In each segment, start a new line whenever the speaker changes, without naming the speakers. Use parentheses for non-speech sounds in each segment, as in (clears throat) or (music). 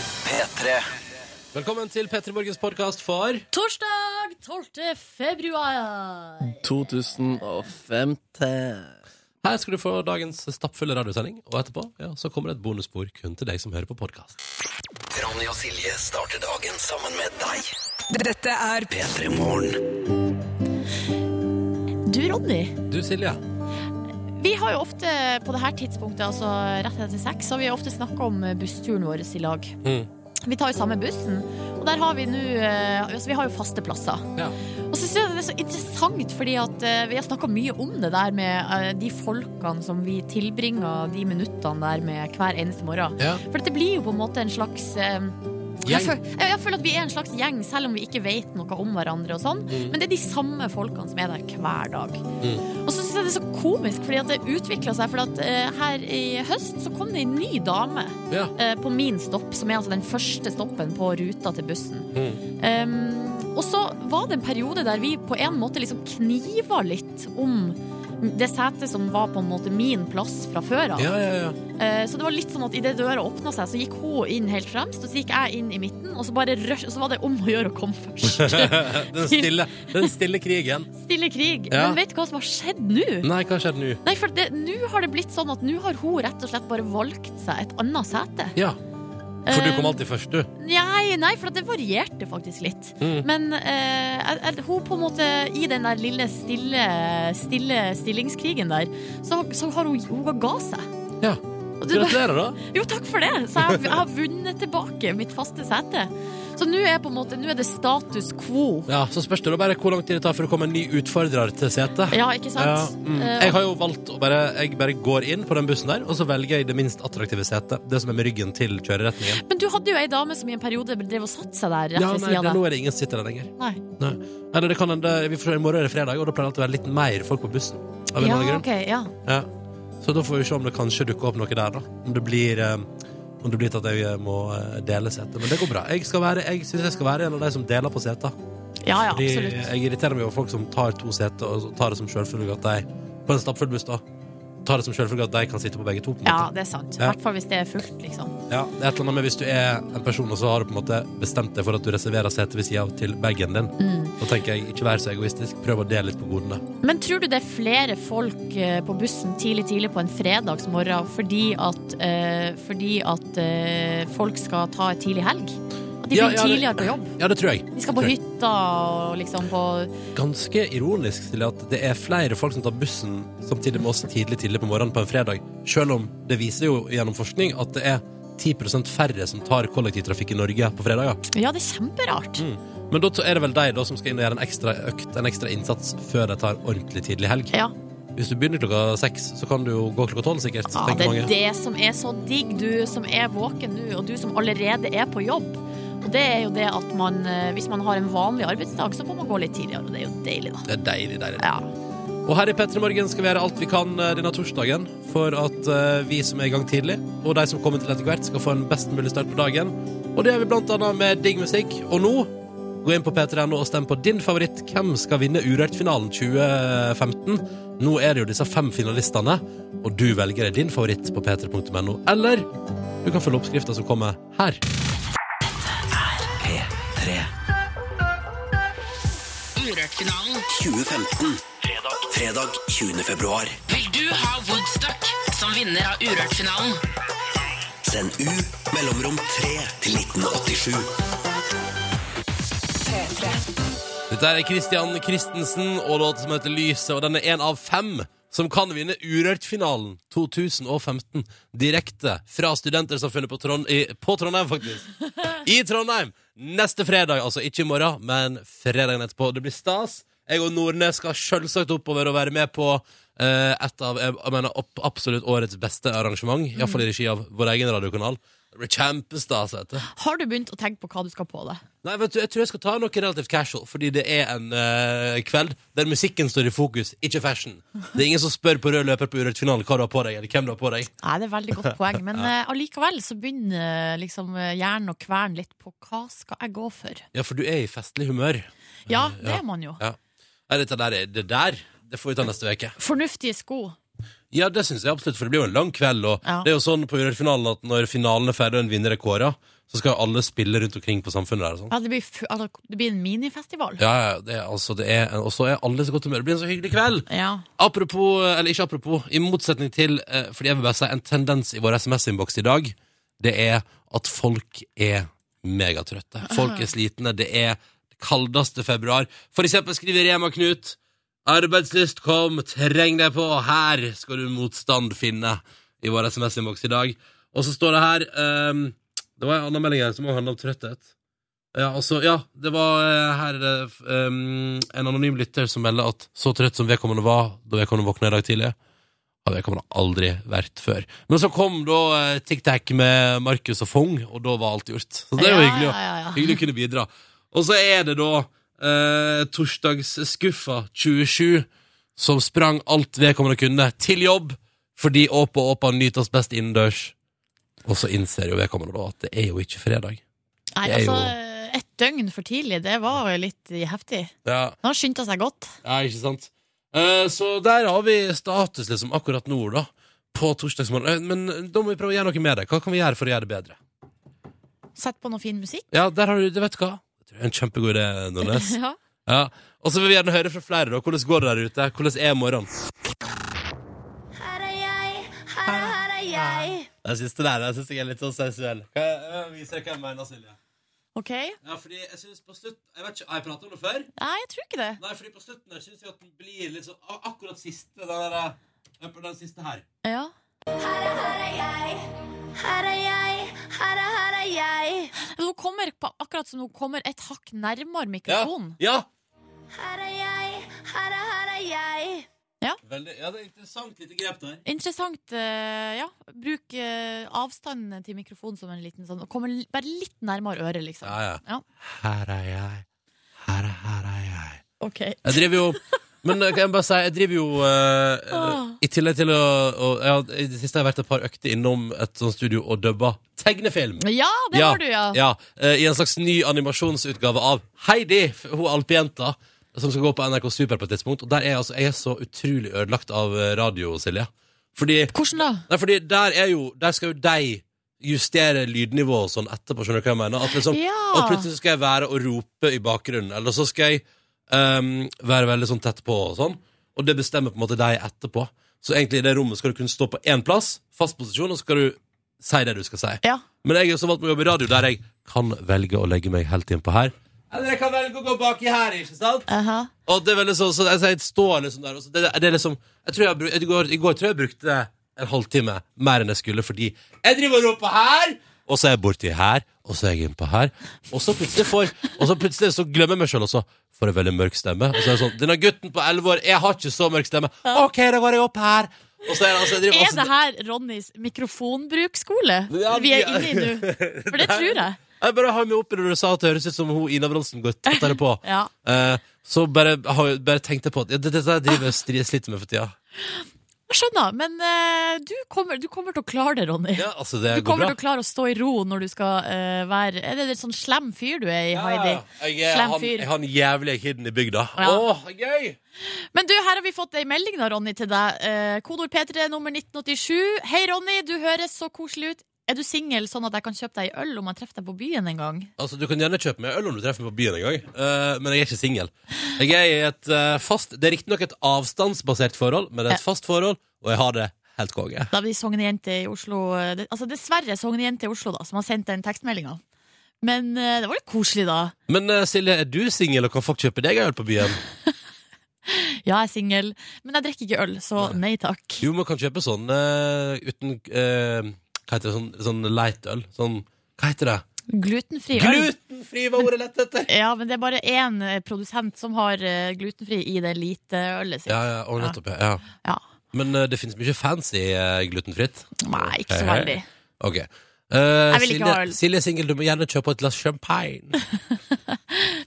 P3.
Velkommen til P3 Morgens podkast for
Torsdag 12. februar.
2050.
Her skal du få dagens stappfulle radiosending, og etterpå ja, så kommer det et bonusspor kun til deg som hører på podkast.
Ronny og Silje starter dagen sammen med deg.
Dette er
P3 Morgen.
Du, Ronny.
Du, Silje.
Vi har jo ofte på det her tidspunktet, altså rett etter seks, har vi ofte snakka om eh, bussturen vår i lag.
Mm.
Vi tar jo samme bussen, og der har vi nå eh, altså Vi har jo faste plasser.
Ja.
Og så syns jeg det er så interessant, fordi at eh, vi har snakka mye om det der med eh, de folkene som vi tilbringer de minuttene der med hver eneste morgen.
Ja.
For det blir jo på en måte en slags eh, Jeg,
Gjeng.
føl, ja, jeg føler at vi er en slags gjeng, selv om vi ikke vet noe om hverandre. og sånn
Mm.
Men det er de samme folkene som er der hver dag.
Mm.
Og så syns jeg det er så komisk, fordi at det utvikla seg. For at, eh, her i høst så kom det en ny dame
Ja.
eh, på min stopp, som er altså den første stoppen på ruta til bussen.
Mm.
Um, og så var det en periode der vi på en måte liksom kniva litt om det setet som var på en måte min plass fra før av.
ja, ja,
(laughs)
ja.
Eh, Så det var litt sånn at idet døra åpna seg, så gikk hun inn helt fremst, og så gikk jeg inn i midten, og så, bare rush, og så var det om å gjøre å komme
(laughs)
først.
Den stille, den stille krigen.
Stille krig.
Ja.
Men vet du hva som har skjedd nå?
Nei, hva skjer nå?
Nei, for det- nå har det blitt sånn at nå har hun rett og slett bare valgt seg et annet sete.
Ja, for du
Eh,
kom alltid først, du.
Nei, nei, for at det varierte faktisk litt.
Mm.
Men eh, er- er hun på en måte i den der lille, stille, stille stillingskrigen der, så, så har hun, hun ga seg.
Ja.
Og det,
Gratulerer, da.
jo, takk for det! Så jeg, har- jeg har vunnet tilbake mitt faste sete. Så nå er, på en måte, nå er det status quo.
Ja, Så spørs det da bare hvor lang tid det tar for å komme en ny utfordrer til setet.
Ja, ikke
Ja,
sant?
mm.
Eh,
Jeg har jo valgt å bare, jeg bare går inn på den bussen der, og så velger jeg det minst attraktive setet. Det som er med ryggen til kjøreretningen.
men du hadde jo ei dame som i en periode drev og satte seg der rett
Ja, nei,
ved sida
det,
av
Nå
deg.
er det ingen som sitter der lenger.
Nei.
Nei. Eller det kan hende vi får, I morgen er det fredag, og da pleier det alltid å være litt mer folk på bussen. Av en eller
Ja,
annen grunn.
ok, ja.
Ja. Så da får vi se om det kanskje dukker opp noe der, da. Om det blir, eh, om det blir til at jeg eh, må eh, dele setet. Men det går bra. Jeg, skal være- jeg syns jeg skal være en av de som deler på seta.
ja, ja,
Fordi
absolutt.
jeg irriterer meg over folk som tar to seter og så tar det som selvfølge at de På en stappfull buss, da. Tar det som selvfølge at de kan sitte på begge to. på en
Ja,
måte.
det er sant. I
Ja.
hvert fall hvis det er fullt, liksom.
Ja, det er et eller annet med Hvis du er en person og så har du på en måte bestemt deg for at du reserverer setet ved sida av til bagen din, da tenker jeg ikke vær så egoistisk. Prøv å dele litt på godene.
Men tror Mm. du det er flere folk eh, på bussen tidlig tidlig på en fredagsmorgen fordi at, eh, fordi at eh, folk skal ta en tidlig helg? At de
Ja,
blir
ja, det-
tidligere på jobb?
Ja, det tror jeg.
De skal på
Tror jeg.
hytta og liksom på
Ganske ironisk Silje, at det er flere folk som tar bussen samtidig med oss tidlig tidlig på morgenen på en fredag. Selv om det viser jo gjennom forskning at det er 10 færre som tar kollektivtrafikk i Norge på fredager.
Ja, det er kjemperart.
Men da er det vel de da som skal inn og gjøre en ekstra økt, en ekstra innsats før de tar ordentlig tidlig helg.
Ja.
Hvis du begynner klokka seks, så kan du jo gå klokka tolv, sikkert.
ja, det
tenker
er
mange.
det som er så digg, du som er våken nå, og du som allerede er på jobb. Og det er jo det at man, eh, hvis man har en vanlig arbeidsdag, så får man gå litt tidligere, og det er jo deilig, da.
Det er deilig, deilig.
Ja.
Og her i P3 Morgen skal vi gjøre alt vi kan eh, denne torsdagen for at eh, vi som er i gang tidlig, og de som kommer til etter hvert, skal få en best mulig start på dagen. Og det gjør vi blant annet med digg musikk. Og nå, gå inn på p3.no og stem på din favoritt. Hvem skal vinne Urørt-finalen 2015? Nå er det jo disse fem finalistene, og du velger deg din favoritt på p3.no. Eller du kan følge oppskrifta som kommer her.
P3. 2015. Fredag 20. februar.
Vil du ha Woodstock som vinner av Urørt-finalen?
Send U mellomrom 3 til 1987.
Dette er Christian Christensen og låten som heter Lyset, og den er en av fem som kan vinne Urørt-finalen 2015 direkte fra Studentersamfunnet på, Trond i, på Trondheim, faktisk. I Trondheim! Neste fredag, altså ikke i morgen, men fredagen etterpå. Det blir stas. Jeg og Nordnes skal selvsagt oppover og være med på eh, et av jeg, jeg mener, opp, absolutt årets beste arrangement, iallfall i regi av vår egen radiokanal. Det blir kjempestas, vet du.
Har du begynt å tenke på hva du skal på deg?
Nei, vet du, Jeg tror jeg skal ta noe relativt casual, fordi det er en eh, kveld der musikken står i fokus, ikke fashion. Det er ingen som spør på rød løper på Urørt-finalen hva du har på deg, eller hvem du har på deg.
Nei, det er veldig godt poeng,
(laughs)
men eh, allikevel så begynner eh, liksom eh, hjernen å kverne litt på hva skal jeg gå for?
Ja, for du er i festlig humør.
Ja, det
Ja.
er man jo.
Ja. Nei, dette der, er- det der det får vi ta neste uke.
Fornuftige sko.
Ja, det syns jeg absolutt, for det blir jo en lang kveld. Og
Ja.
det er jo sånn på Urørt-finalen at når finalen er ferdig og en vinner er kåra, så skal alle spille rundt omkring på samfunnet der og sånn.
Ja, det, blir, fu- altså, det blir en minifestival.
Ja, ja, det er, altså, det er, og så er alle i så godt humør. Det blir en så hyggelig kveld!
Ja.
Apropos, eller ikke apropos, i motsetning til, eh, fordi jeg vil bare si, en tendens i vår SMS-innboks i dag, det er at folk er megatrøtte. Folk er slitne, det er kaldeste februar. For eksempel skriver Rema Knut, arbeidslyst kom, treng deg på, her skal du motstand finne i vår SMS-innboks i dag. Og så står det her, ehm, det var en annen melding her som også handler om trøtthet. Ja, altså, ja, det var eh, her er det, f- ehm, en anonym lytter som melder at så trøtt som vedkommende var da vedkommende våkna i dag tidlig, har vedkommende aldri vært før. Men så kom da eh, Tic Tac med Markus og Fong, og da var alt gjort. Så det er jo
Ja,
hyggelig, å-
ja, ja, ja.
hyggelig å kunne bidra. Og så er det da eh, torsdagsskuffa 27 som sprang alt vedkommende kunne til jobb, fordi Åpa Åpa nytes best innendørs. Og så innser jo vedkommende da at det er jo ikke fredag.
Nei,
Det er
altså, et døgn for tidlig, det var jo litt eh, heftig.
Ja,
Han skyndte seg godt.
Ja, ikke sant? Eh, så der har vi status liksom akkurat nå, da. På torsdagsmorgen. Eh, Men da må vi prøve å gjøre noe med det. Hva kan vi gjøre for å gjøre det bedre?
Sett på noe fin musikk.
Ja, der har du det, vet du hva. Det er en kjempegod idé, (laughs) Nordnes.
Ja.
(laughs) Ja. Og så vil vi gjerne høre fra flere, da. Hvordan går det der ute? Hvordan er morgenen?
Her er jeg, her, her er jeg.
Jeg syns det der jeg synes jeg er litt sånn sensuell. Kan jeg, jeg viser deg hva jeg mener, Silje.
Ok? Nei,
Ja, fordi jeg synes på slutt Jeg vet ikke, Har jeg pratet om det før?
jeg tror ikke det.
Nei, fordi på slutten her syns jeg at den blir litt sånn ak- Akkurat siste, den der, eh, på den siste her.
Ja.
Her er, her er jeg, her er jeg, her er, her er jeg.
Men Hun kommer på, akkurat som hun kommer et hakk nærmere mikrofonen.
Ja, ja.
Her er jeg, her er, her er jeg.
Veldig, ja, det er interessant lite grep der.
Interessant. eh, ja. Bruk eh, avstanden til mikrofonen som en liten sånn. Og kommer l- bare litt nærmere øret, liksom.
Ja, ja.
Ja.
Her er jeg. Her er, her er jeg.
Ok.
Jeg driver jo Men eh, kan jeg bare si, jeg driver jo eh, eh,
Åh.
I tillegg til å og, ja, I det siste har jeg vært et par økter innom et sånt studio og dubba tegnefilm.
Ja, det
Ja,
har du, ja.
Ja, eh, I en slags ny animasjonsutgave av Heidi, f- hun alpejenta. Som skal gå på NRK Super på et tidspunkt. Og der er jeg, altså, jeg er så utrolig ødelagt av eh, radio, Silje. Fordi
Hvordan da?
Nei, fordi der er jo Der skal jo de justere lydnivået og sånn etterpå, skjønner du hva jeg mener? At liksom,
Ja.
Og plutselig så skal jeg være og rope i bakgrunnen, eller så skal jeg ehm, være veldig sånn tett på og sånn, og det bestemmer på en måte de etterpå. Så egentlig i det rommet skal du kunne stå på én plass, fast posisjon, og så skal du si det du skal si.
Ja.
Men jeg er jo så vant med å jobbe i radio, der jeg kan velge å legge meg helt innpå her. Eller jeg kan velge å gå baki her, ikke sant?
Aha.
Og det er veldig sånn, så jeg, jeg står liksom der og så det, det er liksom, jeg tror jeg, bru- i går, I går tror jeg jeg brukte en halvtime mer enn jeg skulle, fordi jeg driver og roper her, og så er jeg borti her, og så er jeg innpå her. Og så plutselig får Og så plutselig så glemmer jeg meg sjøl også. Får en veldig mørk stemme. Og så er det sånn Denne gutten på 11 år, jeg har ikke så mørk stemme. OK, da går jeg opp her. Og så er det altså jeg driver,
Er
altså,
det her Ronnys mikrofonbruksskole
Ja,
vi er
ja.
inne
(laughs)
i nå? For det tror jeg.
Jeg bare har meg opp i det du sa at det høres ut som hun Ina Bronsen går tettere på.
Ja.
(laughs) Eh, så bare, har- bare tenkte jeg på at ja, det- dette her driver jeg og stri- sliter med for tida.
Jeg skjønner, men eh, du, kommer, du kommer til å klare det, Ronny.
Ja, altså, det
Du
går
kommer
bra.
til å klare å stå i ro når du skal eh, være Er det en sånn slem fyr du er i, Heidi?
Jeg er
Slem
han,
fyr.
jeg er han jævlige kiden i bygda.
Ja.
Åh, gøy!
Men du, her har vi fått ei melding da, Ronny, til deg. Eh, Kodord P3 nummer 1987. Hei, Ronny, du høres så koselig ut. Er du singel, sånn at jeg kan kjøpe deg ei øl om jeg treffer deg på byen en gang?
Altså, Du kan gjerne kjøpe meg øl om du treffer meg på byen en gang, eh, men jeg er ikke singel. Jeg er i et eh, fast Det er riktignok et avstandsbasert forhold, men det er et fast forhold, og jeg har det helt konge.
Da blir Sognejente i Oslo eh, det, Altså dessverre Sognejente i Oslo, da, som har sendt den tekstmeldinga. Men eh, det var litt koselig, da.
Men eh, Silje, er du singel og kan folk kjøpe deg øl på byen?
Ja, jeg er singel, men jeg drikker ikke øl, så nei takk.
Jo, man kan kjøpe sånn eh, uten eh, Hva heter det? Sånn, sånn lightøl? Sånn Hva heter det?
Glutenfri øl.
Glutenfri var ordet lett etter!
Ja, men det er bare én eh, produsent som har eh, glutenfri i det lite ølet sitt.
Ja, ja, og nettopp, ja. ja.
Ja.
Men eh, det finnes mye fancy eh, glutenfritt.
Nei, ikke
Hei,
så
hei.
veldig.
Ok. Eh,
vil ikke
Silje,
ha øl.
Silje er singel, du må gjerne kjøpe et glass champagne.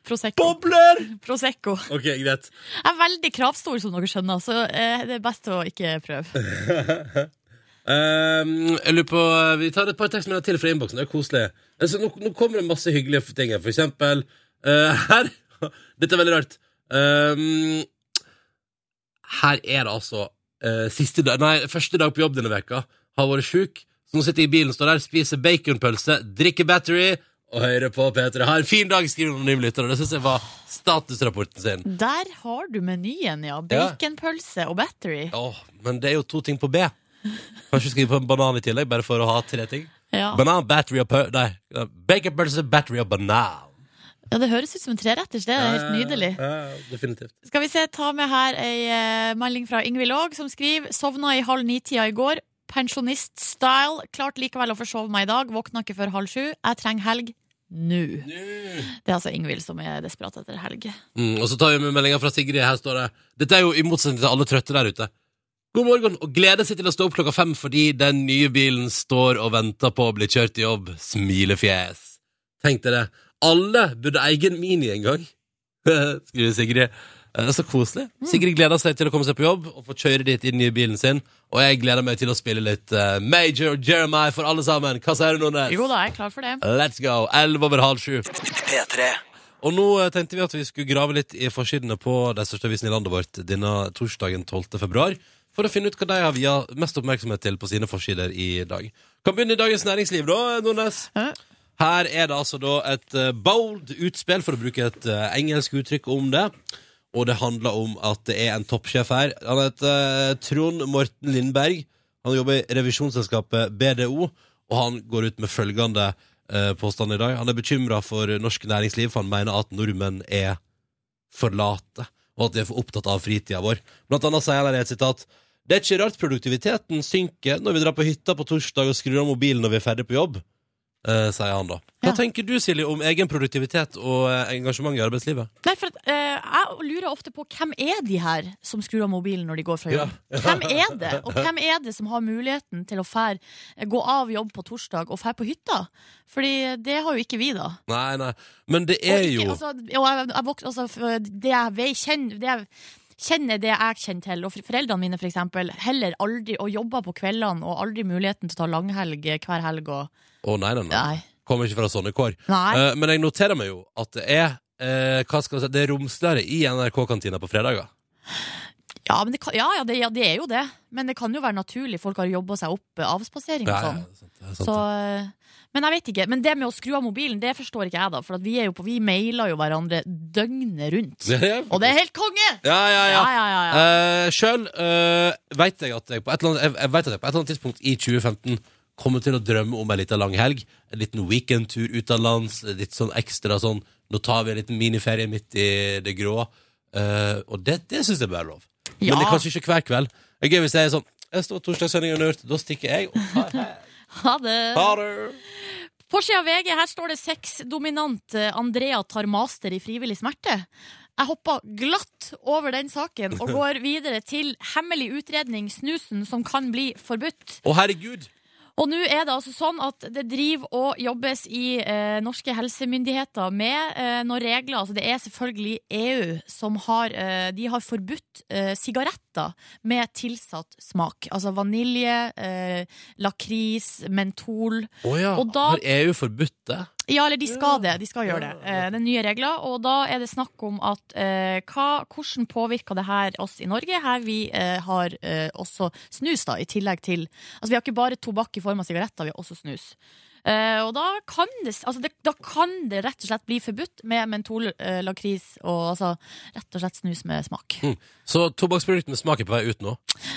Prosecco.
Bobler!
Prosecco.
Ok, greit.
Jeg er veldig kravstor, som dere skjønner, så eh, det er best å ikke
(laughs)
prøve.
Ehm, jeg lurer på, vi tar et par tekstmeldinger til fra innboksen. Det er koselig. Altså, nå, nå kommer det masse hyggelige ting her. For eksempel eh, (laughs) her Dette er veldig rart. Ehm, her er det altså eh, siste dag, nei, første dag på jobb denne veka har vært sjuk. Så nå sitter jeg i bilen, står der, spiser baconpølse, drikker battery og hører på P3. Ha en fin dag, skriver noen nye lyttere. Det syns jeg var statusrapporten sin.
Der har du menyen, ja. Baconpølse og battery.
Åh, men det er jo to ting på B. Kanskje vi skal gi på en banan i tillegg, bare for å ha tre ting.
Ja.
Banan, battery og pø... Nei. Baconpølse, battery og banan.
ja, det høres ut som en treretters. Det er helt nydelig.
Ja, ja, definitivt.
Skal vi se, ta med her ei eh, melding fra Ingvild Aag, som skriver Sovna i halv ni-tida i går. Pensjonist-style. Klart likevel å forsove meg i dag. Våkna ikke før halv sju. Jeg trenger helg nå. Det er altså Ingvild som er desperat etter helg.
Mm, og så tar vi med meldinga fra Sigrid. Her står det Dette er jo i motsetning til alle trøtte der ute. God morgen, og gleder seg til å stå opp klokka fem fordi den nye bilen står og venter på å bli kjørt til jobb. Smilefjes. Tenk deg det. Alle burde eie en Mini en gang, (laughs) skriver Sigrid. Eh, Det er så koselig. Sigrid gleder seg til å komme seg på jobb og få kjøre dit i den nye bilen sin. Og jeg gleder meg til å spille litt eh, Major Jeremiah for alle sammen. Hva sier du, Nordnes?
Jo da, jeg er klar for det.
Let's go. Elleve over halv sju.
P3
Og nå eh, tenkte vi at vi skulle grave litt i forsidene på de største avisene i landet vårt denne torsdagen 12. februar, for å finne ut hva de har via mest oppmerksomhet til på sine forsider i dag. Kan begynne i Dagens Næringsliv, da, Nordnes.
Ja.
Her er det altså da et eh, bold utspill, for å bruke et eh, engelsk uttrykk om det. Og det handler om at det er en toppsjef her. Han heter eh, Trond Morten Lindberg. Han jobber i revisjonsselskapet BDO, og han går ut med følgende eh, påstand i dag. Han er bekymra for norsk næringsliv, for han mener at nordmenn er for late, og at de er for opptatt av fritida vår. Blant annet sier han her i et sitat Det er ikke rart produktiviteten synker når vi drar på hytta på torsdag og skrur av mobilen når vi er ferdig på jobb, eh, sier han da. Hva
Ja.
tenker du, Silje, om egen produktivitet og eh, engasjement i arbeidslivet?
Nei, for at, eh, Jeg lurer ofte på hvem er de her som skrur av mobilen når de går fra
Ja.
jobb. Hvem er det, og hvem er det som har muligheten til å fær, gå av jobb på torsdag og fær på hytta? Fordi det har jo ikke vi, da.
Nei, nei. Men det
Og
er
ikke,
jo
altså, og jeg, jeg vokste, altså, f- det jeg vet, kjenner, det jeg kjenner det jeg kjenner til, og for- foreldrene mine for eksempel, heller aldri og jobber på kveldene og aldri muligheten til å ta langhelg hver helg. Og,
Å, nei, nei, nei.
nei.
Kommer ikke fra sånne kår.
nei.
Eh, men jeg noterer meg jo at det er eh, hva skal jeg si, det er romsligere i NRK-kantina på fredager.
Ja, men det kan, ja, ja, det, ja, det er jo det. Men det kan jo være naturlig. Folk har jobba seg opp eh, avspasering og sånn.
det er sant, det er sant,
Så,
(laughs) det.
eh, men jeg vet ikke. Men det med å skru av mobilen, det forstår ikke jeg, da. For at vi, er jo på, vi mailer jo hverandre døgnet rundt.
Det er-
Og det er helt konge!
ja, ja, ja.
Ja, ja, ja. ja.
Eh, Sjøl eh, veit jeg at jeg på et eller annet, jeg, jeg vet at jeg på et eller annet tidspunkt i 2015 kommer til å drømme om ei lita langhelg. En liten weekendtur utenlands. Litt sånn ekstra sånn Nå tar vi en liten miniferie midt i det grå. Eh, og det, det syns jeg bare er lov.
Ja.
Men det er kanskje ikke hver kveld. Det er gøy hvis jeg er sånn Jeg står torsdagssendinga under, da stikker jeg. Og tar her.
Ha det.
Ha det.
På sida av VG her står det sexdominant eh, Andrea tar master i frivillig smerte. Jeg hoppa glatt over den saken
(laughs)
og går videre til hemmelig utredning, snusen som kan bli forbudt.
Å, herregud!
Og nå er det altså sånn at det driver og jobbes i eh, norske helsemyndigheter med eh, noen regler. Altså det er selvfølgelig EU som har, eh, de har forbudt eh, sigaretter med tilsatt smak. Altså vanilje, eh, lakris, mentol.
Å ja.
Og da-
Har EU forbudt det?
Ja, eller de skal det. De skal gjøre det. Eh, Det er nye regler. Og da er det snakk om at eh, hva, hvordan påvirker det her oss i Norge? Her vi eh, har eh, også snus, da, i tillegg til Altså vi har ikke bare tobakk i form av sigaretter, vi har også snus. Eh, og da kan, det, s- altså det, da kan det rett og slett bli forbudt med mentol, eh, lakris og altså rett og slett snus med smak.
Så tobakksproduktene smaker på vei ut nå?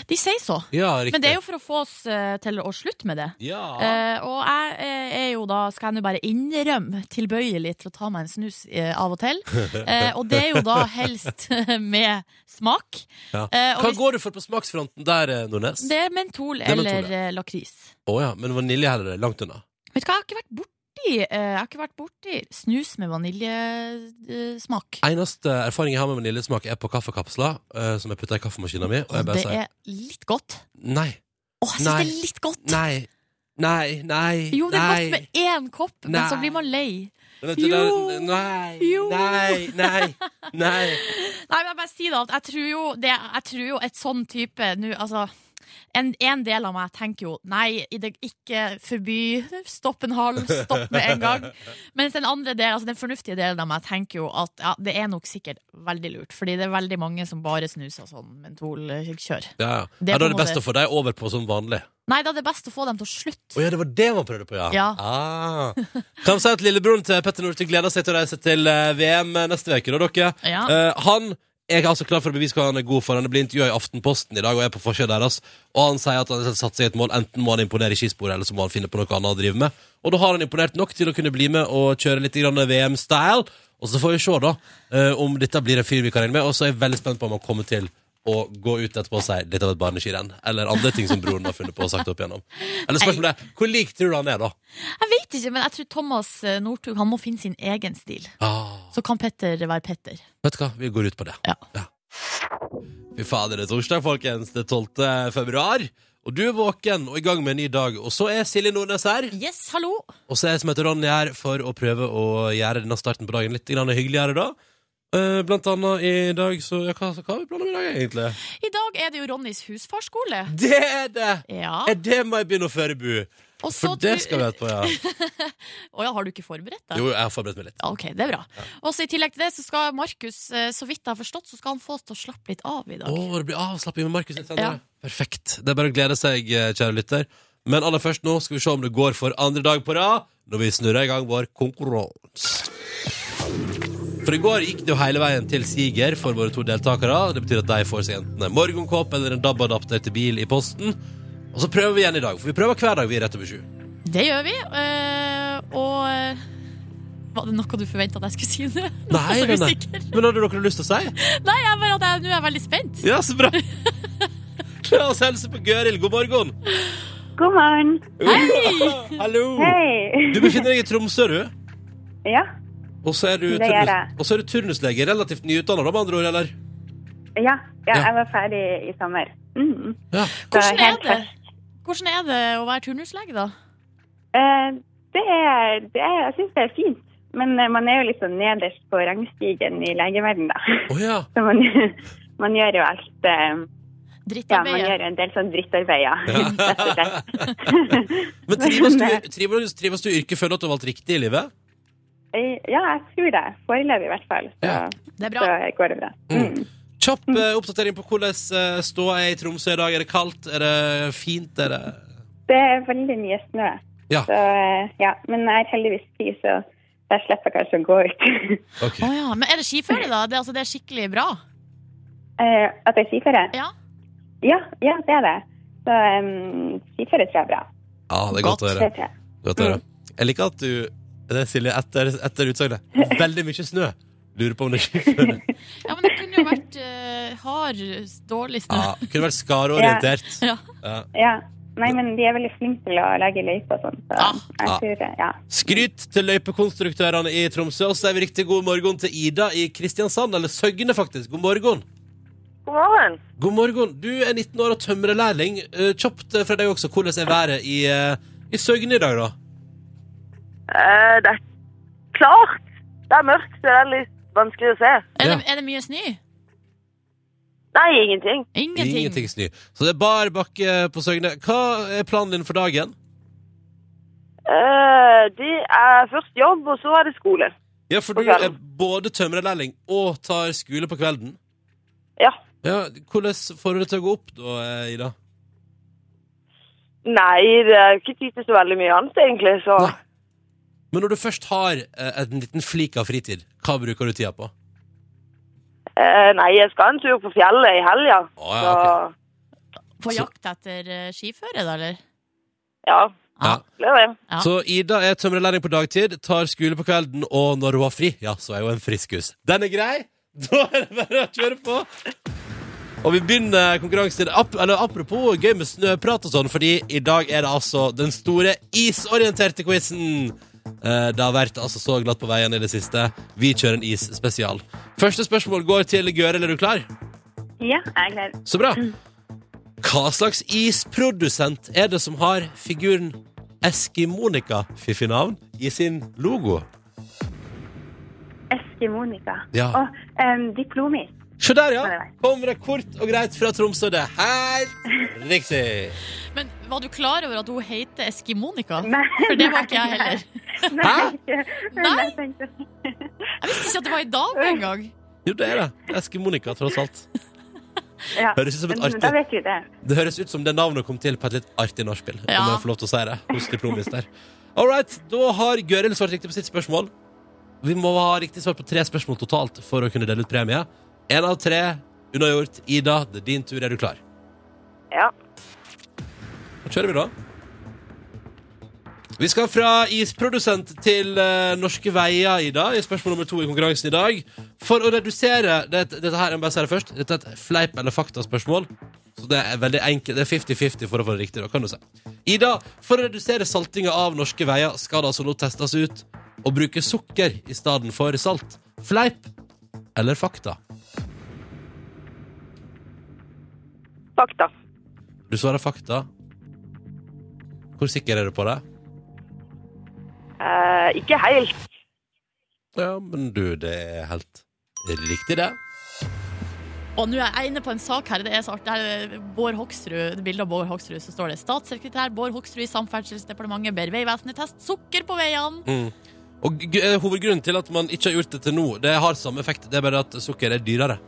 De sier så.
Ja, riktig.
Men det er jo for å få oss eh, til å slutte med det.
Ja.
Eh, og jeg eh, er jo da, skal jeg nå bare innrømme, tilbøyelig til å ta meg en snus eh, av og
(laughs)
til. Eh, og det er jo da helst (laughs) med smak.
Ja.
Eh, og
Hva
hvis-
går du for på smaksfronten der, eh, Nordnes? Å
Det er mentol
er mentol,
eller eh, lakris.
ja, men vanilje her er det langt unna.
Vet du hva, jeg har ikke vært borti, eh, jeg har ikke vært borti snus med vaniljesmak.
Eneste erfaring jeg har med vaniljesmak, er på kaffekapsler, eh, som jeg putter i kaffemaskina mi, og jeg bare
det
sier
er litt godt.
nei,
Å, jeg syns
Nei.
det er litt godt!
nei, nei, nei,
Jo, det er
nei.
godt med én kopp, men så
Nei.
blir man lei.
Vet du, det er-
Jo.
Nei,
Jo.
nei, nei, nei.
Nei, men jeg bare sier da at jeg tror jo, det, jeg tror jo et sånn type nå, altså en, en del av meg tenker jo nei, i det, ikke forby, stopp en halv, stopp med en gang. Mens den andre del, altså den fornuftige delen av meg tenker jo at ja, det er nok sikkert veldig lurt. Fordi det er veldig mange som bare snuser sånn mentolkjør.
Ja, ja.
Det er
ja, da
på en
er det best
måte-
å få deg over på som vanlig.
Nei, da er det best å få dem til å slutte.
Å ja, det var det man prøvde på, ja.
Ja.
Ah. Kan vi si at lillebroren til Petter Northug gleder seg til å reise til eh, VM neste uke, da, dere?
Ja.
Eh, han er altså klar for å bevise hva han er god for. Han blir intervjua i Aftenposten i dag og er på forsida deres. Og han sier at han har satt seg et mål. Enten må han imponere i skisporet, eller så må han finne på noe annet å drive med. Og da har han imponert nok til å kunne bli med og kjøre litt grann VM-style. Og så får vi se, da, eh, om dette blir en fyr vi kan regne med. Og så er jeg veldig spent på om han kommer til å gå ut etterpå og si litt av et barneskirenn. Eller andre ting som broren har funnet på og sagt opp igjennom. Eller spørsmålet er hvor lik tror du han er, da?
Jeg vet ikke, men jeg tror Thomas eh, Northug han må finne sin egen stil.
Ah,
Så kan Petter være Petter.
vet du hva, vi går ut på det.
Ja.
Fy fader, det er torsdag, folkens. Det er 12. februar. Og du er våken og i gang med en ny dag. Og så er Silje Nordnes her.
Yes, hallo!
Og så er jeg som heter Ronny her for å prøve å gjøre denne starten på dagen litt grann hyggeligere, da. Eh, Blant annet i dag så Ja, hva, hva har vi planer om i dag, egentlig?
I dag er det jo Ronnys husfarskole.
Det er det!
Ja.
Er det må jeg begynne å føre bu?
Og så
For det
tror-
skal vi etterpå, ja.
Å (laughs) ja, har du ikke forberedt deg?
Jo, jeg har forberedt meg litt.
Ja, Ok, det er bra. Og så I tillegg til det så skal Markus, eh, så vidt jeg har forstått, så skal han få oss til å slappe litt av i dag.
Å, det blir avslapping med Markus litt senere.
Ja.
Perfekt. Det er bare å glede seg, eh, kjære lytter. Men aller først nå skal vi se om det går for andre dag på rad, når vi snurrer i gang vår konkurranse. For i går gikk det jo hele veien til siger for våre to deltakere. Det betyr at de får seg enten en morgenkåp eller en DAB-adapter til bil i posten. Og så prøver vi igjen i dag, for vi prøver hver dag vi er rett over sju.
Det gjør vi. eh, og eh, Var det noe du forventa at jeg skulle si nå?
Nei,
Jeg er (laughs) så
nei.
usikker.
Men hadde dere lyst til å si?
Nei, jeg bare at jeg, nå er jeg veldig spent.
Ja, så
(laughs)
bra. La oss hilse på Gøril. God morgen.
God morgen.
Hallo.
Hei.
Oh. Du befinner deg i Tromsø, du?
(laughs) Ja,
Og så er du,
Det gjør jeg.
turnus, og så er du turnuslege, relativt nyutdanna, da, med andre ord, eller?
ja, ja,
Ja.
jeg var ferdig i sommer. Mm.
Ja.
Så
Hvordan er
helt
det?
først.
Hvordan er det å være turnuslege, da?
Eh, Det er, det er, jeg syns det er fint, men eh, man er jo litt sånn nederst på rangstigen i legeverdenen, da.
Å
(laughs)
ja.
Så man, man gjør jo alt eh, Ja, man
Drittarbeidet?
gjør jo en del sånn drittarbeid, ja. (laughs) Rett og slett.
Men trives
Men,
du, trives, trives du i yrket? Føler du at du har valgt riktig i livet?
Eh, Ja, jeg tror det. Foreløpig, i hvert fall. Så,
Ja.
Det er bra.
så går det bra. Mm.
Kjapp eh, oppdatering på hvordan eh, ståa er i Tromsø i dag. Er det kaldt? Er det fint? Er det
Det er veldig mye snø.
Ja.
Så, eh, ja. Men jeg er heldigvis fri, så der slipper jeg kanskje å gå ut. (laughs)
OK.
Å ja. Men er det skiføre, da? Det, altså, det er skikkelig bra?
Eh, at jeg er skiføre?
Ja.
Ja, ja, det er det. Så um, skiføre tror jeg er bra.
Ja, det er godt å høre.
Det tror jeg.
Godt
Mm.
å høre. Jeg liker at du Det er Silje, etter, etter utsagnet. Veldig mye snø. Lurer på om det er
(laughs)
skiføre.
Ja, men det kunne jo vært eh, hard, dårlig snø.
Ja, kunne vært skareorientert.
Ja.
Ja.
Ja. Nei, men de er veldig flinke til å legge løyper og sånn, så
Ja.
jeg
Ja.
tror det. Ja.
Skryt til løypekonstruktørene i Tromsø. Og så er vi riktig god morgen til Ida i Kristiansand, eller Søgne, faktisk. God morgen.
God morgen.
God morgen. Du er 19 år og tømrerlærling. Eh, Kjapt eh, fra deg også, hvordan er været i, eh, i Søgne i dag, da?
Eh, det er klart. Det er mørkt, så det er litt vanskelig å se.
Er,
Ja.
det, er det mye snø?
Nei, ingenting.
Ingenting.
snø. Så det er bar bakke på Søgne. Hva er planen din for dagen?
Eh, det er først jobb, og så er det skole.
Ja, for
På
du er
kvelden.
både tømrerlærling og tar skole på kvelden.
Ja.
Ja, Hvordan får du det til å gå opp da, eh, Ida?
Nei, det er ikke tid til så veldig mye annet, egentlig, så
Nei. Men når du først har eh, en liten flik av fritid, hva bruker du tida på?
Eh, Nei, jeg skal en tur på fjellet i helga.
Å,
Så
ja, ok.
På
Så-
jakt etter eh, skiføre, da, eller?
ja,
Ja.
det er det.
Ja.
Så Ida er tømrerlærling på dagtid, tar skole på kvelden, og når hun har fri, ja, så er hun en friskus. Den er grei! Da er det bare å kjøre på. Og vi begynner konkurransen. Ap eller apropos gøy med snøprat og sånn, fordi i dag er det altså den store isorienterte quizen. Det har vært altså så glatt på veien i det siste. Vi kjører en isspesial. Første spørsmål går til Gøril. Er du klar?
ja, jeg er klar.
Så bra. Hva slags isprodusent er det som har figuren Eskimonika, fiffig navn, i sin logo?
Eskimonika.
Ja.
Og um, diplomis.
Se der, ja.
Nei, nei.
Kommer det kort og greit fra Tromsø. Det er
(laughs)
helt riktig.
Men var du klar over at hun heter Eskimonika?
Nei,
For det var ikke jeg heller.
(laughs)
Hæ?
Nei.
Nei.
Nei. tenkte jeg.
Jeg visste ikke at det var i dag engang.
Jo, det er det. Eske-Monica, tross alt.
Ja.
Høres ut som et
Men Da
artig
vet vi det.
Det høres ut som det navnet kom til på et litt artig nachspiel.
Ja.
Om jeg får lov til å si det hos diplommester. All right, da har Gøril svart riktig på sitt spørsmål. Vi må ha riktig svar på tre spørsmål totalt for å kunne dele ut premie. Én av tre unnagjort. Ida, det er din tur. Er du klar?
Ja.
Da kjører vi, da. Vi skal fra isprodusent til eh, Norske Veier, Ida, i spørsmål nummer to i konkurransen i dag. For å redusere det, Dette her jeg må bare si det først. Dette er et fleip- eller faktaspørsmål. Så det er veldig enkelt. Det er 50-50 for å få det riktig. da, kan du si. Ida, for å redusere saltinga av Norske Veier skal det altså nå testes ut å bruke sukker i stedet for salt. Fleip eller fakta?
Fakta.
Du svarer fakta. Hvor sikker er du på det?
Eh, ikke helt.
Ja, men du, det er helt riktig, det.
Og nå er jeg inne på en sak her. Det er så artig. Det er eh, Bård Hoksrud, det bildet av Bård Hoksrud, så står det statssekretær Bård Hoksrud i Samferdselsdepartementet ber Vegvesenet teste sukker på veiene.
Mm. Og g- eh, hovedgrunnen til at man ikke har gjort det til nå, det har samme effekt, det er bare at sukker er dyrere.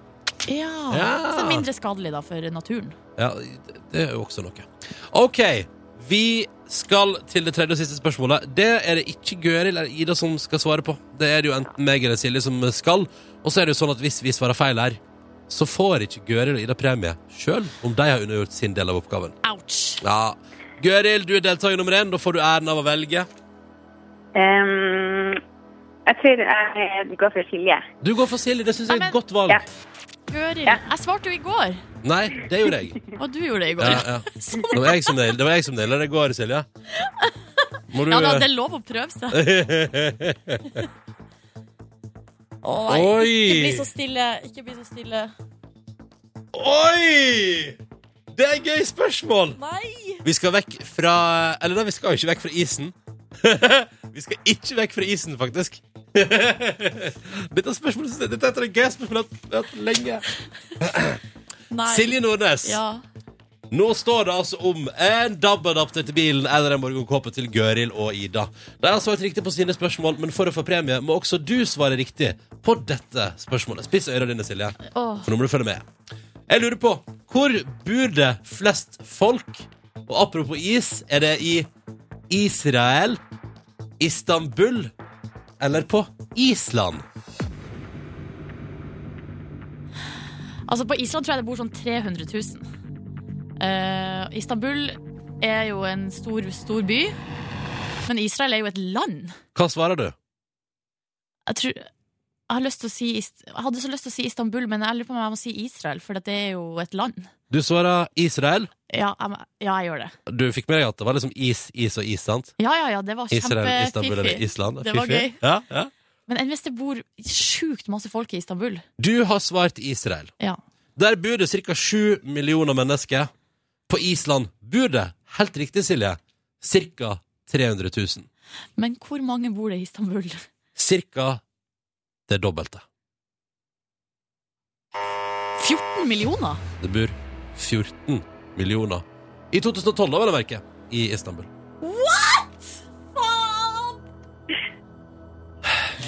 Ja.
Ja.
Så mindre skadelig da for naturen.
Ja, det- det er jo også noe. OK, vi skal til det tredje og siste spørsmålet. Det er det ikke Gøril eller Ida som skal svare på. Det er det jo enten meg eller Silje som skal. Og så er det jo sånn at hvis vi svarer feil her, så får ikke Gøril og Ida premie, sjøl om de har undergjort sin del av oppgaven.
Ouch.
Ja. Gøril, du er deltaker nummer én. Da får du æren av å velge.
Ehm, jeg tror jeg går for Silje.
Du går for Silje. Det syns jeg er et
Nei, men-
godt valg.
Ja.
Gøril, jeg svarte jo i går,
Nei, det gjorde (laughs) jeg.
og du gjorde det i går.
Ja, ja. Det var jeg som del- det var jeg som deler det i går, Silje. Må du eh,
Ja, da, det er lov å
(laughs)
prøve seg. Å, nei,
Oi.
Ikke bli så stille. Ikke bli så stille.
Oi! Det er et gøy spørsmål!
Nei!
Vi skal vekk fra Eller nei, vi skal jo ikke vekk fra isen. (laughs) vi skal ikke vekk fra isen, faktisk. (laughs) dette, spørsmålet, dette er et av de gøyeste spørsmålene jeg har hatt lenge.
nei.
Silje Nordnes.
Ja.
Nå står det altså om en DAB-adapter til bilen eller en morgenkåpe til Gøril og Ida. De har svart riktig på sine spørsmål, men for å få premie må også du svare riktig på dette spørsmålet. Spiss ørene dine, Silje,
Åh.
for nå må du følge med. Jeg lurer på hvor bor det flest folk? Og apropos is, er det i Israel, Istanbul eller på Island?
Altså, på Island tror jeg det bor sånn 300 000. Eh, Istanbul er jo en stor, stor by, men Israel er jo et land.
Hva svarer du?
Jeg tror jeg, har lyst til å si, Ist- jeg hadde så lyst til å si Istanbul, men jeg lurer på om jeg må si Israel, for det er jo et land.
Du svarer Israel.
Ja, jeg, må- ja, jeg gjør det.
Du fikk med deg at det var liksom is, is og is, sant?
Ja, ja, ja, det var
Israel, Istanbul eller
kjempefiffig.
Island.
Det var
Fiffig.
gøy.
Ja, ja.
Men enn hvis det bor sjukt masse folk i Istanbul?
Du har svart Israel.
Ja.
Der bor det ca. 7 millioner mennesker. På Island bor det, helt riktig Silje, ca. 300 000.
Men hvor mange bor det i Istanbul?
Cirka det dobbelte.
14 millioner?
Det bor 14 millioner i 2012, da, vel å merke, i Istanbul.
Faen!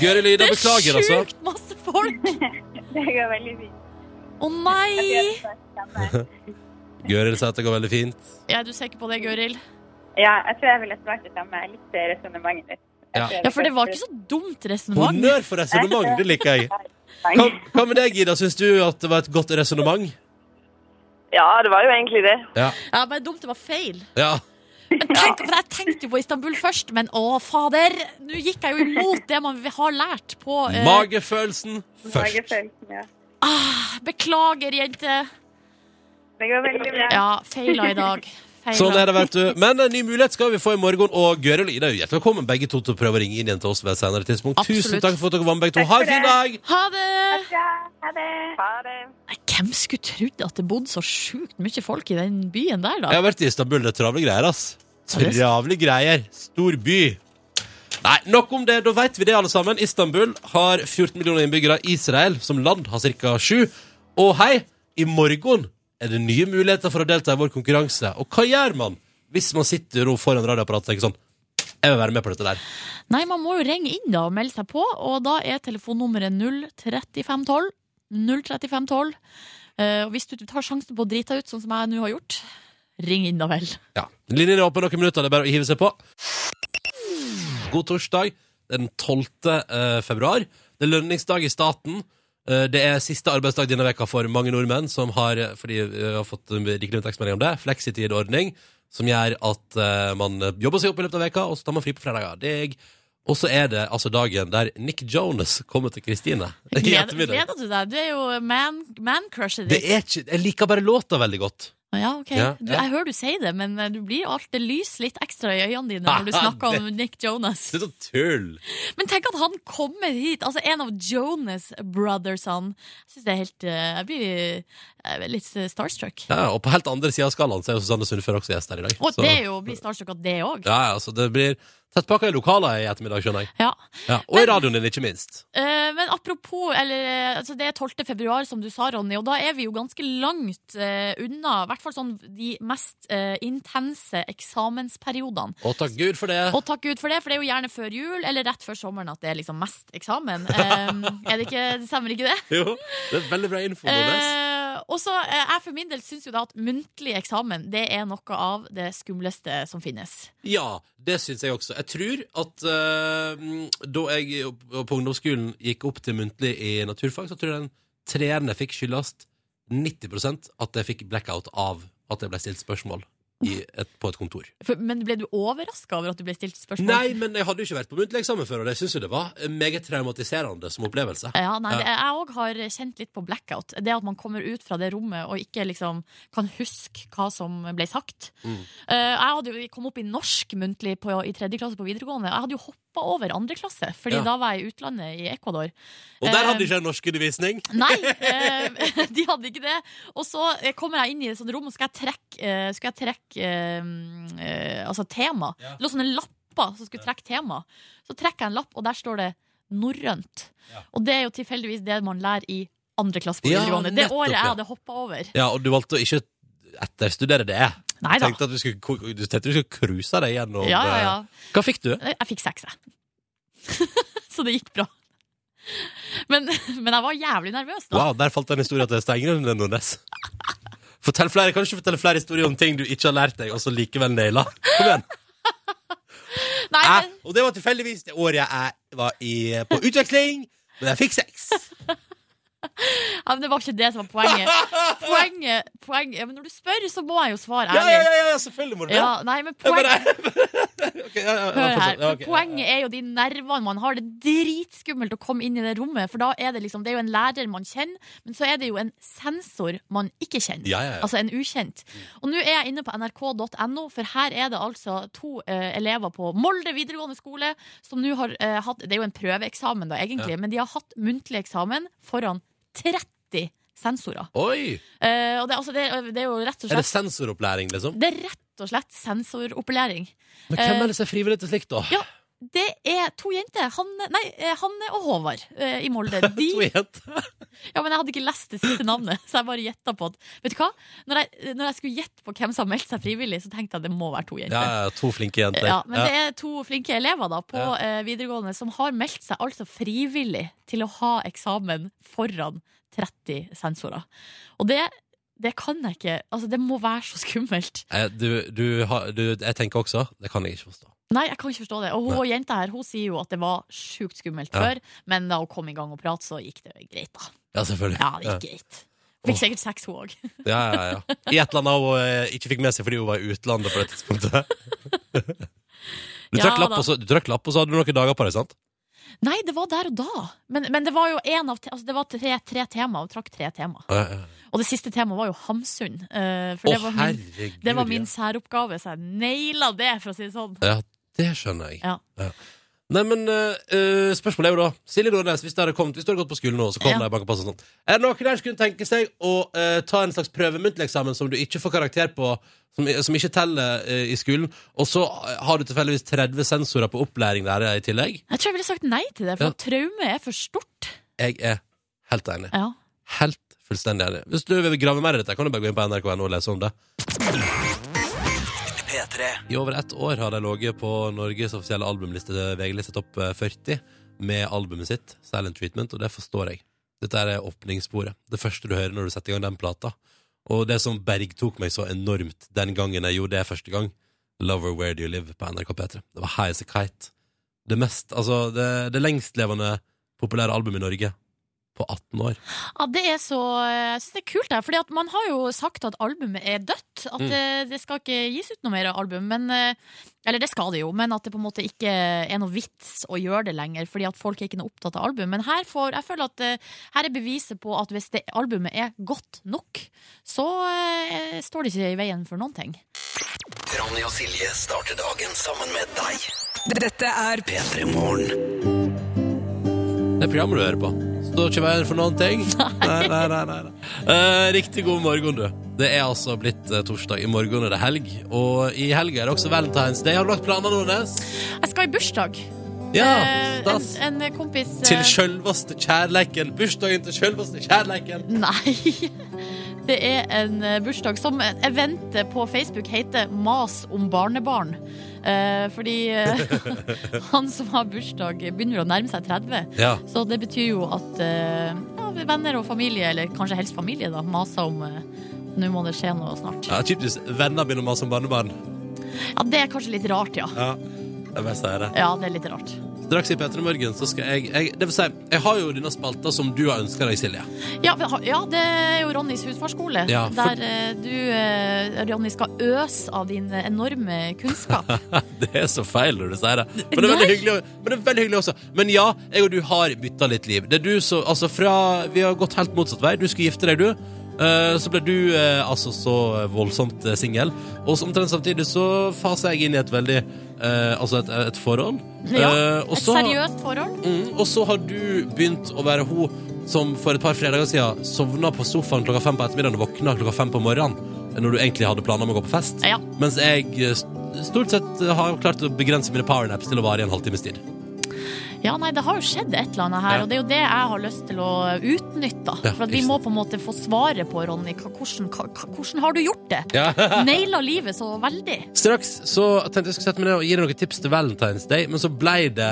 Gøril Ida,
Det er
beklager, altså.
sjukt masse folk!
(laughs) Det går veldig fint.
Å nei!
Gøril sier at det går veldig fint.
Ja, du ser ikke på det, Gøril?
Ja, jeg tror jeg ville svart det samme. Jeg likte resonnementet ditt.
Ja.
Ja, for det var ikke så dumt resonnement.
Honnør for resonnement, det liker jeg. Hva, hva med deg, Ida? Syns du at det var et godt resonnement?
Ja, det var jo egentlig det.
Ja.
Ja, bare dumt, det var feil.
ja.
Men tenk, for jeg tenkte jo på Istanbul først, men å, fader! Nå gikk jeg jo imot det man har lært på eh,
Magefølelsen først.
Magefølelsen, ja.
Beklager, jente.
Det går veldig bra.
Ja, feila i dag. Feila.
Sånn er det, vet du. Men en ny mulighet skal vi få i morgen. Og Gøril og Ida er jo hjertelig velkommen begge to til å prøve å ringe inn igjen til oss ved et senere tidspunkt.
Absolutt.
Tusen takk for at dere var med, begge to. Ha en fin dag!
Ha det!
Ja, ha det.
Ha det.
Nei, hvem skulle trodd at det bodde så sjukt mye folk i den byen der, da?
Jeg har vært i Istanbul. Det er travle greier, ass.
det er-
Travle greier. Stor by. Nei, nok om det. Da vet vi det, alle sammen. Istanbul har 14 millioner innbyggere. Israel som land har ca. 7. Og hei, i morgen er det nye muligheter for å delta i vår konkurranse. Og hva gjør man hvis man sitter i ro foran radioapparatet og tenker sånn Jeg vil være med på dette der.
Nei, man må jo ringe inn da og melde seg på, og da er telefonnummeret 03512. 03512. Eh, og hvis du tar sjansen på å drite deg ut, sånn som jeg nå har gjort, ring inn da
(laughs)
vel.
Ja. Linjen er åpen noen minutter, det er bare å hive seg på. God torsdag, det er den 12. eh, februar. Det er lønningsdag i staten. Eh, Det er siste arbeidsdag denne veka for mange nordmenn som har, eh, fordi vi har fått en rikelig med tekstmelding om det, fleksitid-ordning, som gjør at eh, man jobber seg opp i løpet av veka, og så tar man fri på fredager. Det er jeg. Og så er det altså dagen der Nick Jonas kommer til Kristine (laughs) i
Gleder,
ettermiddag.
gleder du deg? Du er jo man, man-crushet
Det
ditt.
er ikke, jeg liker bare låta veldig godt.
Ja, ok.
Ja,
du,
ja.
jeg hører du sier det, men eh, du blir alt det lys litt ekstra i øynene
(laughs)
dine når du
Haha,
snakker om Nick
(laughs)
Jonas.
Slutt å tulle!
Men tenk at han kommer hit, altså en av Jonas brothersene. Jeg synes det er helt, eh, jeg blir eh, litt eh, starstruck.
Ja, og på helt andre siden av skalaen så er jo Susanne Sundfør også gjest her i dag.
Og
Så-
det er jo å bli starstruck av det òg.
Ja, ja, så det blir tettpakka i lokaler i ettermiddag, skjønner jeg.
Ja.
Ja, og i radioen din, ikke minst.
Eh, men apropos, eller, eh, altså det er 12. februar, som du sa, Ronny, og da er vi jo ganske langt eh, unna i hvert fall sånn de mest eh, intense eksamensperiodene.
Å, takk Gud for det.
Og takk Gud for det, for det er jo gjerne før jul eller rett før sommeren at det er liksom mest eksamen.
(laughs)
Eh, er det ikke, det stemmer ikke det?
(laughs) Jo, det er veldig bra info. Nordnes.
Eh, og så eh, Jeg for min del syns jo da at muntlig eksamen det er noe av det skumleste som finnes.
Ja, det syns jeg også. Jeg tror at eh, da jeg opp- på ungdomsskolen gikk opp til muntlig i naturfag, så tror jeg den treeren jeg fikk, skyldes 90 at jeg fikk blackout av at jeg ble stilt spørsmål i et, på et kontor.
For, men ble du overraska over at du ble stilt spørsmål?
Nei, men jeg hadde jo ikke vært på muntlig eksamen før, og det syns jo det var meget traumatiserende som opplevelse.
Ja, nei,
Ja.
det, jeg òg har kjent litt på blackout. Det at man kommer ut fra det rommet og ikke liksom kan huske hva som ble sagt.
Mm.
Eh, jeg hadde jo kom opp i norsk muntlig på, i tredje klasse på videregående. Jeg hadde jo hoppa over andre klasse, Fordi
Ja.
da var jeg i utlandet, i Ecuador.
Og der hadde
Eh,
ikke jeg norskundervisning.
Nei, eh, (laughs) de hadde ikke det. Og så eh, kommer jeg inn i et sånt rom, og skal jeg trekke, eh, skal jeg trekke eh, eh, altså tema.
Ja.
Det lå sånne lapper som skulle trekke tema. Så trekker jeg en lapp, og der står det norrønt.
Ja.
Og det er jo tilfeldigvis det man lærer i andre klasse på
Ja,
videregående. det
nettopp,
året jeg
ja.
hadde hoppa over.
Ja, og du valgte å ikke etterstudere det.
Nei da.
Tenkte at du skulle, ko- du tenkte du skulle cruise deg gjennom
Ja, ja, ja.
eh, Hva fikk du?
Jeg fikk seks, jeg. (laughs) så det gikk bra. Men, men jeg var jævlig nervøs da.
Wow, der falt en historie til Steingrunn Nordnes. (laughs) Fortell flere, Kan du ikke fortelle flere historier om ting du ikke har lært deg, og så likevel naila? Kom igjen.
Nei,
Hæ?
men,
Og det var tilfeldigvis det året jeg var i, på utveksling, men jeg fikk sex.
ja, men det var ikke det som var poenget. poenget, poenget ja, men Når du spør, så må jeg jo svare
Ja,
ærlig.
ja, ja, ja selvfølgelig må du det.
Ja, nei, men
Jeg
poeng,
bare- (laughs) Ok, ja, ja, ja,
hør her.
fortsett. Ja,
For
ok.
poenget er jo de nervene man har. Det er dritskummelt å komme inn i det rommet, for da er det liksom Det er jo en lærer man kjenner, men så er det jo en sensor man ikke kjenner.
Ja, ja, ja.
Altså en ukjent. Og nå er jeg inne på nrk.no, for her er det altså to eh, elever på Molde videregående skole som nå har eh, hatt Det er jo en prøveeksamen, da, egentlig, men de har hatt muntlig eksamen foran 30 sensorer.
Oi!
Eh, og det, er altså, det, er- det er jo rett og
Er det
slett
sensoropplæring, liksom?
Det er rett og slett sensoropplæring.
Men
Eh,
hvem er det som er frivillig til slikt, da?
ja, Det er to jenter. Hanne, nei, eh, Hanne og Håvard eh, i
(laughs)
Molde. De,
To jenter.
ja, men jeg hadde ikke lest det siste navnet, (laughs) så jeg bare gjetta på det. Vet du hva? Når jeg, eh, når jeg skulle gjette på hvem som har meldt seg frivillig, så tenkte jeg det må være to
Ja,
jenter. Eh,
ja, to flinke jenter.
Ja, men det er to flinke elever da på
Ja.
eh, videregående som har meldt seg altså frivillig til å ha eksamen foran 30 sensorer. Og det, det kan jeg ikke. Altså, det må være så skummelt.
Eh, Du, du, har- du, jeg tenker også Det kan jeg ikke forstå.
Nei, jeg kan ikke forstå det. Og hun
Nei.
og jenta her hun sier jo at det var sjukt skummelt
Ja.
før, men da hun kom i gang og prat, så gikk det greit, da.
Ja, selvfølgelig.
Ja, det gikk greit. Fikk
Åh.
sikkert sex, hun òg.
Ja, ja, ja. I et eller annet hun eh, ikke fikk med seg fordi hun var i utlandet på det tidspunktet. (laughs) Du
Ja,
trakk lapp,
da.
og så, du trakk lapp, og så hadde du noen dager på deg, sant?
(laughs) Nei, det var der og da. Men, men det var jo en av te altså, det var tre, tre tema, og trakk tre tema.
Å, ja, ja.
Og det siste temaet var jo Hamsun. eh, for
Å,
det, var min,
herregud.
det var
ja.
min særoppgave, så jeg naila det, for å si det sånn.
Ja, det skjønner jeg.
Ja.
Nei, men eh, eh, spørsmålet er jo da Silje Nordnes, hvis du hadde kommet Hvis du hadde gått på skolen nå, så kom
Ja.
det en bankpass og sånn Er det noen der som kunne tenke seg å eh, ta en slags prøvemuntlig eksamen som du ikke får karakter på, som, som ikke teller eh, i skolen, og så har du tilfeldigvis 30 sensorer på opplæring der eh, i tillegg?
Jeg tror jeg ville sagt nei til det,
Ja.
for traume er for stort.
Jeg er helt enig.
Ja.
Helt Fullstendig enig. Hvis du vil grave mer i dette, kan du bare gå inn på nrk.no og lese om det.
P3
I over ett år har de ligget på Norges offisielle albumliste, VG-liste topp 40, med albumet sitt, Silent Treatment, og det forstår jeg. Dette er åpningssporet. Det første du hører når du setter i gang den plata. Og det som bergtok meg så enormt den gangen jeg gjorde det første gang, Lover Where Do You Live på NRK P3. Det var High As A Kite. Det mest, altså, det, det lengstlevende populære albumet i Norge på 18 år.
Ja, det er så, jeg synes det er kult det her, fordi at man har jo sagt at albumet er dødt, at
Mm.
eh, det skal ikke gis ut noe mer album, men, eh, eller det skal det jo, men at det på en måte ikke er noe vits å gjøre det lenger, fordi at folk er ikke noe opptatt av album, men her, får, jeg føler at, eh, her er beviset på at hvis det albumet er godt nok, så eh, står det ikke i veien for noen ting.
Ronny og Silje starter dagen sammen med deg
Dette er
P3 Morgen
Det er programmet du hører på. Står ikke i veien for noen
(laughs)
ting. Nei, nei, nei, nei, nei. Eh, riktig god morgen, du. Det er altså blitt eh, torsdag. I morgen er det helg. Og i helga er det også Valentine's Day. Har du lagt planer, Nordnes?
Jeg skal i bursdag.
Ja,
Eh,
stas.
En, en kompis... eh,
Til sjølveste kjærleiken. Bursdagen til sjølveste kjærleiken.
Nei. Det er en eh, bursdag som eventet på Facebook heter 'Mas om barnebarn'. Eh, fordi eh, (laughs) han som har bursdag, begynner å nærme seg 30.
Ja.
Så det betyr jo at eh, ja, venner og familie, eller kanskje helst familie, da, maser om eh, nå må det skje noe snart.
ja Typisk venner begynner å mase om barnebarn.
Ja, Det er kanskje litt rart, ja.
Ja, jeg bare sier det.
Ja, det er litt rart.
Straks i P3 Morgen så skal jeg, jeg Det vil si, jeg har jo denne spalta som du har ønska deg, Silje.
Ja, men ha- ja, det er jo Ronnys husfarskole,
Ja, for-
der eh, du, eh, Ronny, skal øse av din enorme kunnskap.
(laughs) Det er så feil når du sier det. Men det er veldig
Nei.
hyggelig, men det er veldig hyggelig også. Men ja, jeg og du har bytta litt liv. Det er du som, altså fra, Vi har gått helt motsatt vei. Du skulle gifte deg, du. Eh, Så ble du eh, altså så voldsomt eh, singel. Og så omtrent samtidig så faser jeg inn i et veldig eh, Altså et, et forhold.
Ja,
Eh, og
et
så-
seriøst forhold.
Mm, og så har du begynt å være hun som for et par fredager siden sovna på sofaen klokka fem på ettermiddagen og våkna klokka fem på morgenen når du egentlig hadde planer om å gå på fest.
Ja.
Mens jeg eh, st- stort sett eh, har klart å begrense mine powernaps til å vare i en halvtimes tid.
Ja, nei, det har jo skjedd et eller annet her,
Ja.
og det er jo det jeg har lyst til å utnytte. da.
Ja,
For at vi
ikke
må på en måte få svaret på, Ronny, hva- hvordan, hva- hva- hvordan har du gjort det? (laughs) Naila livet så veldig.
Straks så tenkte jeg skulle sette meg ned og gi deg noen tips til Valentine's Day, men så blei det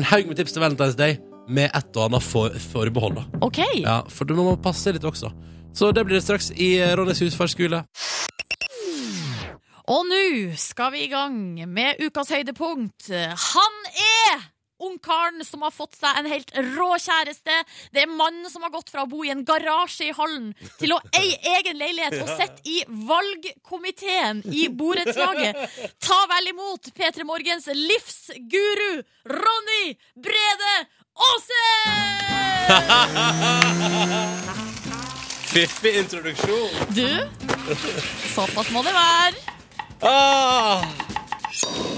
en haug med tips til Valentine's Day med et og annet for forbehold. da.
OK.
Ja, for du må passe litt også. Så det blir det straks i eh, Ronnys husfarskole.
Og nå skal vi i gang med ukas høydepunkt. Han er Ungkaren som har fått seg en helt rå kjæreste. Det er mannen som har gått fra å bo i en garasje i Hallen til å eie egen leilighet og sitte i valgkomiteen i borettslaget. Ta vel imot P3 Morgens livsguru Ronny Brede Aase!
Fiffig introduksjon.
Du, såpass må det være.
Ah!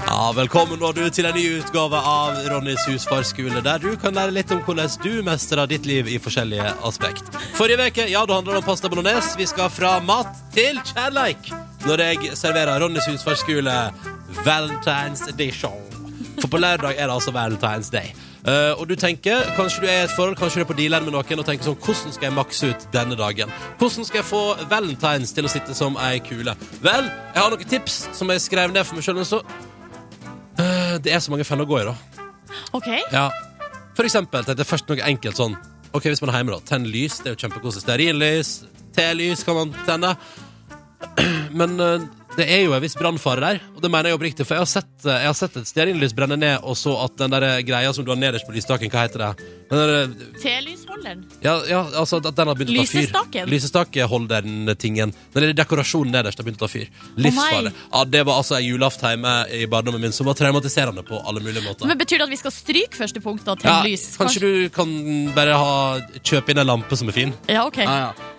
Ja, velkommen nå du til en ny utgave av Ronnys husfarskole, der du kan lære litt om hvordan du mestrer ditt liv i forskjellige aspekt. Forrige veke, ja, det handler om pasta bolognese. Vi skal fra mat til kjærleik når jeg serverer Ronnys husfarskole Valentine's Edition. For på lørdag er det altså Valentine's Day. Eh, og du tenker, kanskje du er i et forhold, kanskje du er på dealeren med noen og tenker sånn, hvordan skal jeg makse ut denne dagen? Hvordan skal jeg få Valentine's til å sitte som ei kule? Vel, jeg har noen tips som jeg skrev ned for meg sjøl, men så Eh, Det er så mange feller å gå i, da.
OK.
Ja. For eksempel tenkte jeg først noe enkelt sånn Ok, hvis man er hjemme, da. Tenn lys. Det er jo kjempekoselig. Stearinlys. Telys kan man tenne. (clears throat) Men eh, det er jo en viss brannfare der, og det mener jeg oppriktig. For jeg har sett, eh, jeg har sett et stearinlys brenne ned, og så at den der eh, greia som du har nederst på lysstaken, hva heter det? Den der, eh,
Telysholderen.
ja, ja, altså at den har begynt å ta fyr.
Lysestaken?
Lysestakeholderen-tingen. Den lille dekorasjonen nederst har begynt å ta fyr. Livsfarlig. ja, det var altså ei julaft hjemme i barndommen min som var traumatiserende på alle mulige måter.
Men Betyr det at vi skal stryke første punkt da, til
Ja,
lys?
Kanskje du kan bare ha, kjøpe inn en lampe som er fin?
Ja, ok.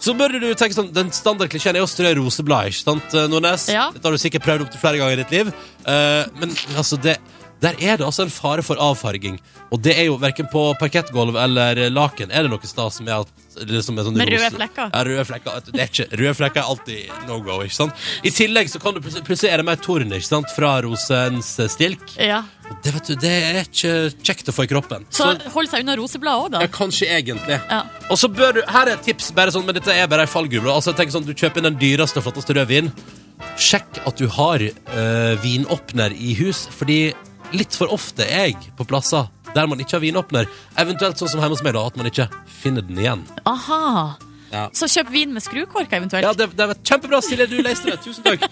Så bør du tenke sånn, Den standardklisjeen er å strø roseblad, ikke sant, eh, Nordnes?
Ja.
Dette har du sikkert prøvd opp til flere ganger i ditt liv. Eh, men altså, det, der er det altså en fare for avfarging. Og det er jo verken på parkettgulv eller laken er det noe stas med at liksom med, sånne
Med røde
rose-
flekker.
Ja, røde flekker. vet du, Det er ikke, røde flekker er alltid no go, ikke sant? I tillegg så kan du plutselig, plutselig er det mer torn, ikke sant, fra rosens stilk.
Ja.
Det vet du, det er ikke kjekt å få i kroppen.
Så
Så-
hold seg unna roseblad òg, da.
Ja, kanskje egentlig.
Ja.
Og så bør du, Her er et tips, bare sånn, men dette er bare ei fallgruve. da. Altså, jeg tenker sånn, Du kjøper inn den dyreste og flotteste rødvinen. Sjekk at du har eh, vinåpner i hus, fordi litt for ofte er jeg på plasser der man ikke har vinåpner. Eventuelt sånn som hjemme hos meg, da, at man ikke finner den igjen.
Aha.
Ja.
Så kjøp vin med skrukorker, eventuelt.
Ja, det, det var Kjempebra, Silje. Du leste det. Tusen takk.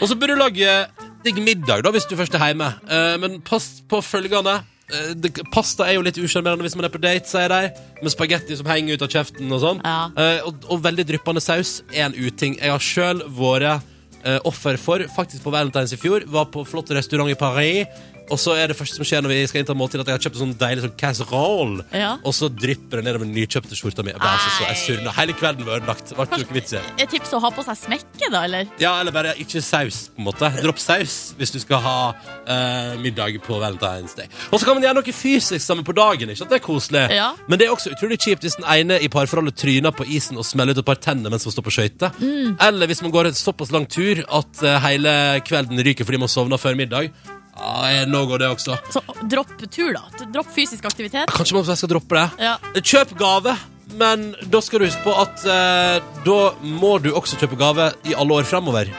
Og så bør du lage digg middag, da, hvis du først er hjemme. Eh, men pass på følgende. Eh, det- Pasta er jo litt usjarmerende hvis man er på date, sier de. Med spagetti som henger ut av kjeften og sånn.
Ja.
Eh, og, og veldig dryppende saus er en uting. Jeg har sjøl vært eh, offer for, faktisk på Valentine's i fjor, var på flott restaurant i Paris. Og så er det første som skjer når vi skal innta måltid, at jeg har kjøpt en sånn deilig sånn casserole.
Ja.
Og så drypper det nedover den nykjøpte skjorta mi. Jeg ble altså så- jeg
Nei.
surna. Hele kvelden var ødelagt. Det Ble jo ikke vits i.
Et tips å ha på seg smekke, da, eller?
Ja, eller bare ikke saus, på en måte. Dropp saus hvis du skal ha eh, middag på Valentine's Day. Og så kan man gjøre noe fysisk sammen på dagen. ikke sant? Det er koselig.
Ja.
Men det er også utrolig kjipt hvis den ene i parforholdet tryner på isen og smeller ut et par tenner mens man står på skøyter. Eller hvis man går en såpass lang tur at eh, hele kvelden ryker fordi man sovner før middag. Ja, nå går det også.
Så dropp tur, da. Dropp fysisk aktivitet.
Kanskje man skal droppe det.
Ja.
Kjøp gave, men da skal du huske på at eh, da må du også kjøpe gave i alle år framover.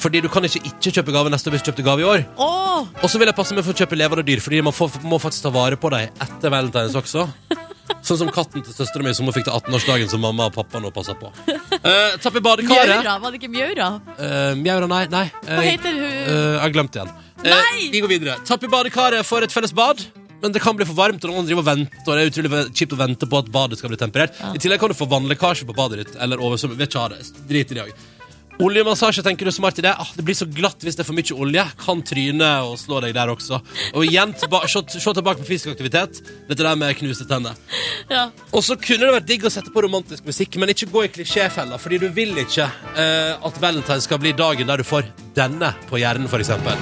Fordi du kan ikke ikke kjøpe gave neste år hvis du kjøpte gave i år.
Åh,
Og så vil jeg passe meg for å kjøpe levende dyr, fordi man får, må faktisk ta vare på dem etter valentines også. Sånn som katten til søstera mi som hun fikk til 18-årsdagen, som mamma og pappa nå passer på. Uh, tapp i badekaret.
Mjaura, var det ikke Mjaura?
Eh, Mjaura, nei. nei.
Hva
Eh,
heter hun?
Eh, jeg har glemt det igjen. Eh,
Nei!
vi går videre. Tapp i badekaret for et felles bad. Men det kan bli for varmt, og noen driver og venter, og det er utrolig kjipt å vente på at badet skal bli temperert. I tillegg kan du få vannlekkasje på badet ditt, eller oversvømmelse. Vet ikke ha det. Drit i det òg. Oljemassasje, tenker du smart i det? Ah, det blir så glatt hvis det er for mye olje. Kan tryne og slå deg der også. Og igjen, tilba (laughs) se, se tilbake på fysisk aktivitet. Dette der med knuste tenner.
Ja.
Og så kunne det vært digg å sette på romantisk musikk, men ikke gå i klisjéfella, fordi du vil ikke eh, at valentine skal bli dagen der du får denne på hjernen, for eksempel.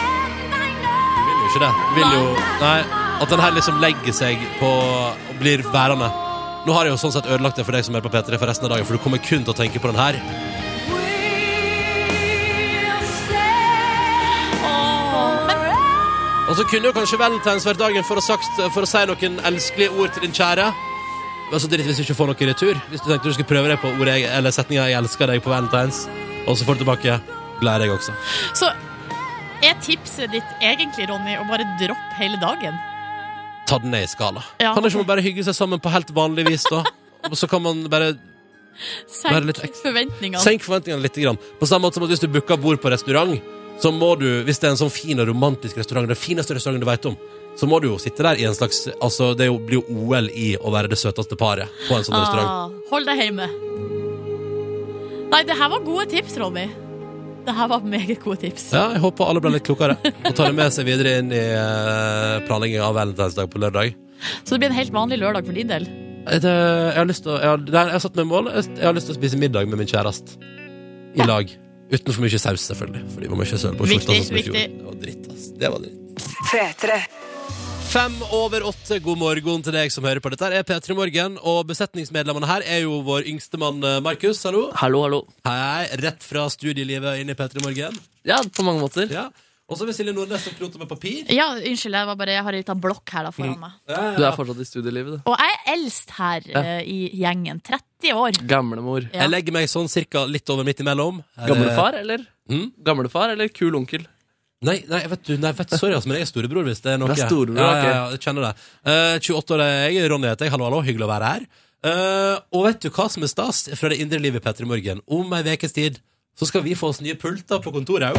Vil jo ikke det. Vil jo Nei. At den her liksom legger seg på og blir værende. Nå har jeg jo sånn sett ødelagt det for deg som er på P3 for resten av dagen, for du kommer kun til å tenke på den her.
Åh, men
Og så kunne jo kanskje Valentine's vært dagen for å, sagt, for å si noen elskelige ord til din kjære. Men så dritt hvis du ikke får noe i retur. Hvis du tenkte du skulle prøve deg på ordet jeg, eller setninga 'Jeg elsker deg' på Valentine's, og så får du tilbake 'Gleder deg også'.
Så er tipset ditt egentlig, Ronny, å bare droppe hele dagen?
Ta den ned i skala.
Ja.
Kan ikke man bare hygge seg sammen på helt vanlig vis, da? Og så kan man bare Bare litt
Senk
ekstra.
forventningene.
senke forventningene litt. Grann. På samme måte som at hvis du booker bord på restaurant, så må du, hvis det er en sånn fin og romantisk restaurant, den fineste restauranten du veit om, så må du jo sitte der i en slags Altså, det er jo- blir jo OL i å være det søteste paret på en sånn restaurant.
Ah, hold deg hjemme. Nei, det her var gode tips, Ronny. Det her var meget gode tips.
Ja, jeg håper alle ble litt klokere og tar det med seg videre inn i eh, planleggingen av Valentinsdag på lørdag.
(laughs) Så det blir en helt vanlig lørdag for din del.
Eh, Det, jeg, har lyst til å, jeg, har, det er- jeg har satt meg mål. Jeg jeg har lyst til å spise middag med min kjæreste. I lag. Uten for mye saus, selvfølgelig. Fordi man må ikke søle på
Viktig,
skjorta. sånn som i fjor.
viktig.
Det var dritt, ass. Det var dritt. Fem over åtte, god morgen til deg som hører på dette. her er P3 Morgen, og besetningsmedlemmene her er jo vår yngste mann eh, Markus. Hallo.
Hallo, hallo.
Hei, rett fra studielivet inn i P3 Morgen.
Ja, på mange måter.
Ja. Og så vil Silje Nordnes som knoter med papir.
Ja, unnskyld, jeg, var bare, jeg har en liten blokk her da foran meg.
Ja,
Du
ja.
er fortsatt i studielivet, du.
Og jeg er eldst her eh, i gjengen. 30 år.
Gamlemor.
Ja.
Jeg legger meg sånn cirka litt over midt imellom. Eh, Her er-
Gamlefar, eller?
Mm.
Gamlefar eller kul onkel?
Nei, nei, vet du, nei vet, sorry, altså, men jeg er storebror hvis det er noe.
Du er storebror,
ja, ja,
ok.
ja, jeg kjenner det. Eh, 28 år er jeg, Ronny heter jeg. Hallo, hallo, hyggelig å være her. Eh, og vet du hva som er stas fra det indre livet, Petter i Morgen? Om ei ukes tid så skal vi få oss nye pulter på kontoret.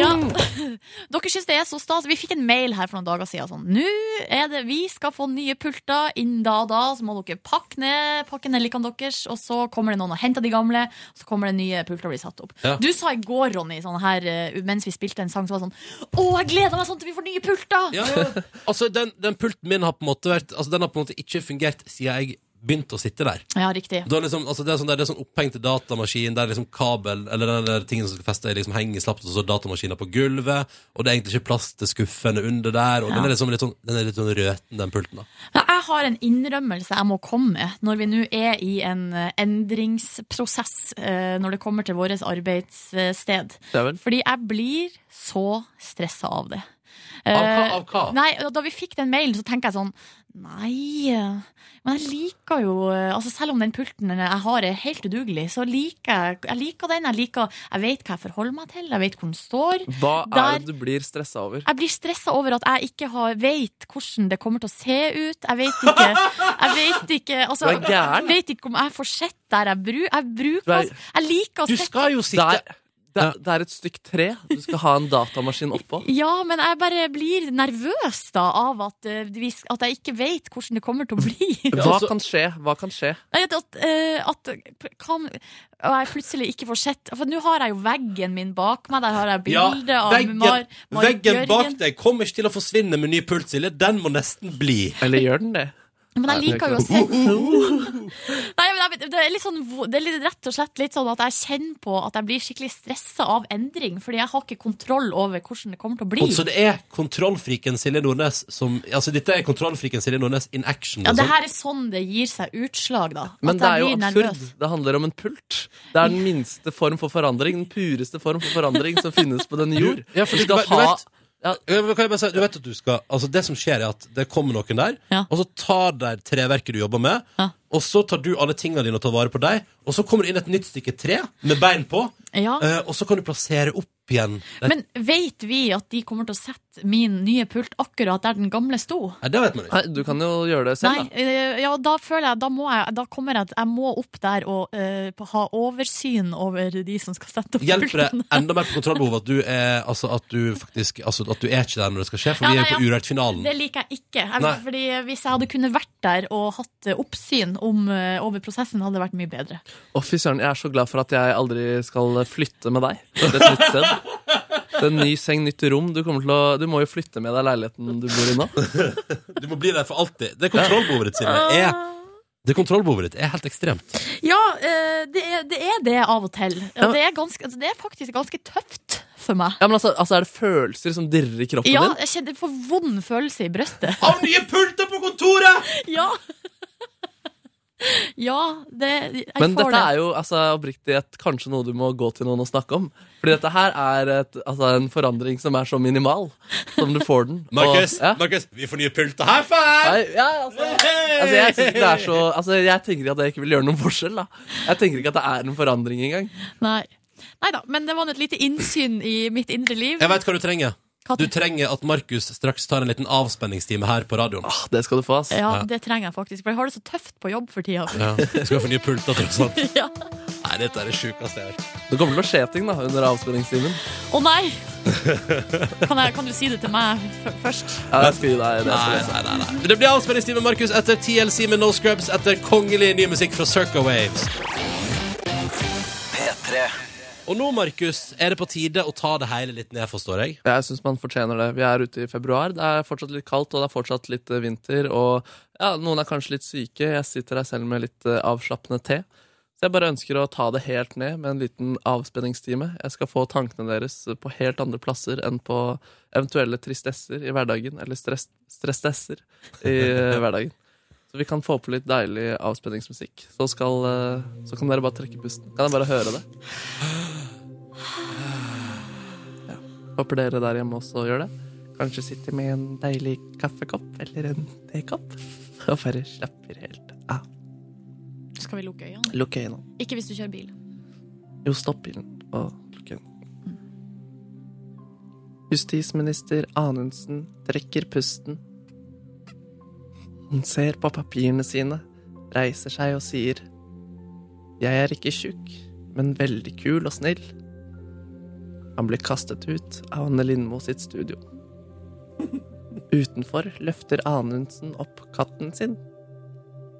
Ja. (laughs) Dere syns det er så stas. Vi fikk en mail her for noen dager siden. Sånn. Nå er det Vi skal få nye pulter innen da og da, så må dere pakke ned pakke ned likene deres. Og så kommer det noen og henter de gamle, og så kommer det nye pulter og blir satt opp.
Ja.
Du sa i går, Ronny, sånn her, eh, mens vi spilte en sang, så var det sånn Å, jeg gleder meg sånn til vi får nye pulter!
Ja, ja. Altså, den, den pulten min har på en måte vært Altså, den har på en måte ikke fungert siden jeg begynt å sitte der.
(laughs) Ja, riktig.
Da er liksom, altså det er sånn, der- det er sånn opphengt datamaskin der liksom kabel eller den der tingen som skal feste, liksom henger slapt, og så er datamaskinen på gulvet, og det er egentlig ikke plass til skuffene under der, og den er liksom litt sånn, den er litt sånn røten, den pulten da.
Ja, Jeg har en innrømmelse jeg må komme med når vi nå er i en eh, endringsprosess eh, når det kommer til vårt arbeidssted.
Det er vel.
Fordi jeg blir så stressa av det.
Av hva?
Eh,
Av hva?
Nei, og Da vi fikk den mailen, så tenker jeg sånn Nei, eh, men jeg liker jo eh, altså Selv om den pulten jeg har er helt udugelig, så liker jeg, jeg liker den. Jeg, liker, jeg vet hva jeg forholder meg til, jeg vet hvor den står.
Hva
Der-
er det du blir stressa over?
Jeg blir stressa over at jeg ikke har, vet hvordan det kommer til å se ut. Jeg vet ikke Jeg vet ikke, altså,
Du er gæren.
jeg vet ikke om jeg får sett der jeg, bru, jeg
Du
bruker
er-
altså, Jeg liker å
Du
sette
skal jo
Det
sitte...
er, det, er, det er et stykk tre du skal ha en datamaskin oppå.
ja, men jeg bare blir nervøs da av at, eh, vi sk- at jeg ikke vet hvordan det kommer til å bli. (laughs)
Hva kan skje? Hva kan skje?
Nei, At, at, eh, at p- kan, og jeg plutselig ikke får sett For nå har jeg jo veggen min bak meg. Der har jeg bilde av
veggen,
Mar, Mar
veggen bak
Bjørgen.
deg kommer ikke til å forsvinne med ny pult, Silje. Den må nesten bli.
Eller gjør den det?
Men jeg
Nei, det er
liker jo å
ikke
se (laughs) Nei, men jeg, det, er litt sånn, vo- det er litt, rett og slett litt sånn at jeg kjenner på at jeg blir skikkelig stressa av endring, fordi jeg har ikke kontroll over hvordan det kommer til å bli.
Og så det er kontrollfriken Silje Nordnes som... Altså, dette er kontrollfriken Silje Nordnes in action.
Ja, det
liksom.
her er sånn det gir seg utslag, da.
Men
at
det er
jeg
jo
blir
absurd.
nervøs.
Det handler om en pult. Det er den minste form for forandring, den pureste form for forandring som finnes på denne jord.
Ja, for
Du
du,
skal
vet- du
ha-
vet,
Ja.
Ja, men kan jeg bare si, du vet at du skal Altså Det som skjer, er at det kommer noen der,
Ja.
og så tar de treverket du jobber med,
Ja.
og så tar du alle tingene dine og tar vare på deg, og så kommer det inn et nytt stykke tre med bein på,
Ja.
eh, og så kan du plassere opp igjen. Det,
Men vet vi at de kommer til å sette min nye pult akkurat der den gamle sto?
Nei, det vet man ikke.
Nei, du kan jo gjøre det selv,
Nei,
da.
eh, ja, da føler jeg Da, må jeg, da kommer jeg Jeg må opp der og eh, ha oversyn over de som skal sette opp
Hjelper det
pulten.
enda mer på kontrollbehovet at du er Altså at du faktisk Altså at du er ikke der når det skal skje, for
Ja,
vi
nei,
er jo på
ja.
Urørt-finalen.
Det liker jeg ikke. Jeg,
Nei.
fordi Hvis jeg hadde kunnet vært der og hatt eh, oppsyn om, eh, over prosessen, hadde det vært mye bedre.
Å, fy søren, jeg er så glad for at jeg aldri skal flytte med deg til et nytt sted. Det er en ny seng, nytt rom. Du, kommer til å, du må jo flytte med deg leiligheten du bor i nå.
Du må bli der for alltid. Det kontrollbehovet ditt, Silje, er det kontrollbehovet ditt er helt ekstremt.
Ja, eh, det er, det er det av og til. Og det er, ganske, altså, det er faktisk ganske tøft for meg.
Ja, men altså, altså Er det følelser som dirrer i kroppen
Ja,
din?
jeg kjenner jeg får vond følelse i
(laughs)
brøstet.
Av nye pulter på kontoret!
Ja! Ja, det, jeg
Men
får
dette
det.
er jo altså, oppriktig et, kanskje noe du må gå til noen og snakke om. Fordi dette her er et, altså, en forandring som er så minimal som du får den. Og-
(laughs) Markus,
ja.
Markus, vi får nye pulter. High five!
Nei, ja, altså, altså, jeg, synes ikke det er så, altså, jeg tenker at det ikke vil gjøre noen forskjell. Da. Jeg tenker ikke at det er en forandring engang.
Nei. Neida, men det var et lite innsyn i mitt indre liv.
Jeg vet hva du trenger.
Hva
Du trenger at Markus straks tar en liten avspenningstime her på radioen.
Ah, det skal du få. ass.
Ja, det trenger jeg faktisk, for jeg har det så tøft på jobb for tida.
(laughs) Ja. Du skal få nye pulter, tross alt.
Ja.
(laughs) Nei, dette er det sjukeste jeg har hørt.
Det kommer til å skje ting da, under avspenningstimen.
Å nei! Kan, jeg, kan du si det til meg f først?
Ja, jeg skal gi deg det. Jeg
Nei,
skal gi deg.
nei, nei, nei. Det blir avspenningstime, Markus, etter TLC med No Scrubs, etter kongelig ny musikk fra Circa Waves.
P3
Og nå, Markus, er det på tide å ta det hele litt ned, forstår jeg.
Jeg syns man fortjener det. Vi er ute i februar. Det er fortsatt litt kaldt, og det er fortsatt litt eh, vinter. Og ja, noen er kanskje litt syke. Jeg sitter her selv med litt eh, avslappende te. Så jeg bare ønsker å ta det helt ned med en liten avspenningstime. Jeg skal få tankene deres eh, på helt andre plasser enn på eventuelle tristesser i hverdagen. Eller stress, stressesser i eh, hverdagen. Så vi kan få på litt deilig avspenningsmusikk. Så, skal, eh, så kan dere bare trekke pusten. Kan jeg bare høre det? Håper dere der hjemme også gjør det. Kanskje sitter med en deilig kaffekopp eller en tekopp (laughs) og bare slapper helt av.
Skal vi lukke øynene?
Lukk øynene.
Ikke hvis du kjører bil.
Jo, stopp bilen og lukk øynene. Justisminister Anundsen trekker pusten. Hun ser på papirene sine, reiser seg og sier Jeg er ikke tjukk, men veldig kul og snill. Han blir kastet ut av Anne Lindmo sitt studio. Utenfor løfter Anundsen opp katten sin.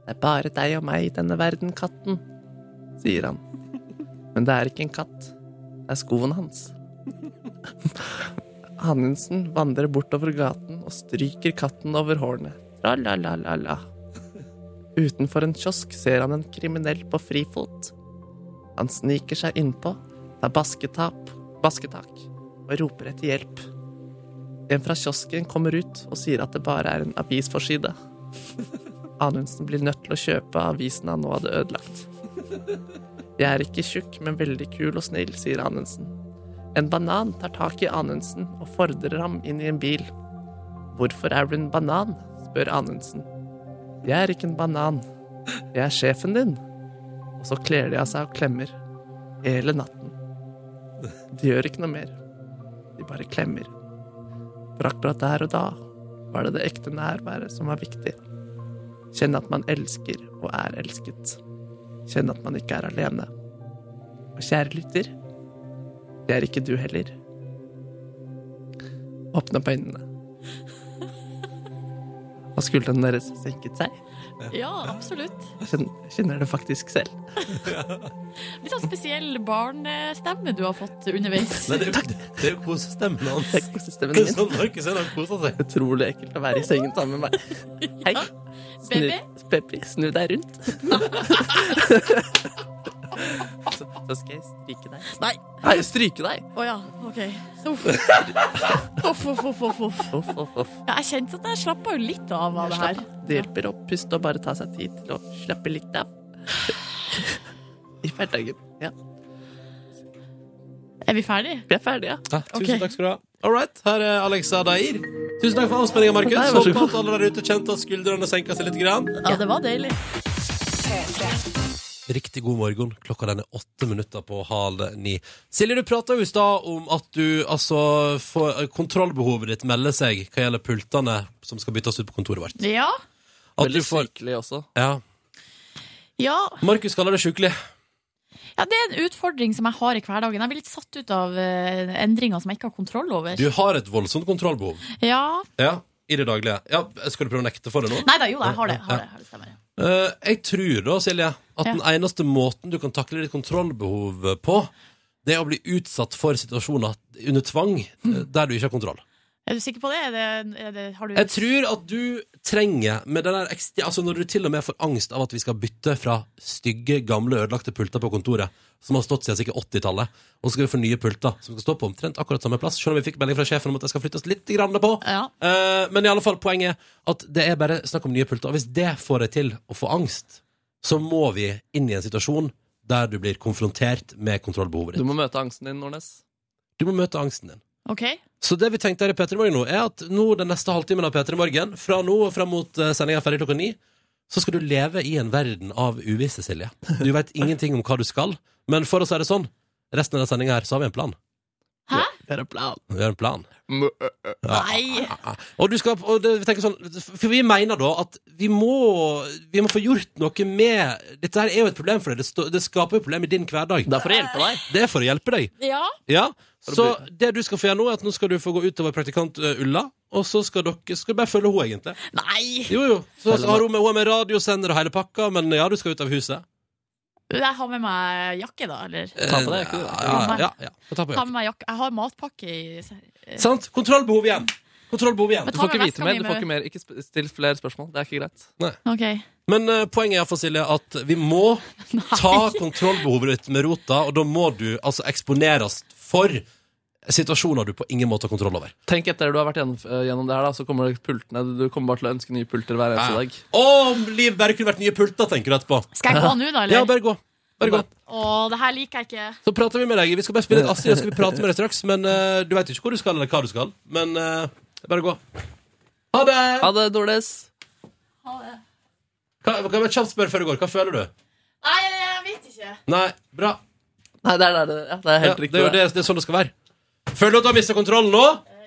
Det er bare deg og meg i denne verden, katten, sier han. Men det er ikke en katt. Det er skoen hans. Anundsen vandrer bortover gaten og stryker katten over hårene. Tra-la-la-la-la. Utenfor en kiosk ser han en kriminell på frifot. Han sniker seg innpå, tar basketap, basketak og roper etter hjelp. En fra kiosken kommer ut og sier at det bare er en avisforside. Anundsen blir nødt til å kjøpe avisen han nå hadde ødelagt. Jeg er ikke tjukk, men veldig kul og snill, sier Anundsen. En banan tar tak i Anundsen og fordrer ham inn i en bil. Hvorfor er du en banan? spør Anundsen. Jeg er ikke en banan. Jeg er sjefen din. Og så kler de av seg og klemmer. Hele natten. De gjør ikke noe mer. De bare klemmer. For akkurat der og da var det det ekte nærværet som var viktig. Kjenne at man elsker og er elsket. Kjenne at man ikke er alene. Og kjære lytter, det er ikke du heller. Åpne opp øynene. Og skuldrene deres senket seg.
Ja, absolutt.
Kjenner, kjenner det faktisk selv.
Litt sånn spesiell barnestemme du har fått underveis.
Nei, det er jo, det er jo kosestemmen hans.
Det er kosesystemet mitt.
Sånn Markus er, han koser seg.
Utrolig ekkelt å være i sengen sammen med meg. Hei. Snu, Peppi, snu deg rundt. så, så skal jeg stryke deg.
Nei.
Nei, stryke deg!
Å ja, OK. Uff. Uff, uff, uff, uff, uff.
Uff, uff, uff.
Ja, jeg kjente at jeg slappa jo litt av av det her.
Det hjelper å puste og bare ta seg tid til å slappe litt av. (laughs) I hverdagen. Ja.
Er vi ferdige?
Vi er ferdige, ja.
Ja, tusen
Ok.
takk skal du ha. All right, her er Alexa Dair. Tusen takk for avspenninga, Markus.
Nei, vær så
Håper at alle der ute kjente at skuldrene senka seg litt. Grann.
Ja, det var deilig.
Riktig god morgen. Klokka den er åtte minutter på halv ni. Silje, du prata jo i stad om at du altså får kontrollbehovet ditt melder seg hva gjelder pultene som skal byttes ut på kontoret vårt.
Ja.
At du får
sykelig også.
Ja.
Ja,
Markus kaller det sjukelig.
ja, det er en utfordring som jeg har i hverdagen. Jeg blir litt satt ut av eh, endringer som jeg ikke har kontroll over.
Du har et voldsomt kontrollbehov.
Ja.
Ja. I det daglige. Ja, Skal du prøve å nekte for det nå?
Nei da, jo da, jeg har det. Har det, har det stemmer.
Eh, jeg tror da, Silje, at
Ja.
den eneste måten du kan takle ditt kontrollbehov på, det er å bli utsatt for situasjoner under tvang eh, der du ikke har kontroll.
Er du sikker på det? Er det, er det har du
Jeg tror at du trenger med den der ekst- Altså Når du til og med får angst av at vi skal bytte fra stygge, gamle, ødelagte pulter på kontoret, som har stått siden sikkert 80-tallet, og så skal vi få nye pulter som skal stå på omtrent akkurat samme plass, selv om vi fikk melding fra sjefen om at det skal flyttes litt grann på.
Ja.
Eh, men i alle fall, poenget er at det er bare snakk om nye pulter. Og hvis det får deg til å få angst, så må vi inn i en situasjon der du blir konfrontert med kontrollbehovet
Du
ditt.
må møte angsten din, Nordnes.
Du må møte angsten din.
OK.
Så det vi tenkte her i P3 Morgen nå, er at nå den neste halvtimen av P3 Morgen, fra nå og fram mot eh, sendingen er ferdig klokka ni, så skal du leve i en verden av uvisse, Silje. Du
(laughs)
vet ingenting om hva du skal, men for å si det sånn, resten av den sendingen her, så har vi en plan.
Hæ?
Det er en plan.
Vi har en plan.
Nei.
Og, du skal, og det, vi tenker sånn, for vi mener da at vi må, vi må få gjort noe med Dette her er jo et problem for deg. Det, stå- det skaper jo problemer i din hverdag.
Det er for å hjelpe deg.
Det er for å hjelpe deg.
Ja.
Ja, Så det du skal få gjøre nå, er at nå skal du få gå ut til vår praktikant eh, Ulla. Og så skal dere skal du bare følge henne, egentlig.
Nei.
Jo, jo. Så
Følge
har hun med, hun er med radiosender og hele pakka, men ja, du skal ut av huset.
Jeg har med meg jakke, da, eller?
Eh,
Ta på deg, ikke det?
Ja, ja, ja, ja. Få Ta på
Ta
deg.
med meg jakke. Jeg har matpakke i
Sant? Kontrollbehov igjen. Kontrollbehov igjen.
Men
Du
ta
får ikke
med
vite
veska
mer.
mi
Du
med-
får ikke mer. Ikke sp- still flere spørsmål. Det er ikke greit.
OK. (laughs)
Men eh, poenget er for Silje at vi må ta kontrollbehovet ditt med rota, og da må du altså eksponeres for situasjoner du på ingen måte har kontroll over.
Tenk etter du har vært gjennom, eh, gjennom det her, da, så kommer det pultene. Du kommer bare til å ønske nye pulter hver eneste dag.
Om Liv bare kunne vært nye pulter, tenker du etterpå.
Skal jeg gå nå, da,
Ja,
eller?
bare gå. Bare gå.
Å, det her liker jeg ikke.
Så prater vi med deg. Vi skal bare spille litt Astrid, og skal vi prate med deg straks. Men eh, du veit ikke hvor du skal, eller hva du skal. Men eh, bare gå. Ha det!
Ha det, Dordes.
Hva, kan jeg kjapt spørre før du går? Hva føler du?
Nei, jeg vet ikke.
Nei, bra.
Nei, det er, det er, det. ja, det er
Ja,
helt
det
riktig.
er jo det, det er sånn det skal være. Føler du at du har mista kontrollen nå?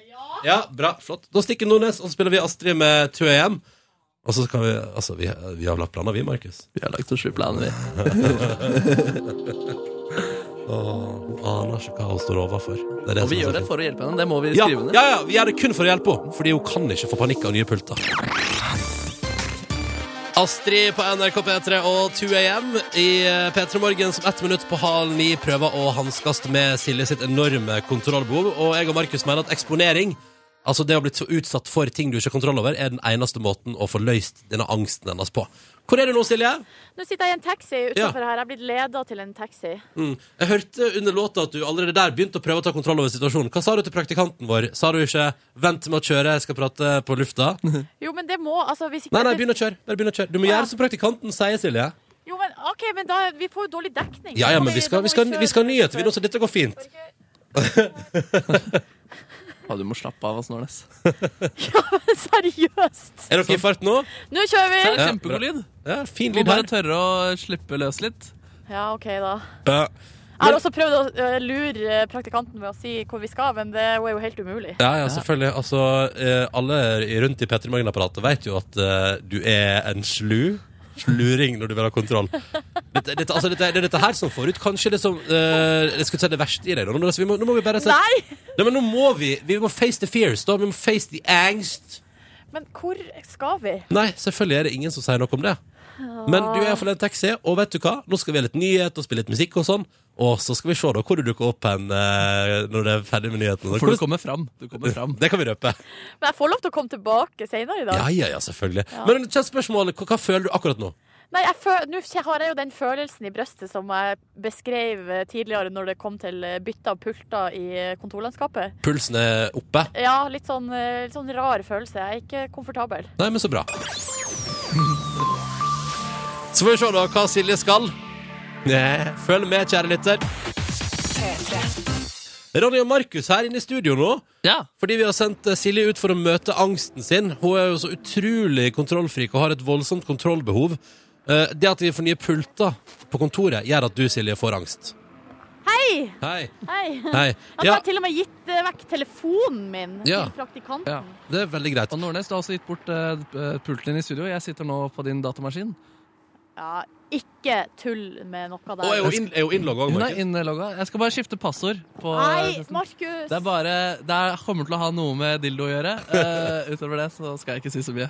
Ja.
Ja, bra, flott Da stikker Nordnes, og så spiller vi Astrid med 2 AM Og så kan vi, altså vi, vi har lagt planer vi, Markus
Vi har lagt oss sju planer, vi.
Hun aner ikke hva hun står overfor det er det
Og vi
som
gjør
er så
det
fint.
for å hjelpe henne. Det må vi
ja,
skrive ned.
ja, ja, vi gjør det kun for å hjelpe henne Fordi hun kan ikke få panikk av nye pulter Astrid på NRK P3 og 2AM i eh, P3 Morgen som ett minutt på halv ni prøver å hanskast med Silje sitt enorme kontrollbehov. Og jeg og Markus mener at eksponering Altså Det å ha blitt så utsatt for ting du ikke har kontroll over, er den eneste måten å få løst denne angsten hennes på. Hvor er du nå, Silje?
Nå sitter jeg i en taxi utenfor her. Jeg er blitt leda til en taxi.
Mm. Jeg hørte under låta at du allerede der begynte å prøve å ta kontroll over situasjonen. Hva sa du til praktikanten vår? Sa du ikke 'vent med å kjøre, jeg skal prate på
(laughs)
lufta'? Nei,
Jo, men det må altså hvis ikke
nei, begynn å kjøre. Bare begynn å kjøre. Du må
Ja.
gjøre som praktikanten sier, Silje.
Jo, men OK, men da Vi får jo dårlig dekning.
Ja, ja, men vi skal, vi skal, vi skal ha nyheter, vi nå, så
det
dette går fint.
Ja, du må slappe av, Snornes.
(laughs) Seriøst!
Er dere i fart nå?
Nå kjører vi!
Ja,
Kjempegod lyd.
Ja, fin
Må
lyd
bare
her.
tørre å slippe løs litt.
Ja, OK, da.
Ja.
Jeg har også prøvd å eh, lure praktikanten med å si hvor vi skal, men det er jo helt umulig.
Ja, ja, selvfølgelig. Altså, eh, alle i- rundt i Petter Morgen-apparatet vet jo at eh, du er en slu. Sluring når du vil ha kontroll. Dette, dette, altså, dette, det er dette her som får ut kanskje det som eh, Jeg skulle si det verste i deg. Nå, nå, vi må, nå må vi bare
Nei!
Nei, men nå må vi Vi må face the fears, da. Vi må face the angst.
Men hvor skal vi?
Nei, selvfølgelig er det ingen som sier noe om det. Men du er iallfall en taxi, og vet du hva? Nå skal vi ha litt nyhet og spille litt musikk og sånn. Og så skal vi se da hvor du dukker opp hen eh, når det er ferdig med nyhetene.
For du kommer fram. Du
(laughs)
kommer fram.
Det kan vi røpe.
Men jeg får lov til å komme tilbake senere i dag.
Ja, ja, ja, selvfølgelig. Men kjent spørsmål, hva, hva føler du akkurat nå?
Nei, jeg føl- Nå kje- har jeg jo den følelsen i brøstet som jeg beskrev eh, tidligere når det kom til eh, bytte av pulter i eh, kontorlandskapet.
Pulsen er oppe.
Ja, litt sånn, eh, litt sånn rar følelse. Jeg er ikke komfortabel.
Nei, men så (laughs) bra. Så får vi se da hva Silje skal. Nei, Følg med, kjære lytter. Ronny og Markus her inne i studio nå.
Ja.
Fordi vi har sendt eh, Silje ut for å møte angsten sin. Hun er jo så utrolig kontrollfrik og har et voldsomt kontrollbehov. Eh, Det at vi får nye pulter på kontoret, gjør at du, Silje, får angst.
Hei!
Hei.
Hei!
Hei.
Jeg har
Ja,
til og med gitt eh, vekk telefonen min
Ja.
til praktikanten.
Ja.
det er veldig greit.
Og Nordnes, du har også gitt bort eh, eh, pulten din i studio. Jeg sitter nå på din datamaskin.
Ja, ikke tull med noe
Og er
der.
hun inn- er hun innlogga òg,
Hun
(laughs)
er
Markus?
innlogga. Jeg skal bare skifte passord. På
Nei,
testen.
Markus!
det er bare Det er, kommer til å ha noe med dildo å gjøre. Eh, utover det så skal jeg ikke si så mye.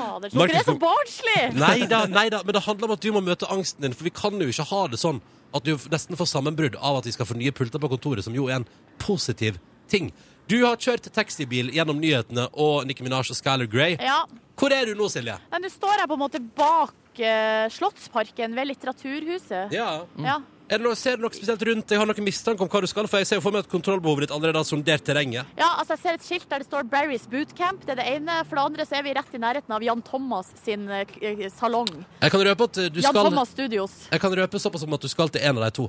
Fader,
Markus,
dere er så barnslige!
Nei da, nei da, men det handler om at du må møte angsten din, for vi kan jo ikke ha det sånn at du nesten får sammenbrudd av at vi skal få nye pulter på kontoret, som jo er en positiv ting. Du har kjørt taxibil gjennom nyhetene og Nicki Minaj og Skylar Grey.
Ja.
Hvor er du nå, Silje?
Nei, Nå står jeg på en måte bak eh, Slottsparken ved Litteraturhuset.
Ja. Mm.
Ja.
Er det noe, ser du noe spesielt rundt? deg? Jeg har noen mistanke om hva du skal, for jeg ser jo for meg at kontrollbehovet ditt allerede har sondert terrenget.
Ja, altså jeg ser et skilt der det står Barry's Bootcamp. Det er det ene. For det andre så er vi rett i nærheten av Jan Thomas sin eh, k- eh, salong.
Jeg kan røpe at eh, du
Jan
skal
Thomas Studios.
Jeg kan røpe såpass om at du skal til en av de to.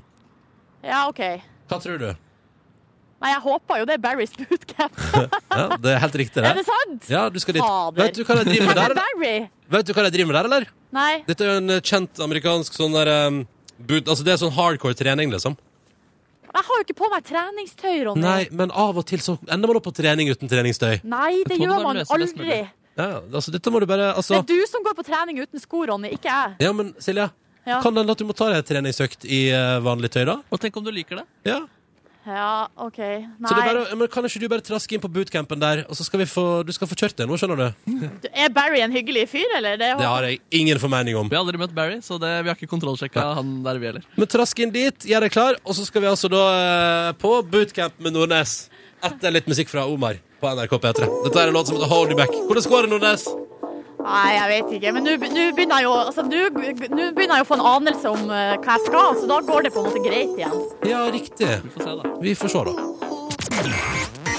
Ja, OK.
Hva tror
(laughs)
du?
Nei, jeg håper jo det er Barry's Bootcamp.
(laughs) Ja, det er helt riktig,
er
det.
det sant?
Ja, du skal dit.
Fader.
Vet du hva de driver med der,
(laughs) Er det
eller?
Barry?
Vet du hva de driver med der, eller?
Nei.
Dette er jo en eh, kjent amerikansk sånn der ehm, bud, Altså det er sånn hardcore trening, liksom.
Jeg har jo ikke på meg treningstøy, Ronny.
Nei, men av og til så ender man opp på trening uten treningstøy.
Nei, det
Jeg tror det
gjør
bare
man
løser best
aldri.
mulig.
Ja, altså dette må du bare
Det
Altså
er du som går på trening uten sko, Ronny, ikke jeg.
Ja, men Silje.
Ja.
Kan det hende at du må ta deg en treningsøkt i eh, vanlig tøy, da?
Og tenk om du liker det.
Ja.
Ja, OK. Nei.
Så det er bare, men Kan ikke du bare traske inn på bootcampen der, og så skal vi få, du skal få kjørt det nå, skjønner du?
Du- Er Barry en hyggelig fyr, eller? Det,
Det har jeg ingen formening om.
Vi har aldri møtt Barry, så det, vi har ikke kontrollsjekka han der vi heller.
Men trask inn dit, gjør deg klar, og så skal vi altså da eh, på bootcamp med Nordnes. Etter litt musikk fra Omar på NRK P3. Dette er en låt som heter Hold You Back. Hvordan går det, Nordnes?
Nei, jeg vet ikke. Men nå be- nå begynner jeg jo altså, nå nå begynner jeg å få en anelse om eh, hva jeg skal, så da går det på en måte greit igjen.
Ja, riktig.
Vi får se, da.
Vi får se, da.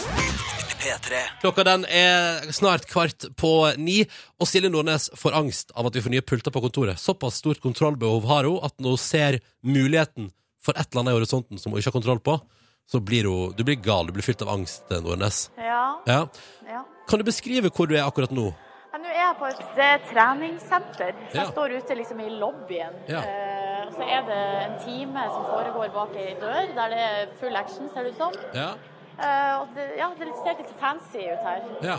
P3
Klokka den er snart kvart på ni, og Silje Nordnes får angst av at vi får nye pulter på kontoret. Såpass stort kontrollbehov har hun at når hun ser muligheten for et eller annet i horisonten som hun ikke har kontroll på, så blir hun du blir gal. Du blir fylt av angst, Nordnes.
Ja,
Ja.
ja.
Kan du beskrive hvor du er akkurat nå?
Nå er jeg på et eh, treningssenter. Så
Ja.
Jeg står ute liksom i lobbyen.
Ja.
Eh, og så er det en time som foregår bak ei dør, der det er full action, ser det ut som.
Ja.
Eh, og det, ja, det ser litt fancy ut her.
ja.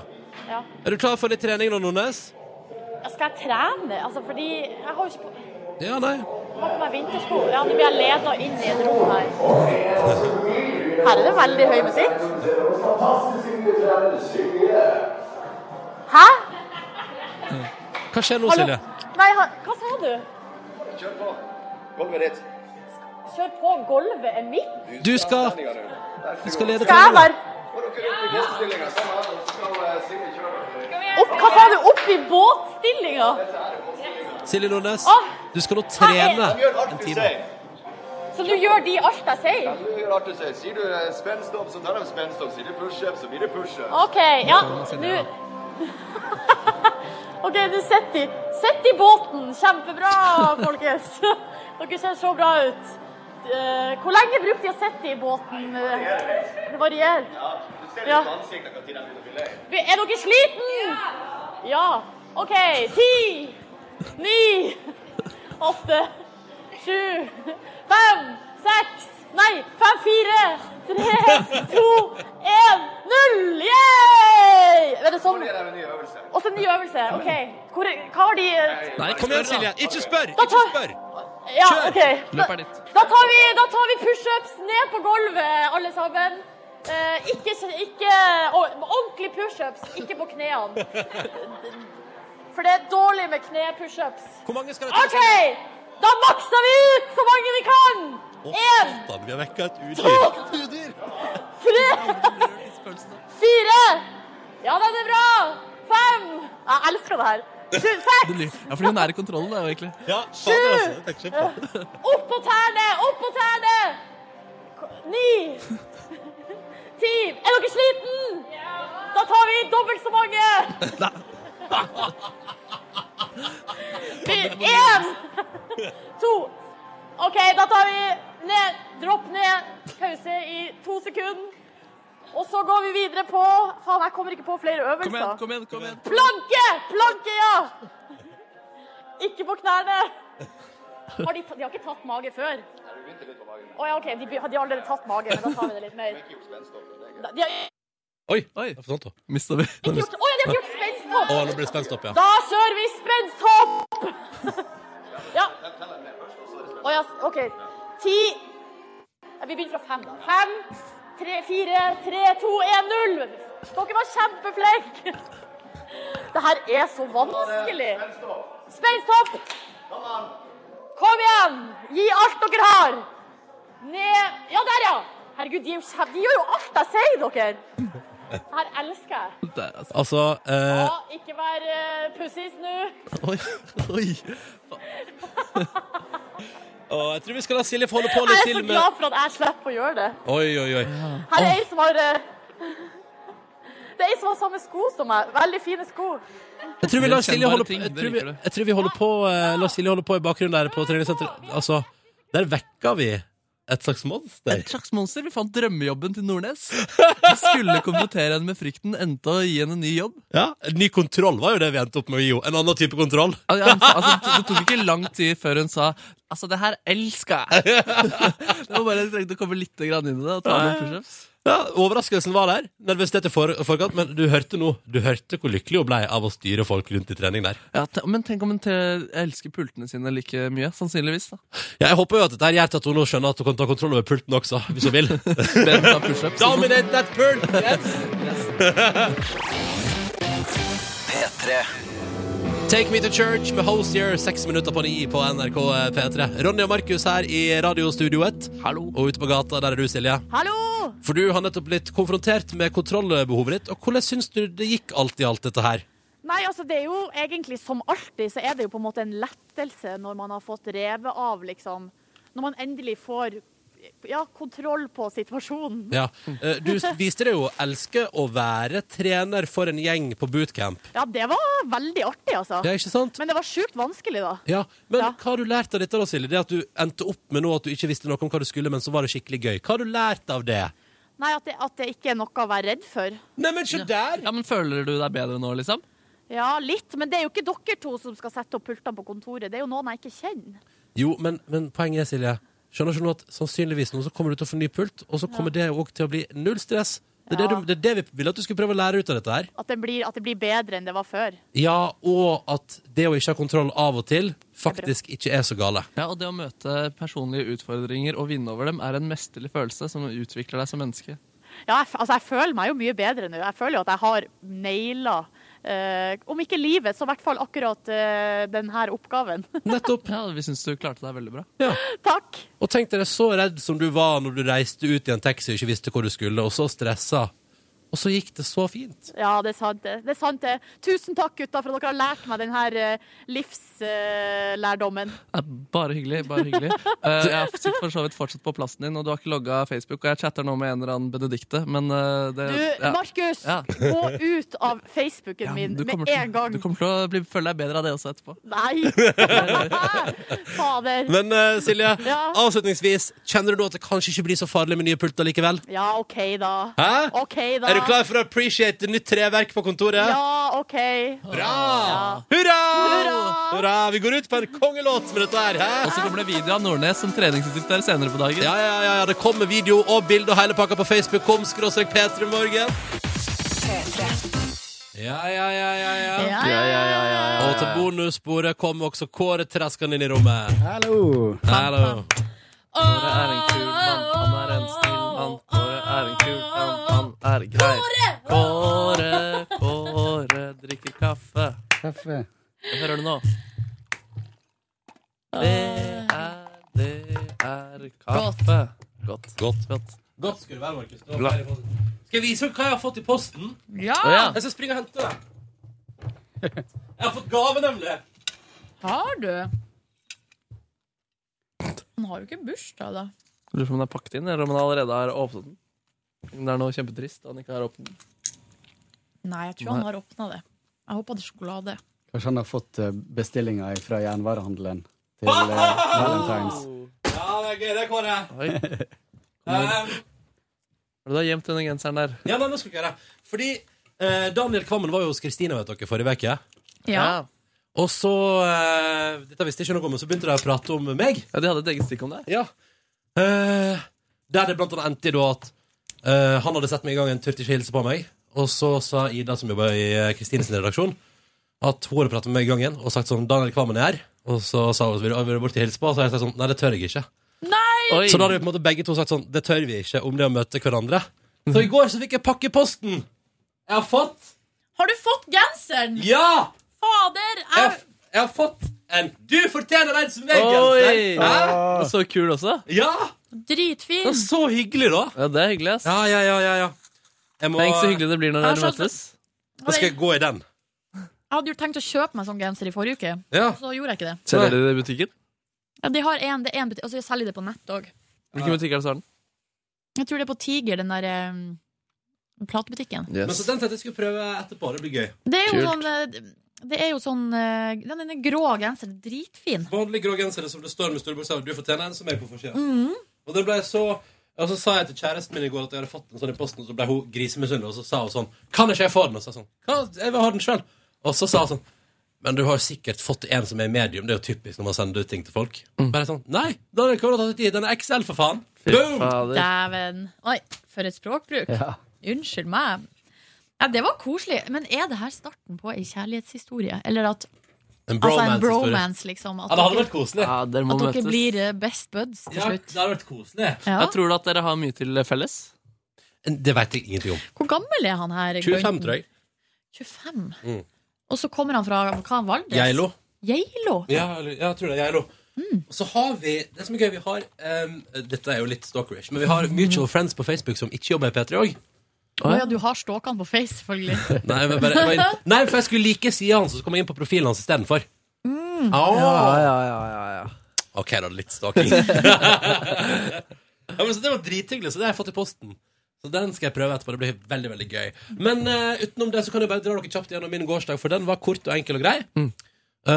Ja.
Er du klar for litt trening nå, Nordnes?
Ja, Skal jeg trene? Altså, fordi jeg har jo ikke på, jeg
Ja, nei.
har på meg vintersko. Ja, nå blir jeg leda inn i et rom her. Her er det veldig høy musikk. Hæ?
Hva skjer nå,
Hallo?
Silje?
Nei, ha- hva sa du? Kjør på. Golvet er mitt.
Du skal, du skal lede
Skal jeg
treninga.
være Opp, hva sa du? Opp i båtstillinga?
Silje Nordnes,
Åh,
du skal nå trene
hva
en time.
Så nå gjør de alt jeg sier?
Sier du spenstopp, så tar de spenstopp. Sier du pushup, så blir det pushup.
OK, ja. Nå (laughs) OK, nå sitter de. Sitt i båten. Kjempebra, folkens. (laughs) Dere ser så bra ut. Eh, Hvor lenge brukte de å sitte i båten? Det varierer. Ja. Vi- Er dere sliten? Ja. OK. Ti, ni, åtte, sju, fem, seks Nei, fem, fire, tre, to, én, null! Yeah! Er det sånn? Og så ny øvelse. OK. Hvor, hva har de eh,
Nei, kom igjen, Silje. Ikke spør!
Da
Ikke
tar-
spør!
Ja,
Kjør!
OK. Da,
Løpet er ditt.
da tar vi, da tar vi pushups ned på gulvet, alle sammen. Eh, ikke ikke or- ordentlig pushups, ikke på knærne. For det er dårlig med knepushups.
Hvor mange skal det ta?
OK! Da makser vi ut så mange vi kan!
Å,
Én,
satan, vi har vekka et udyr.
tre, fire Ja, den er bra! Fem Jeg elsker det her. Sju,
Det
seks,
blir- Ja, fordi hun er i kontrollen, da, egentlig.
Ja, fader, altså. det tenker jeg på.
opp på tærne, opp på tærne! Ko- Ni, (laughs) ti Er dere sliten? Da tar vi dobbelt så
(laughs)
mange. Vi- Én, to OK, da tar vi ned, dropp ned, pause i to sekunder. Og så går vi videre på Faen, jeg kommer ikke på flere øvelser.
Kom igjen, kom igjen, kom igjen.
Planke! Planke, ja! Ikke på knærne. Har de, de har ikke tatt mage før? Å ja, OK. De, be- de har allerede tatt mage, men da tar vi det litt mer. Da- De har
Oi,
Oi.
jeg forsvant hun.
Mista vi.
ikke gjort Å ja, de har ikke gjort
Å,
spensthopp!
nå blir det spenstopp, ja.
Da kjører vi spensthopp! (laughs) Ja. Å ja, OK. Ti Ja, Vi begynner fra fem, da. Fem, tre, fire, tre, to, én, null. Dere var kjempeflinke. Det her er så vanskelig. Spensthopp! Kom igjen! Gi alt dere har! Ned Ja, der, ja! Herregud, de, er jo kjem- de gjør jo alt jeg sier, dere. Det her elsker jeg.
Der, altså.
Altså eh,
Ja, ikke vær uh, pussis nå.
Oi. oi. Å, jeg tror vi skal la Silje få holde på
Jeg
litt
er
til
så
med
glad for at jeg slipper å gjøre det.
Oi, oi, oi.
Her er ei som har eh, (laughs) Det er ei som har samme sko som meg. Veldig fine sko.
Jeg tror vi lar
Det er
Silje holde på,
kjennbare ting,
jeg
det
tror vi,
liker du.
jeg tror vi holder på eh, La Silje holde på i bakgrunnen der på treningssenteret. Altså, der vekka vi et slags monster.
Et slags monster. Vi fant drømmejobben til Nordnes. Vi skulle konfrontere henne med frykten, endte å gi henne en ny jobb.
Ja, Ny kontroll var jo det vi endte opp med å gi henne. En annen type kontroll.
Al- ja, Altså, det tok ikke lang tid før hun sa Altså, det her elsker jeg! (laughs) Det var bare jeg trengte å komme litt grann inn i det og ta noen pushups.
Ja, Overraskelsen var der. Nervøsitet i for, forkant, men du hørte nå Du hørte hvor lykkelig hun ble av å styre folk rundt i trening der.
Ja, te- men tenk om hun te- elsker pultene sine like mye. Sannsynligvis. da
Ja, jeg håper jo at dette her gjør at hun nå skjønner at hun kan ta kontroll over pulten også, hvis hun
(laughs)
vil.
Ben tar pushups. og sånn.
Dominate that pult!
P3
Take Me To Church med Hosier, seks minutter på ni på NRK eh, P3. Ronny og Markus her i radiostudioet,
Hallo.
og ute på gata der er du, Silje.
Hallo!
For du har nettopp blitt konfrontert med kontrollbehovet ditt. Og hvordan syns du det gikk alt i alt, dette her?
Nei, altså det er jo egentlig som alltid, så er det jo på en måte en lettelse når man har fått revet av, liksom. Når man endelig får ja, kontroll på situasjonen.
Ja. eh, Du viste deg jo å elske å være trener for en gjeng på bootcamp.
Ja, det var veldig artig, altså.
Ja, ikke sant?
Men det var sjukt vanskelig, da.
Ja, Men
Ja.
hva har du lært av dette, da, Silje? Det at du endte opp med nå at du ikke visste noe om hva du skulle, men så var det skikkelig gøy. Hva har du lært av det?
Nei, at det, at det ikke er noe å være redd for.
Neimen, se der!
Ja, men Føler du deg bedre nå, liksom?
Ja, litt, men det er jo ikke dere to som skal sette opp pultene på kontoret. Det er jo noen jeg ikke kjenner.
Jo, men, men poenget er, Silje, skjønner ikke du at sannsynligvis nå så kommer du til å få ny pult, og så kommer det òg til å bli null stress. Det er, det,
Ja.
du, det er det vi ville at du skulle prøve å lære ut av dette her.
At det blir, at det blir bedre enn det var før.
Ja, og at det å ikke ha kontroll av og til faktisk ikke er så gale.
Ja, og Det å møte personlige utfordringer og vinne over dem er en mesterlig følelse som utvikler deg som menneske.
Ja, jeg, f- altså, jeg føler meg jo mye bedre nå. Jeg føler jo at jeg har naila eh, om ikke livet, så i hvert fall akkurat eh, denne oppgaven. (laughs)
(laughs)
Nettopp.
Ja, Vi syns du klarte deg veldig bra.
Takk.
Og tenk deg så redd som du var når du reiste ut i en taxi og ikke visste hvor du skulle, og så stressa. Og så gikk det så fint.
Ja, det er sant. det. Det er sant det. Tusen takk, gutter, for at dere har lært meg denne
eh,
livslærdommen.
Ja, Bare hyggelig. bare
(laughs)
hyggelig Eh, Jeg sitter for så vidt fortsatt på plassen din, og du har ikke logga Facebook. Og jeg chatter nå med en eller annen Benedicte, men eh, det,
Du,
ja.
Markus,
Ja.
gå ut av
(laughs)
Facebooken min
Du kommer
med
til-
en gang.
Du kommer til å bli, føle deg bedre av det også etterpå. (laughs)
Nei! Fader.
Men eh, Silje,
Ja.
avslutningsvis, kjenner du nå at det kanskje ikke blir så farlig med nye pulter likevel?
Ja, OK, da.
Hæ?
OK, da.
Er du klar for å appreciate nytt treverk på kontoret?
Ja, OK.
Bra! Hurra! Hurra! Vi går ut på en kongelåt med dette her. Hæ?
Og så kommer det video av Nordnes som treningsinstruktør senere på dagen.
Ja, ja, ja, ja, det kommer video og bilde og hele pakka på Facebook. Kom, skråstrek P3morgen. Ja, ja, ja, ja, ja. Og til bonussporet kom også Kåre Treskan inn i rommet.
Hallo.
Hallo.
Kåre er en kul mann, han er en snill mann. Kåre er en kul mann, han er grei. Kåre, Kåre drikker kaffe.
Kaffe.
Hva hører du nå? Ah. Det er, det er kaffe. Godt.
Godt.
Godt.
Godt skulle det være, Markus. Det var
Bra.
flere i posten. Skal jeg vise dere hva jeg har fått i posten?
Ja! Å, ja.
Jeg skal springe og hente det. Jeg har fått gave, nemlig.
Har du? Han har jo ikke bursdag, da.
Lurer på om den er pakket inn, eller om han allerede har åpnet den. Det er noe kjempetrist at han ikke har åpnet den.
Nei, jeg tror
Nei.
han har åpna det. Jeg håper det er sjokolade.
Kanskje han har fått eh, bestillinger fra jernvarehandelen til eh, Valentines.
Ja, det er gøy, det, Kåre.
Oi. Har du da gjemt denne genseren der?
(laughs) Ja, nei, nå skal jeg gjøre det. Fordi eh, Daniel Kvammen var jo hos Kristine vet dere, forrige uke.
Ja.
Og så eh, Dette visste jeg ikke noe om, men så begynte de å prate om meg.
Ja, De hadde et eget stikk om det.
Ja. Eh, der det blant annet endte i da at eh, han hadde sett meg i gang en tur til ikke hilse på meg. Og så sa Ida, som jobber i eh, Kristines redaksjon, at hun hadde pratet med meg i gangen og sagt sånn 'Daniel Kvammen er her'. Og så sa hun «Vil du- vil du bort til å hilse på, og så har jeg sagt sånn 'Nei, det tør jeg ikke'.
Nei!
Så da hadde vi på en måte begge to sagt sånn 'Det tør vi ikke', om det å møte hverandre. Så i går så fikk jeg pakke i posten. Jeg har fått
Har du fått genseren?
Ja!
Fader!
Jeg, har- jeg har fått en 'Du fortjener den som er
Oi!
genser'. Hæ?
Og Så kul også.
Ja!
Dritfin!
Det er så hyggelig, da.
Ja, det er hyggelig, ass.
Ja, ja, ja, ja, ja. Jeg må-
Tenk så hyggelig det blir når
Jeg
dere
har skjønt
møtes.
Da skal jeg gå i den.
Jeg hadde jo tenkt å kjøpe meg sånn genser i forrige uke,
Ja.
så gjorde jeg ikke det.
Selger dere det i butikken?
Ja, de har en, det er en butikk, og så selger de det på nett òg.
Hvilken butikk er det som har den?
Jeg tror det er på Tiger, den der eh, platebutikken.
Yes.
Men så den tenkte jeg skulle prøve etterpå. Det blir gøy.
Det er jo
Kult.
sånn eh, Det er jo sånn eh, Den denne grå genseren, dritfin.
Vanlig grå genser som det står med store bokstaver. Du fortjener en som er på forsida.
Mm.
Og det ble så og så sa jeg til kjæresten min i går at jeg hadde fått en sånn i posten, og så ble hun grisemisunnelig, og så sa hun sånn Kan ikke jeg få den? Og så sa jeg sånn «Hva? Jeg vil ha den sjøl. Og så sa hun sånn Men du har sikkert fått en som er medium. Det er jo typisk når man sender ut ting til folk. Bare sånn Nei! Den er, kommet til å ta tid. den er XL, for faen! Boom!
Dæven. Oi, for et språkbruk. Unnskyld meg. Ja, det var koselig. Men er det her starten på ei kjærlighetshistorie? Eller at
En
Altså en
bromance-historie.
bromance, liksom. At
Ja, det hadde
dere-
vært koselig.
Ja, dere må
At dere
møtes.
blir eh, best buds til
Ja,
slutt.
det hadde vært koselig.
Ja.
Jeg tror du at dere har mye til felles?
Det veit jeg ingenting om.
Hvor gammel er han her?
25, tror jeg.
25.
Mm.
Og så kommer han fra hva, Valdres?
Geilo.
Geilo?
Ja, eller- ja, jeg tror det.
Mm.
Jeg òg. Og så har vi Det som er gøy, vi har ehm, Dette er jo litt stalkerish, men vi har mutual friends på Facebook som ikke jobber i P3 òg.
Å ja, du har stalkene på
(laughs)
Face, selvfølgelig.
Nei, men bare- jeg var inn- Nei, for jeg skulle like sida hans, og så kom jeg inn på profilen hans istedenfor.
Mm.
Oh.
Ja, ja, ja, ja,
OK, da. Litt
(laughs)
stalking. ja, men så Det var drithyggelig, så det har jeg fått i posten. Så den skal jeg prøve etterpå. Det blir veldig veldig gøy. Men eh, utenom det så kan jeg bare dra dere kjapt gjennom min gårsdag, for den var kort og enkel og grei. Eh,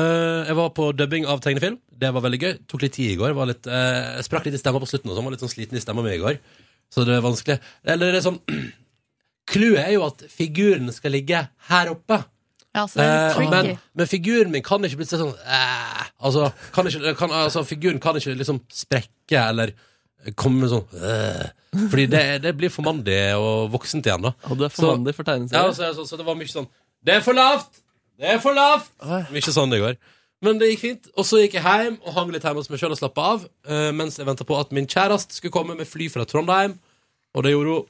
jeg var på dubbing av tegnefilm. Det var veldig gøy. Tok litt tid i går. Var litt, eh, jeg sprakk litt i stemma på slutten, og sånn. var litt sånn sliten i stemma mi i går. Så det er vanskelig. Eller det er sånn (clears throat) Clouet er jo at figuren skal ligge her oppe.
Ja, så det er litt
Eh, men,
tricky.
men figuren min kan ikke bli sånn eh, altså, kan ikke, kan, altså, figuren kan ikke liksom sprekke eller komme med sånn eh, Fordi det, det blir for mandig og voksent igjen, da.
Og du er for
Så-
mandig for
ja,
tegneserier.
så, så, så det var mye sånn Det er for lavt! Det er for lavt! Mye sånn det går. Men det gikk fint. Og så gikk jeg hjem og hang litt hjemme hos meg sjøl og slappa av eh, mens jeg venta på at min kjæreste skulle komme med fly fra Trondheim, og det gjorde hun.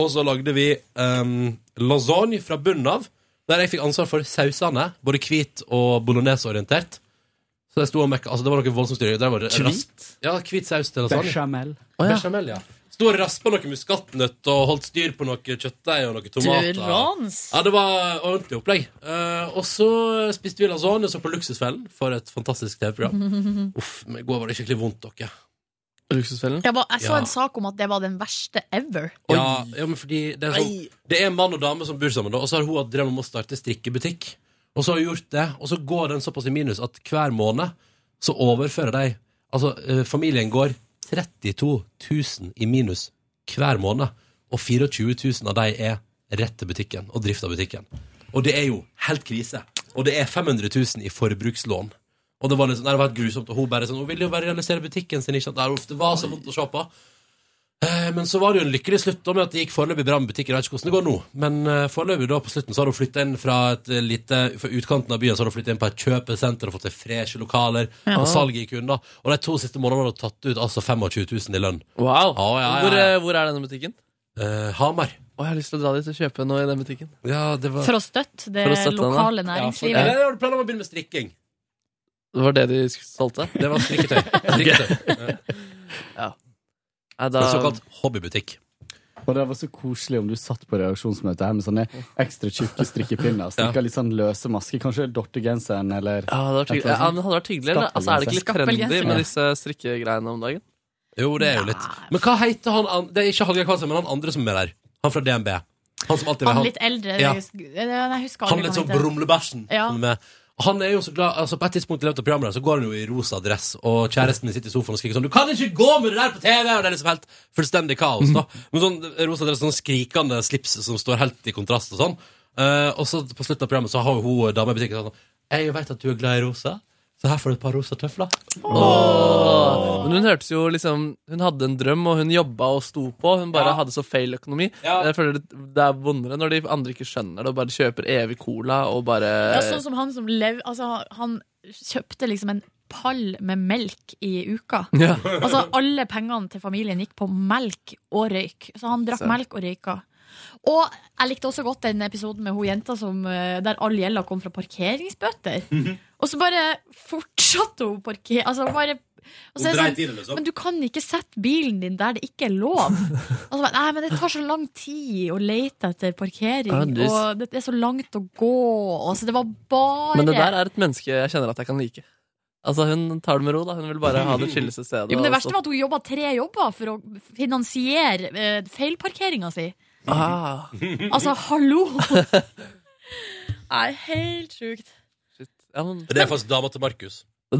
Og så lagde vi ehm, lasagne fra bunnen av, der jeg fikk ansvar for sausene. Både hvit og bolognese-orientert. Så jeg sto og mekka. Altså, det var noe voldsomt styr. Der var det
Hvit?
raskt. Ja, hvit saus til lasagne.
Bechamel.
Å, ja.
Bechamel, ja. Sto og raspa noe muskatnøtt og holdt styr på noe kjøttdeig og noe tomater.
Du rans.
Ja, det var ordentlig opplegg. Eh, og så spiste vi lasagne og så på Luksusfellen for et fantastisk TV-program.
(laughs)
Uff, men i går var det skikkelig vondt, dere.
Luksusfellen?
Jeg, ba, jeg så en sak om at det var den verste ever.
Ja, ja, men fordi det er, sånn, det er en mann og dame som bor sammen, da, og så har hun hatt drøm om å starte strikkebutikk. Og så har hun gjort det, og så går den såpass i minus at hver måned så overfører de Altså, eh, familien går 32 000 i minus hver måned, og 24 000 av de er rett til butikken og drift av butikken. Og det er jo helt krise. Og det er 500 000 i forbrukslån. Og det var, liksom, nei, det var helt grusomt, og hun bare sånn Hun ville jo bare realisere butikken sin, ikke sant? Nei, uff, Det var så vondt å se på. Eh, Men så var det jo en lykkelig slutt da med at det gikk foreløpig bra med butikken. Jeg vet ikke hvordan det går nå, men eh, foreløpig da på slutten så har hun flytta inn fra et eh, lite fra utkanten av byen så har hun flyttet inn på et kjøpesenter og fått seg freshe lokaler.
Ja.
Og salget gikk unna. Og de to siste månedene har hun tatt ut altså 25 000 i lønn.
Wow.
Ja, ja, ja.
Hvor, eh, hvor er denne butikken?
Eh, Hamar.
Å, jeg har lyst til å dra dit og kjøpe noe i den butikken.
Ja, det var...
For å støtte det For å støtte den, ja. lokale næringslivet.
Ja, for... Har du planer om å begynne med strikking?
Det var det de solgte?
Det var
(laughs)
strikketøy. Strikketøy.
ja. Nei,
En såkalt hobbybutikk.
Og det var så koselig om du satt på redaksjonsmøtet her med sånne ekstra tjukke strikkepinner. Strikka litt sånn løse masker. Kanskje dortegenseren eller
Ja, det hadde vært hyggelig. Ja, men det hadde vært hyggelig eller? altså, Er det ikke litt trendy
Skappelgenser.
med disse strikkegreiene om dagen?
Jo, det er jo litt. Men hva heter han an- Det er ikke Hallgeir Kvadsheim, men han andre som er der. Han fra DNB. Han som alltid
Han litt eldre.
Ja.
Jeg husker- eh, jeg husker
Han
aldri
litt
hva
sånn
heter.
brumlebæsjen.
Ja.
som er- Han er jo så glad altså På et tidspunkt i løpet av programmet der, Så går han jo i rosa dress, og kjæresten min sitter i sofaen og skriker sånn 'Du kan ikke gå med det der på TV!' Og det er liksom helt fullstendig kaos.
(laughs)
da Men sånn rosa dress, sånn skrikende slips som står helt i kontrast og sånn. Eh, og så på slutten av programmet så har jo hun eh, dama i butikken sånn 'Jeg vet at du er glad i rosa, så her får du et par rosa tøfler'.
Åh. Men hun hørtes jo liksom Hun hadde en drøm, og hun jobba og sto på. Hun bare
Ja.
hadde så feil økonomi.
Ja.
Jeg føler det, det er vondere når de andre ikke skjønner det, og bare kjøper evig cola og bare
Ja, sånn som han som lev... Altså, han kjøpte liksom en pall med melk i uka.
Ja.
Altså, alle pengene til familien gikk på melk og røyk. Så han drakk
Så.
melk og røyka. Og jeg likte også godt den episoden med hun jenta som, eh, der all gjelda kom fra parkeringsbøter. Og så bare fortsatte hun parkering... Altså, hun bare og
Hun
så er det
dreit i det, liksom.
Men du kan ikke sette bilen din der det ikke er lov. Altså, bare, nei, men det tar så lang tid å lete etter parkering,
Ja, du-
og det er så langt å gå. Altså, det var bare
Men det der er et menneske jeg kjenner at jeg kan like. Altså Hun tar det med ro. da Hun vil bare ha det chilleste stedet.
jo, men det
altså-
og
verste
så-
var at hun jobba tre jobber for å finansiere eh, feilparkeringa si.
ah.
Mm.
Altså,
(laughs)
hallo! Nei, helt sjukt.
ja, men...
Det er faktisk dama til Markus.
Og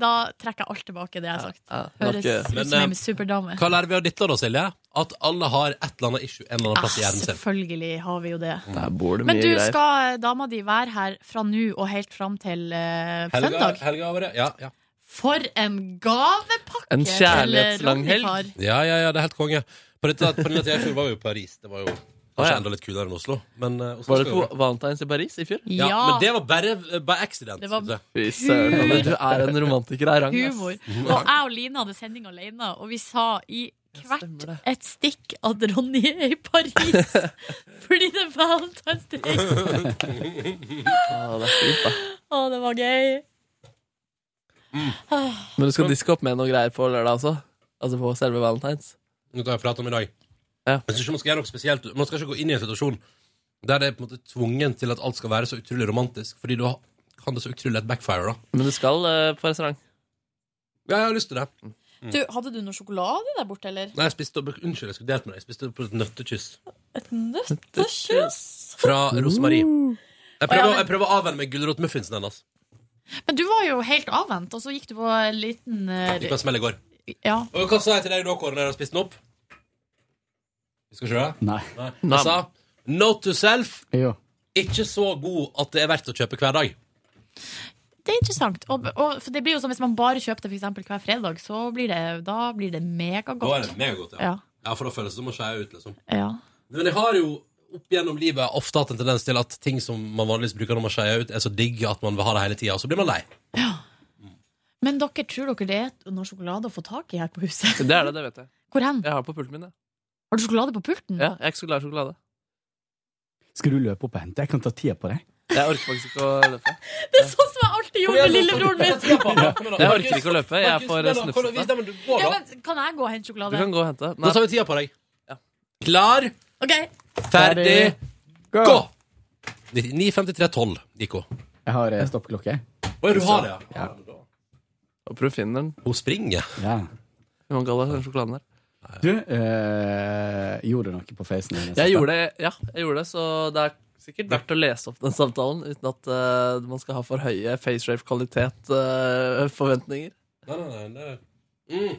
da trekker jeg alt tilbake, det jeg har sagt. Høres
eh,
ut som
Men,
en superdame.
eh, Hva lærer vi av dette da, Silje? At alle har et eller annet issue en eller annen
Ah,
plass i hjernen sin.
selvfølgelig har vi jo det.
Der bor
Men du, skal eh, dama di være her fra nå og helt fram til eh,
Helga,
søndag?
helga over det? Ja, ja.
For en gavepakke!
En
til eh,
kjærlighetslang
Ronny,
helg.
far.
Ja, ja, ja, det er helt konge. På dette, på denne tida i fjor var vi jo i Paris. Det var jo kanskje enda litt kulere enn Oslo. Men, eh, Oslo
Var det
skal jo-
på Valentine's i Paris i fjor?
Ja, men det var bare by accident.
Det var
synes jeg.
Fy søren, Anne, du er en romantiker av rang. ass.
Humor. Og jeg og Line hadde sending alene, og vi sa i hvert et stikk at Ronny er i
(laughs)
Paris fordi det er Valentine's Day.
Ah, det er fint, da.
Å, det var gøy. Ah,
Men du skal diske opp med noe greier på lørdag også? Altså på selve Valentine's?
Nå kan jeg prate om i dag. Jeg synes ikke man skal gjøre noe spesielt. Man skal ikke gå inn i en situasjon der det er på en måte tvungen til at alt skal være så utrolig romantisk, fordi da kan det så utrolig lett backfire, da.
Men du skal eh, på restaurant?
Ja, jeg har lyst til det. Mm.
Du, hadde du noe sjokolade der borte, eller?
Nei, jeg spiste, unnskyld, jeg skulle delt med deg. Jeg spiste på et nøttekyss
Et nøttekyss?
fra Rosemarie. Jeg prøver,
Å, ja, men-
jeg prøver å avvenne meg gulrotmuffinsen hennes.
Men du var jo helt avvent, og så gikk du på en liten eh,
Gikk på en smell i går.
Ja.
Og hva sa jeg til deg da, Kåre, når jeg har spist den opp? Vi skal kjøre?
Nei.
Jeg sa note to self.
Jo.
Ikke så god at det er verdt å kjøpe hver dag.
Det er interessant. Og, og, for det blir jo sånn, Hvis man bare kjøper det for eksempel hver fredag, så blir det, da blir det megagodt.
Da er det megagodt, ja.
Ja.
ja. For da føles det som å skeie ut, liksom.
Ja.
Men jeg har jo opp gjennom livet ofte hatt en tendens til at ting som man vanligvis bruker når man skeier ut, er så digg at man vil ha det hele tida, og så blir man lei.
Men dere tror dere det er noe sjokolade å få tak i her på huset?
Det er det, det vet jeg.
Hvor hen?
Jeg har det på pulten min, jeg.
Har du sjokolade på pulten?
Ja, jeg er ikke så glad i sjokolade.
Skal du løpe opp og hente? Jeg kan ta tida på deg.
Jeg orker faktisk ikke å løpe.
Det er sånn som jeg alltid gjorde lillebroren min.
(laughs) Jeg orker
ikke å løpe, jeg er for snufsete.
Ja, men kan jeg gå og hente
Du
sjokolade?
kan gå og hente.
Nå tar vi tida på deg. Klar,
Ok,
ferdig, gå! 9.53,12 gikk hun.
Jeg har eh, stoppeklokke.
Oi, du har det, ja.
Håper du finner den.
Hun springer.
Ja.
Hun galla den sjokoladen der.
Du, eh, gjorde du noe på facen din? altså.
Jeg gjorde det, ja, jeg gjorde det, så det er sikkert verdt å lese opp den samtalen uten at eh, man skal ha for høye eh, facerape-kvalitet-forventninger.
Nei, nei, nei, nei. Mm.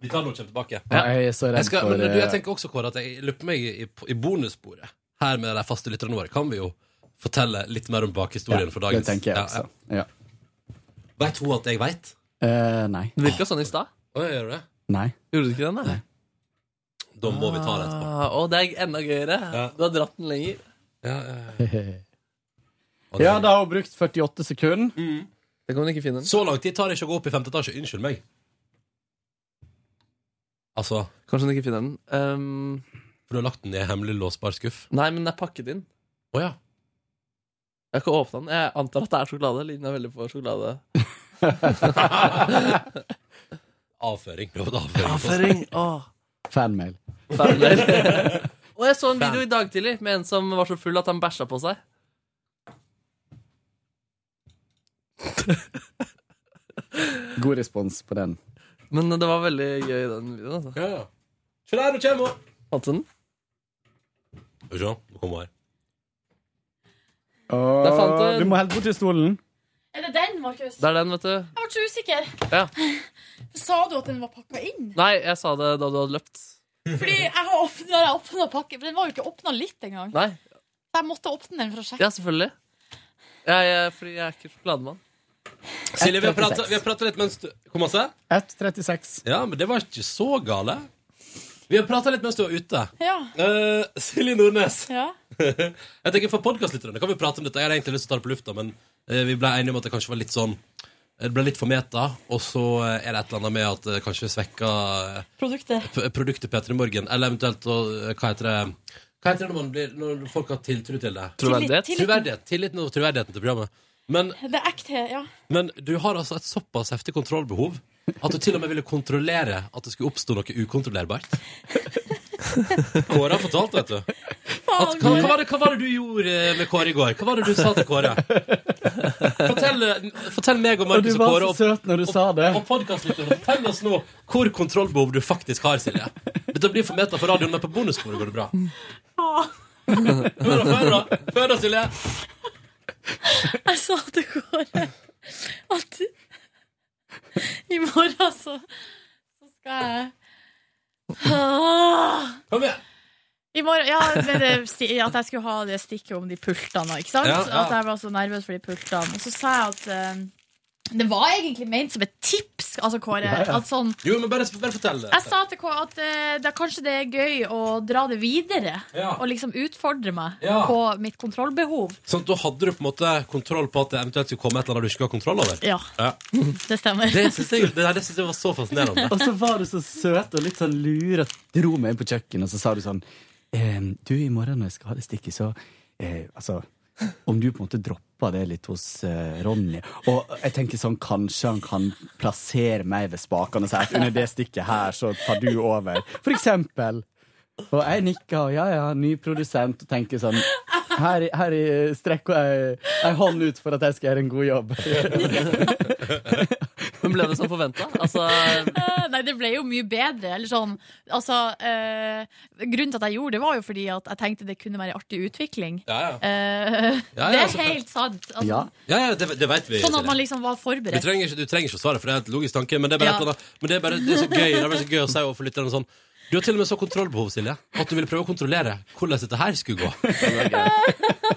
Vi tar den og kommer tilbake.
Ja, jeg er så redd
Jeg skal,
for,
men, du, jeg
eh,
tenker også, Kåre, at jeg lurer på meg i, i bonussporet her med de faste lytterne våre. Kan vi jo fortelle litt mer om bakhistorien for dagens
Det tenker jeg også. Ja.
Veit hun at jeg veit?
Eh, nei.
Det virka sånn i stad.
Oi, gjør du det?
Nei.
Gjorde du ikke den, da?
Da må vi ta det etterpå.
Ah, og det er enda gøyere. Du har dratt den lenger.
(laughs) Ja, da har hun brukt 48 sekunder.
Det kan hun ikke finne.
Så lang tid tar det ikke å gå opp i femte etasje. Unnskyld meg. Altså
Kanskje hun ikke finner den. Ehm,
For du har lagt den i en hemmelig låsbar skuff?
nei, men den er pakket inn.
Å ja.
Jeg har ikke åpna den. Jeg antar at det er sjokolade. Liden er veldig på sjokolade.
Avføring. Du har fått avføring.
Åh.
Fanmail.
Fanmail. Og jeg så en video i dag tidlig med en som var så full at han bæsja på seg.
God respons på den.
Men det var veldig gøy, den videoen. Altså.
Ja, ja. Se der, nå kommer hun!
Fant du den?
Skal vi se, nå kommer hun her.
Åh,
Der fant jeg den.
du må helt bort til stolen.
Er det den, Markus?
Det er den, vet du.
Jeg ble så usikker.
Ja.
Sa du at den var pakka inn?
Nei, jeg sa det da du hadde løpt.
Fordi jeg har åpnet, når jeg har åpnet pakken, for den var jo ikke åpna litt engang.
Nei.
Så Jeg måtte åpne den for å sjekke.
Ja, selvfølgelig. Jeg, jeg, fordi jeg er ikke sjokolademann.
Silje, vi har pratet- vi har prata litt mens du Hvor masse?
1.36.
Ja, men det var ikke så gale. Vi har prata litt mens du var ute.
Ja.
Eh, Silje Nordnes.
ja.
(laughs) jeg tenker For podkastlytterne kan vi prate om dette. Jeg hadde egentlig lyst til å ta det på lufta, men eh, vi ble enige om at det kanskje var litt sånn Det ble litt for meta, og så eh, er det et eller annet med at det kanskje svekka eh,
Produktet.
p- produktet P3 Morgen, eller eventuelt og, eh, hva heter det Hva heter det når, man blir, når folk har tiltro til det?
Troverdighet.
Tillit- tillit.
Troverdighet. Tilliten og troverdigheten til programmet. Men,
Det er ekte, ja.
men du har altså et såpass heftig kontrollbehov at du til og med ville kontrollere at det skulle oppstå noe
(laughs)
ukontrollerbart. Kåre har fortalt, vet du. At, hva, hva, var det, hva var det du gjorde eh, med Kåre i går? Hva var det du sa til Kåre? Fortell, eh, fortell meg og
Og du
Markus og
var
Kåre
så
og,
søt når du sa det.
og podcastlytterne, fortell oss nå hvor kontrollbehov du faktisk har, Silje. Dette blir for meta for radioen, men på bonussporet går det bra.
Faen.
Hør da, hør da, hør da Silje.
Jeg sa til Kåre at i morgen så, så skal jeg Ah.
Kom igjen.
I morgen, ja, men det, sti- at jeg skulle ha det stikket om de pultene, ikke sant?
Ja, ja.
At jeg var så nervøs for de pultene. Og så sa jeg at eh, det var egentlig ment som et tips, altså, Kåre.
Ja, ja.
At sånn,
Jo, men bare, bare fortell det.
jeg sa til Kåre at eh, det, er kanskje det er gøy å dra det videre.
Ja.
Og liksom utfordre meg
Ja.
på mitt kontrollbehov.
Sånn, da hadde du på en måte kontroll på at det eventuelt skulle komme et eller annet du ikke skulle ha kontroll over.
Ja,
Ja.
det Eh, stemmer.
Det syns jeg, det, det synes jeg var så fascinerende.
Og så var du så søt og litt sånn lur og dro meg inn på kjøkkenet, og så sa du sånn ehm, Du, i morgen når jeg skal ha det stikket, så eh, Altså, om du på en måte dropper det litt hos eh, Ronny Og jeg tenker sånn, kanskje han kan plassere meg ved spakene og si at under det stikket her, så tar du over. For eksempel. Og jeg nikker, og ja, ja, ny produsent, og tenker sånn Her, her eh, strekker jeg ei hånd ut for at jeg skal gjøre en god jobb.
(laughs) Men ble det som forventa? Altså,
Eh, (laughs) Nei, det ble jo mye bedre. Eller sånn, altså, eh, grunnen til at jeg gjorde det, var jo fordi at jeg tenkte det kunne være en artig utvikling.
Ja, ja.
Eh,
Ja, ja,
det
så-
er helt sant. Altså,
Ja.
Ja, ja, det, det vet vi.
Sånn at
Silje.
man liksom var
Du
forberedt.
trenger, ikke, du trenger ikke å svare, for det er et logisk tanke. Men det er bare,
Ja.
et eller annet- men det er bare det er så gøy, det er bare så gøy å si overfor lytterne sånn Du har til og med så kontrollbehov, Silje, at du ville prøve å kontrollere hvordan dette her skulle gå.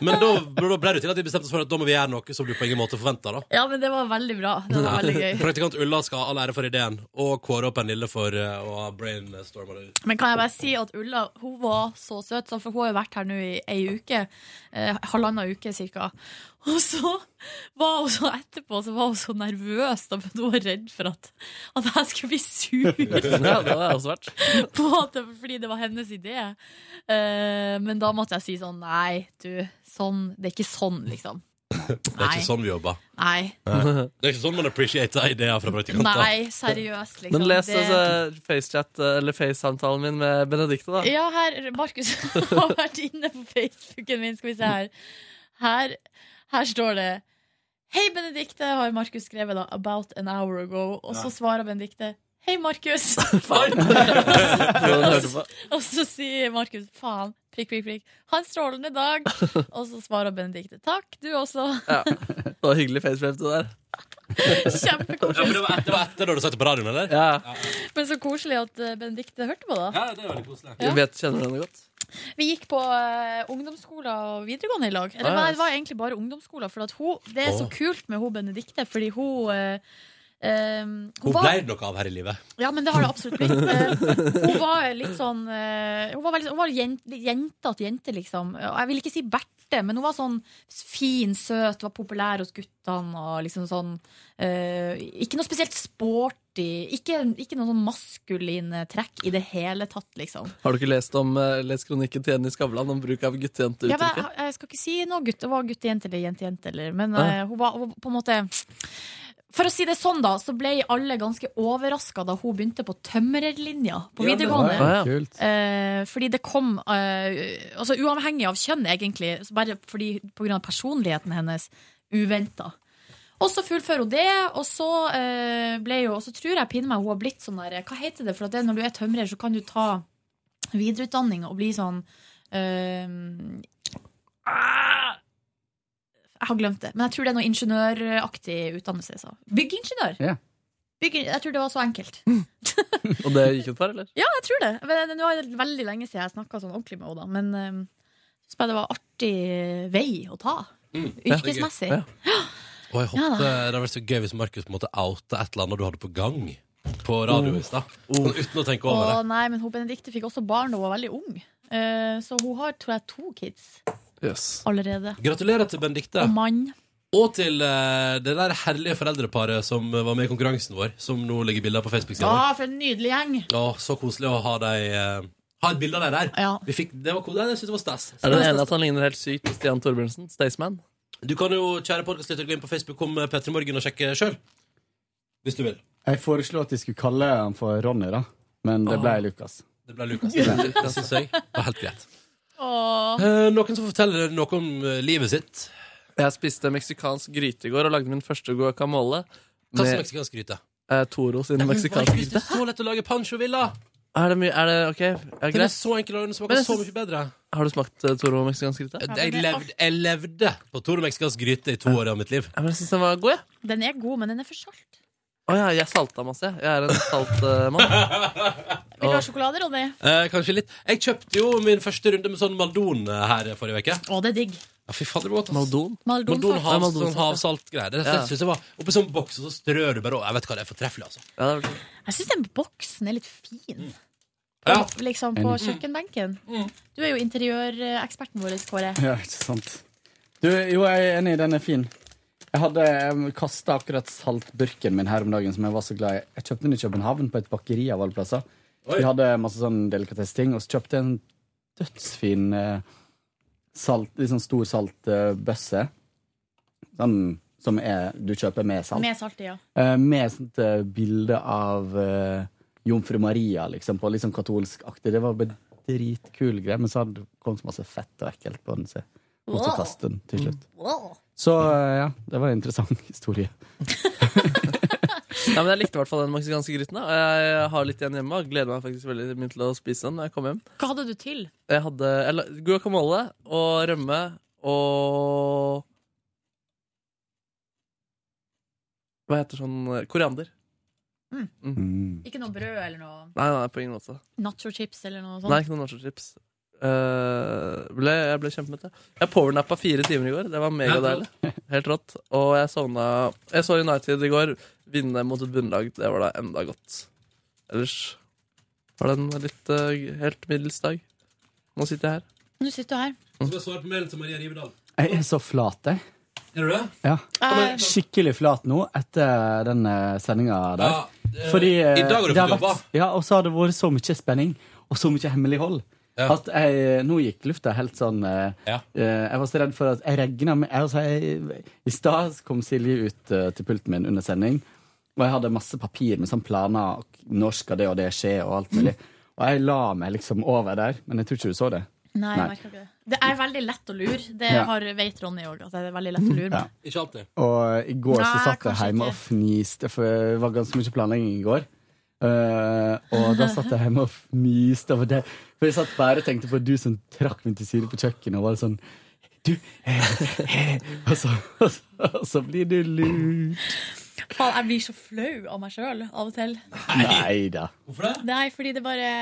Men da, da ble det til at vi bestemte oss for at da må vi gjøre noe som du på ingen måte forventa, da.
Ja, men det var veldig bra. Det var veldig gøy.
Praktikant Ulla skal ha all ære for ideen, og Kåre og Pernille for eh, å ha brainstorma det ut.
Men kan jeg bare si at Ulla hun var så søt, sånn, for hun har jo vært her nå i ei uke. Eh, Halvannen uke cirka. Og så var hun så etterpå så var hun så nervøs, da, for hun var redd for at, at jeg skulle bli sur.
(laughs) ja, det hadde jeg også vært.
på at det, fordi det var hennes idé. Eh, men da måtte jeg si sånn Nei, du, sånn, det er ikke sånn, liksom.
Det er ikke sånn vi jobber.
Nei.
Nei. Det er ikke sånn man appreciater ideer fra praktikanter.
Nei, seriøst, liksom.
Men les
Det-
altså, FaceChat, eller FaceSamtalen min med Benedicte, da.
Ja, her, Markus (laughs) har vært inne på Facebooken min. Skal vi se her. Her, her står det Hei, Benedikte, har Markus skrevet da, about an hour ago. Og så
Ja.
svarer Benedikte Hei, Markus. (laughs)
hun
og,
hørte på.
så, og så sier Markus faen. Prikk, prikk, prikk. Ha en strålende dag. Og så svarer Benedikte takk, du også. (laughs)
Ja. Det var hyggelig FacePrep, det der.
Ja, for det var etter, det var etter da du sa det på radioen, eller?
Ja.
Men så koselig at eh, Benedikte hørte på, da.
Ja, det var koselig.
Jeg vet, kjenner du henne godt?
Vi gikk på eh, ungdomsskoler og videregående i lag. Eller
Ah,
nei,
yes.
det var egentlig bare ungdomsskoler. For at hun, det er så
Åh.
kult med hun Benedikte, fordi hun eh, eh,
Hun
var-
ble det noe av her i livet.
Ja, men det har det absolutt blitt. Eh, hun var litt sånn eh, Hun var, veldig, sånn- hun var jente, jente til jente, liksom. Og Jeg vil ikke si Berthe, men hun var sånn fin, søt, var populær hos guttene og liksom sånn eh, Ikke noe spesielt sporty. Ikke, ikke noen sånn maskuline trekk i det hele tatt, liksom.
Har du ikke lest om eh, Les kronikken til Jenny Skavlan om bruk av
Ja, men
gutte-jente-uttrykket?
jeg, jeg skal ikke si noe gutt, hun var guttejente eller jentejente, eller, men
Ja.
eh, hun var hun, var på en måte For å si det sånn, da, så ble alle ganske overraska da hun begynte på tømrerlinja på
Ja, det var-
videregående.
Ja, ja. Kult.
Eh, fordi det kom eh, Altså uavhengig av kjønn, egentlig, så bare fordi, på grunn av personligheten hennes, uventa. Og så fullfører hun det, og så eh, ble jo Og så tror jeg pinne meg hun har blitt sånn der Hva heter det? For at det, når du er tømrer, så kan du ta videreutdanning og bli sånn eh, jeg har glemt det, men jeg tror det er noe ingeniøraktig utdannelse. Så. Byggingeniør.
Ja.
Bygge, jeg tror det var så enkelt.
Og det gikk hun for, eller?
Ja, jeg tror det. Men eh, Nå er det veldig lenge siden jeg snakka sånn ordentlig med henne, da. men ehm, jeg synes bare det var artig vei å ta. Yrkesmessig.
Ja. Og jeg
Ja,
håpte
da.
Det hadde vært så gøy hvis Markus på en måte outa et eller annet du hadde på gang på radio
Oh.
i stad. Sånn Uten å tenke
Å
over det.
nei, men hun Benedicte fikk også barn da hun var veldig ung. Eh, så hun har, tror jeg, to kids allerede.
Gratulerer til Benedicte.
Og mann.
Og til eh, det der herlige foreldreparet som eh, var med i konkurransen vår, som nå legger bilder på Facebook-sida
Ja,
vår.
Ah, for en nydelig gjeng.
Å, så koselig å ha deg eh, Ha et bilde av deg der. Vi fikk, det var koselig. Jeg synes det var stas.
Er du enig at han ligner helt sykt på Stian Torbjørnsen? Staysman?
Du kan jo, kjære podkastlytter, gå inn på Facebook om eh, P3 Morgen og sjekke sjøl. Hvis du vil.
Jeg foreslo at jeg skulle kalle han for Ronny, da. Men det ble Lukas.
Det ble Lukas. Det syns jeg var helt greit.
Åh.
Eh, noen som forteller noe om eh, livet sitt?
Jeg spiste meksikansk gryte i går og lagde min første guacamole.
Hva slags meksikansk gryte?
Eh, Toro sin meksikanske
Markus, det er så lett å lage pancho villa!
Er det mye Er det ok? Er det
Den er
greit?
så enkel, og den
Men
smaker
jeg
så
synes-
mye bedre.
Har du smakt eh, Toro meksikansk gryte?
Jeg levde, jeg levde på Toro meksikansk gryte i to år av mitt liv.
Ja, men jeg synes den var god, jeg.
Den er god, men den er for salt.
Å ja, jeg salta masse. jeg. Jeg er en saltmann. eh,
Vil du ha sjokolade, Ronny?
Eh, kanskje litt. Jeg kjøpte jo min første runde med sånn Maldon eh, her forrige uke.
Å, det er digg.
Ja, fy fader, det var godt. ass.
Maldon?
Maldon,
Maldonsalt.
hav,
Ja, Maldonsalt,
sånn havsaltgreier. Det, det,
Ja.
synes jeg var Oppi sånn boks, og så strør du bare over. Jeg vet hva det er fortreffelig, altså.
Ja,
Jeg syns den boksen er litt fin. På,
Ja.
Liksom på
Enig.
kjøkkenbenken. Du er jo interiøreksperten vår, Kåre.
Ja, ikke sant. Du, jo, jeg er enig, den er fin. Jeg hadde kasta Ehm, akkurat saltburken min her om dagen, som jeg var så glad i. Jeg kjøpte den i København, på et bakeri av alle plasser. Vi hadde masse sånn delikatesseting, og så kjøpte jeg en dødsfin eh, salt, litt sånn stor saltbøsse. Sånn som er, du kjøper med salt.
Med salt i, ja.
Eh, med sånt eh, bilde av eh, Jomfru Maria, liksom, på litt sånn katolskaktig. Det var bare dritkul greie, men så hadde kom det så masse fett og ekkelt på den, så jeg måtte
Wow.
kaste den til slutt.
Wow.
Så eh, ja, det var en interessant (laughs) historie.
Ja, men jeg likte i hvert fall den meksikanske gryten. da. Og Jeg eh, har litt igjen hjemme og gleder meg faktisk veldig mye til å spise den når jeg kommer hjem.
Hva hadde du til?
Jeg hadde jeg la- guacamole og rømme og Hva heter sånn eh, Koriander.
Mm.
Mm.
Ikke noe brød eller noe
Nei, nei, på ingen måte.
nacho chips eller noe sånt?
Nei, ikke noen nachochips. Uh, ble, jeg ble kjempemett. jeg. Jeg powernappa fire timer i går. Det var megadeilig. Helt rått. Og jeg sovna Jeg så United i går vinne mot et bunnlag. Det var da enda godt. Ellers var det en litt eh, helt middels dag. Nå sitter jeg her.
Nå sitter du her.
Så bare svare på mailen til Maria Rivedal.
Jeg er så flat, jeg.
Er du det?
Ja.
Eh.
Skikkelig flat nå etter den sendinga der.
Ja, eh,
Fordi eh,
i dag har du fått
det har
jobba.
vært- Ja, og så har det vært så mye spenning og så mye hemmelighold. At jeg, eh, nå gikk lufta helt sånn eh, eh, Jeg var så redd for at jeg regna med jeg, altså, jeg, I stad kom Silje ut eh, til pulten min under sending, og jeg hadde masse papir med sånn planer. og Når skal det og det skje, og alt mulig. Og jeg la meg liksom over der, men jeg tror ikke du så det.
Nei, jeg merker ikke det. Det er veldig lett å lure. Det
Ja.
har, vet Ronny òg, at det er veldig lett å lure
Ja.
meg.
Ikke alltid.
Og i går så
Nei,
satt jeg
kanskje
hjemme
ikke.
og fniste, for det var ganske mye planlegging i går. Eh, og da satt jeg hjemme og fniste over det. For jeg satt bare og tenkte på du som trakk meg til side på kjøkkenet og var sånn Du eh, eh, og, så, og, så, og så blir du lurt.
Faen, jeg blir så flau av meg sjøl av og til.
Nei da.
Nei, fordi det bare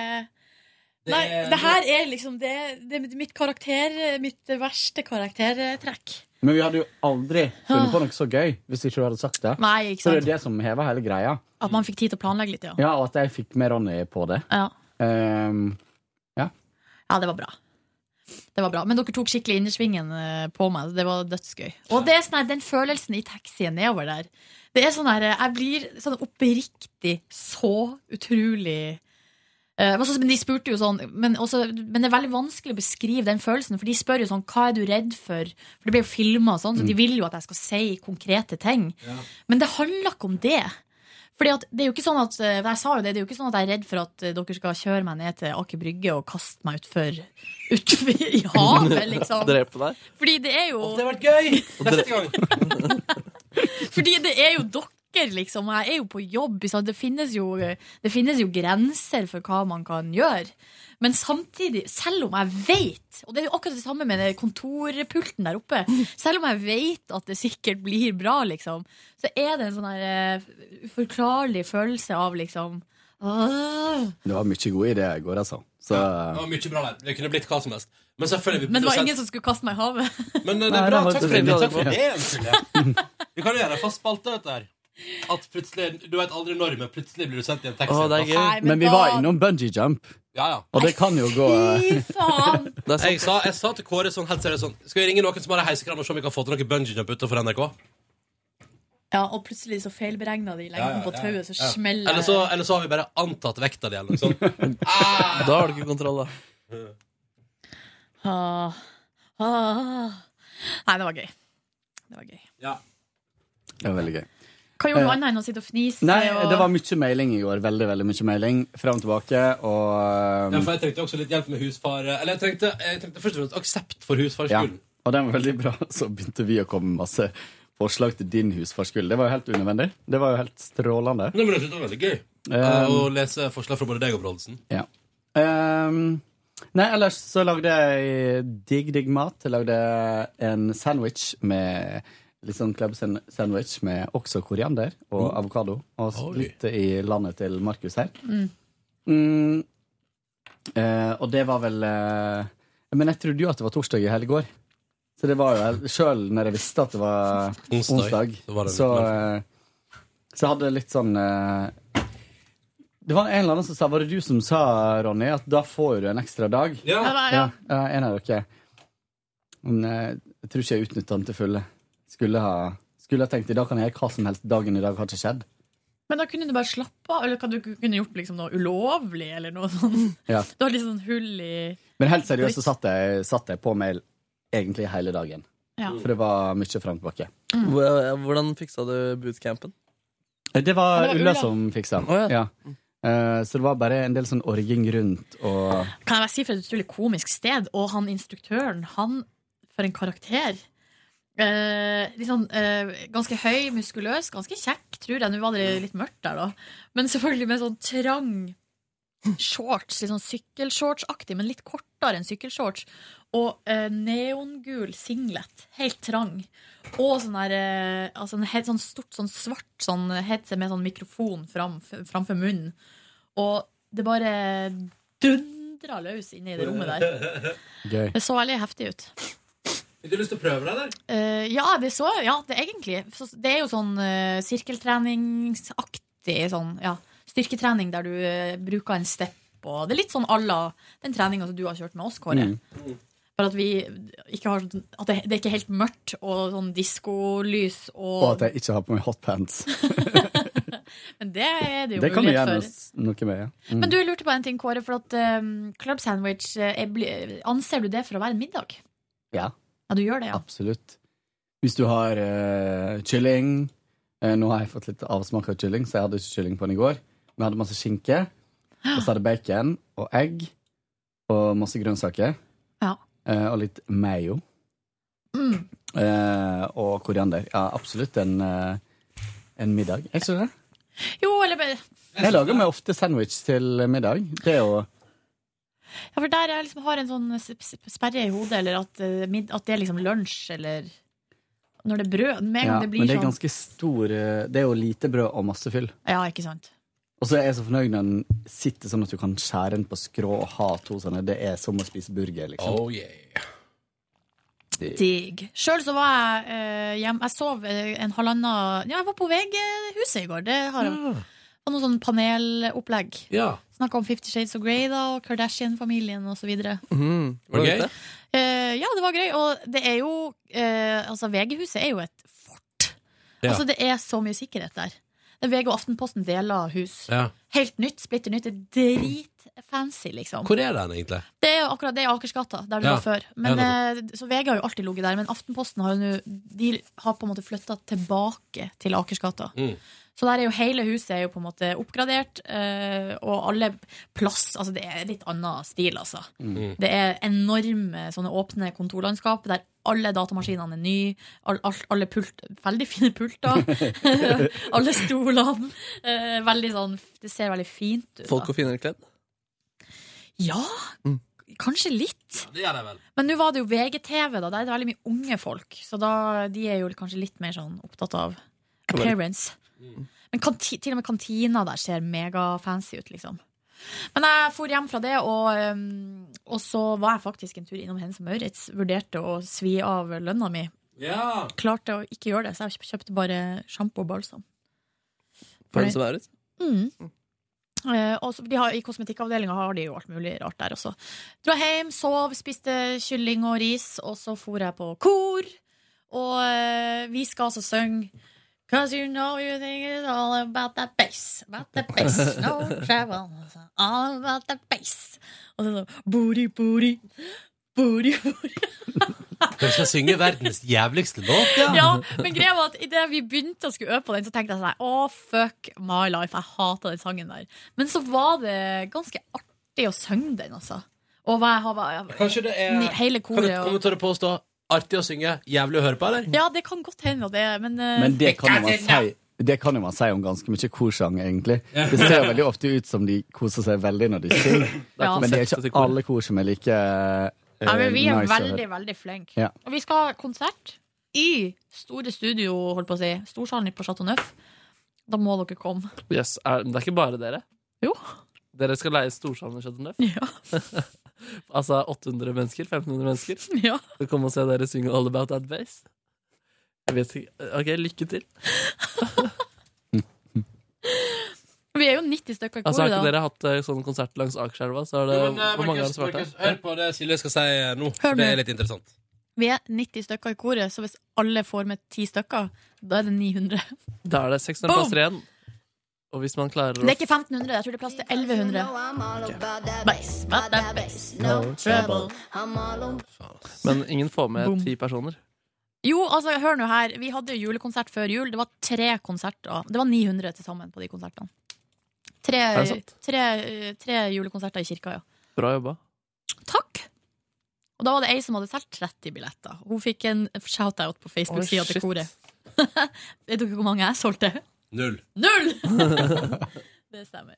Det
Nei,
er-
det her er liksom det, det er mitt karakter, mitt verste karaktertrekk.
Men vi hadde jo aldri funnet på noe så gøy hvis ikke du hadde sagt det.
Nei, ikke
Så det
sant.
er det som hever hele greia.
At man fikk tid til å planlegge litt, ja.
Ja, Og at jeg fikk med Ronny på det.
Ja.
Ehm, ja.
Ja, det var bra. Det var bra. Men dere tok skikkelig innersvingen eh, på meg. Det var dødsgøy. Og det er sånn her, den følelsen i taxien nedover der Det er sånn her, eh, Jeg blir sånn oppriktig så utrolig eh, men så- men de spurte jo sånn men, også, men det er veldig vanskelig å beskrive den følelsen. For de spør jo sånn Hva er du redd for? For det blir jo filma sånn, så
Mm.
de vil jo at jeg skal si konkrete ting. Men det handler ikke om det. Fordi at det er jo ikke sånn at eh, Jeg sa jo det, det er jo ikke sånn at jeg er redd for at eh, dere skal kjøre meg ned til Aker Brygge og kaste meg utfor ut (laughs) i havet,
(laughs)
liksom.
Drepe deg.
Fordi det er jo
Det har vært gøy! Neste gang.
Fordi det er jo dere, liksom. Jeg er jo på jobb. ikke sant? Det finnes, jo, det finnes jo grenser for hva man kan gjøre. Men samtidig, selv om jeg vet Og det er jo akkurat det samme med den kontorpulten der oppe. Selv om jeg vet at det sikkert blir bra, liksom, så er det en sånn her eh, uforklarlig følelse av liksom Åh.
Det var mye gode ideer i går, altså. Så
Det var mye bra der. Det kunne blitt hva som helst. Men selvfølgelig
Men det var ingen som skulle kaste meg i havet.
Men eh, det
Nei,
er bra.
det var-
Takk for det. Takk for det. Silje. Vi kan jo gjøre en fast spalte, dette her. At plutselig, Du vet aldri når, men plutselig blir du sendt i en taxi.
Å, det er gøy.
Nei,
eh, men,
men
vi
da-
var innom bungee jump,
Ja, ja.
og det kan jo gå
(laughs)
eh,
Fy faen!
Jeg sa, jeg sa til Kåre sånn, helt seriøst sånn Skal vi ringe noen som har en heisekran og se om vi kan få til noe bungee jump utenfor NRK?
Ja, og plutselig så feilberegna de lengden
Ja, ja,
på
ja,
tauet, så
ja.
smeller
Eller så, eller så har vi bare antatt vekta di, eller noe sånt. Ah!
Da har du ikke kontroll, da.
Ah, ah. Nei, det var gøy. Det var gøy.
Det var veldig gøy.
Hva gjorde du
Eh,
annet enn å sitte og fnise?
Nei,
og...
det var mye mailing i går. Veldig, veldig mye mailing. Fram og tilbake, og eh,
Ja, for jeg trengte også litt hjelp med husfar Eller jeg trengte, jeg trengte først og fremst aksept for husfarskolen.
Og den var veldig bra. (laughs) Så begynte vi å komme med masse forslag til din husfarskuld. Det var jo helt unødvendig. Det var jo helt strålende.
Nei, men jeg synes det var veldig gøy eh, å lese forslag fra både deg og Brodesen.
Ja. Ehm, nei, ellers så lagde jeg digg, digg mat. Jeg lagde en sandwich med litt sånn club san- sandwich med også koriander og avokado. Og s-
Oi.
litt i landet til Markus her.
Mm.
Mm. Eh, og det var vel eh, Men jeg trodde jo at det var torsdag i helga. Så det var jo sjøl når jeg visste at det var
Onsdag,
onsdag,
så var det
så,
litt
eh, så hadde jeg litt sånn eh, Det var en eller annen som sa Var det du som sa, Ronny, at da får du en ekstra dag?
Ja.
Ja, det var-
Ja,
ja.
ja, en av dere. Men eh, jeg tror ikke jeg utnytta den til fulle. Skulle ha, skulle ha tenkt i dag kan jeg gjøre hva som helst. Dagen i dag har ikke skjedd.
Men da kunne du bare slappe av, eller kan du kunne gjort liksom noe ulovlig, eller noe sånn.
Ja.
Du har litt sånn hull i
Men helt seriøst så satt jeg, satt jeg på mail egentlig hele dagen.
Ja.
For det var mye fram og tilbake.
Hvor- eh, Hvordan fiksa du bootcampen?
Eh, Det var,
Det var
Ulla
Ulla.
som fiksa.
Å,
ja. Eh, så det var bare en del sånn orging rundt og
Kan jeg bare si for et utrolig komisk sted, og han instruktøren, han for en karakter. Eh, litt sånn eh, ganske høy, muskuløs, ganske kjekk, tror jeg. Nå var det litt mørkt der, da. Men selvfølgelig med sånn trang shorts, litt sånn sykkelshortsaktig, men litt kortere enn sykkelshorts. Og eh, neongul singlet, helt trang. Og sånn der, eh, altså en helt sånn stort, sånn svart sånn headset med sånn mikrofon fram, framfor munnen. Og det bare dundra løs inne i det rommet
(laughs)
der.
Gøy.
Det så veldig heftig ut.
Har du lyst til å prøve deg der?
Eh, ja, det så ja, det egentlig. Så Det er jo sånn eh, sirkeltreningsaktig sånn, ja, styrketrening der du eh, bruker en step. Og det er litt sånn à la den treninga som du har kjørt med oss,
Mm.
Kåre. For at vi ikke har sånn- At det, det er ikke helt mørkt og sånn diskolys
Og
og (laughs)
at jeg ikke har på meg hotpants.
Men det er det jo
Det kan du
mulighet
gjerne
for.
s- noe med, ja. Mm.
Men du jeg lurte på en ting, Kåre. For at um, club sandwich eh, er, bli- Anser du det for å være en middag?
Ja,
Ja, du gjør det, ja.
absolutt. Hvis du har eh, kylling eh, Nå har jeg fått litt avsmak av kylling, så jeg hadde ikke kylling på den i går. Men jeg hadde masse skinke, og så hadde jeg bacon og egg og masse grønnsaker.
Ja.
Eh, og litt mayo.
Mm.
Eh, og koriander. Ja, absolutt en, eh, en middag. Er ikke det?
Jo, eller bare
Jeg lager meg ofte sandwich til middag. Det er jo
Ja, for der jeg liksom har en sånn sp- sp- sperre i hodet, eller at, eh, mid- at det er liksom lunsj, eller Når det er brød. Med en gang
ja,
det blir
Men det er
sånn.
ganske stor eh, Det er jo lite brød og masse fyll.
Ja, ikke sant.
Og så er jeg så fornøyd når den sitter sånn at du kan skjære den på skrå og ha to sånne. Det er som å spise burger, liksom.
Oh, yeah.
Digg. Sjøl så var jeg eh, hjemme Jeg sov eh, en halvannen Ja, jeg var på VG-huset i går. Det har jeg. Det var noe sånn panelopplegg.
Ja.
Snakka om Fifty Shades of Grey da, og Kardashian-familien osv.
Mm,
Var det gøy?
Uh, ja, det var gøy. Og det er jo eh, Altså, VG-huset er jo et fort.
Ja.
Altså, det er så mye sikkerhet der. Det er VG og Aftenposten deler hus.
Ja.
Helt nytt, splitter nytt. Det er dritfancy, liksom.
Hvor er den egentlig?
Det er jo akkurat det i Akersgata, der det
Ja.
var før. Men,
Ja,
eh, så VG har jo alltid ligget der, men Aftenposten har jo nå De har på en måte flytta tilbake til Akersgata. Så der er jo hele huset er jo på en måte oppgradert, eh, og alle plass Altså, det er litt annen stil, altså.
Mm.
Det er enorme sånne åpne kontorlandskap der alle datamaskinene er nye. All, all, alle pult, veldig fine pulter. alle stolene. eh, veldig sånn Det ser veldig fint ut. da.
Folk og finere kledd? Mm.
Ja, kanskje litt.
Det gjør de vel.
Men nå var det jo VGTV, da. Der er det veldig mye unge folk. Så da, de er jo kanskje litt mer sånn opptatt av
Kan være.
appearance. Men kanti, til og med kantina der ser megafancy ut, liksom. Men jeg for hjem fra det, og, um, og så var jeg faktisk en tur innom Hennes og Maurits. Vurderte å svi av lønna mi.
Ja.
Klarte å ikke gjøre det, så jeg kjøpte bare sjampo og balsam.
For den som er ut?
Mm. Eh, og så- de har, I kosmetikkavdelinga har de jo alt mulig rart der også. Dro hjem, sov, spiste kylling og ris, og så for jeg på kor. Og eh, vi skal altså synge Cause you know you think it's all about that bass, about that bass, no travel, it's all about that bass. Og så sånn booty, booty, booty, booty.
Du skal synge verdens jævligste låt, ja.
Ja, men greia var at idet vi begynte å skulle øve på den, så tenkte jeg sånn her, Å, fuck my life. Jeg hater den sangen der. Men så var det ganske artig å synge den, altså. Og hva jeg har
Kanskje det er
Ni- hele koret
Kan du,
og-
kan du tørre påstå artig å synge, jævlig å høre på, eller?
Ja, det kan godt hende at det er, men, eh,
Men det kan jo man si. Det kan jo man si om ganske mye korsang, egentlig.
Ja.
Det ser veldig ofte ut som de koser seg veldig
(laughs)
når de synger,
Ja.
men det er ikke alle kor som er like uh,
Nei, men vi er
nice å høre.
veldig, veldig flinke.
Ja.
Og vi skal ha konsert i store studio, holdt på å si. Storsalen på Chateau Neuf. Da må dere komme.
Yes, er, men det er ikke bare dere?
Jo.
Dere skal leie Storsalen i Chateauneuf? Ja. altså 800 mennesker? 1500 mennesker?
Ja.
Så kom og se dere synge All About That Bass? Jeg vet ikke. Ok, lykke til.
Vi er jo 90 stykker i koret,
Altså, Har ikke
da.
dere hatt eh, sånn konsert langs Akerselva? Så er det,
Jo, men, eh,
hvor mange har
Markus,
det vært
Markus,
der?
hør på det Silje skal si eh, nå.
Hør
Det
nå.
er litt interessant.
Vi er 90 stykker i koret, så hvis alle får med 10 stykker, da er det
(laughs)
900.
Da er det
Boom!
600 plasser igjen. Og hvis man klarer
Det er ikke 1500, jeg tror det er plass til 1100. Bass, about that bass, no trouble. I'm all on-
Men ingen får med ti personer.
Jo, altså, hør nå her. Vi hadde jo julekonsert før jul. Det var tre konserter. Det var 900 til sammen på de konsertene. Tre,
Er det sant?
tre, tre julekonserter i kirka, ja.
Bra jobba.
Og da var det ei som hadde solgt 30 billetter. Hun fikk en shout-out på Facebook-sida
Oi,
til
shit.
koret. (laughs) Vet dere hvor mange jeg solgte?
Null.
(laughs)
Null! det stemmer.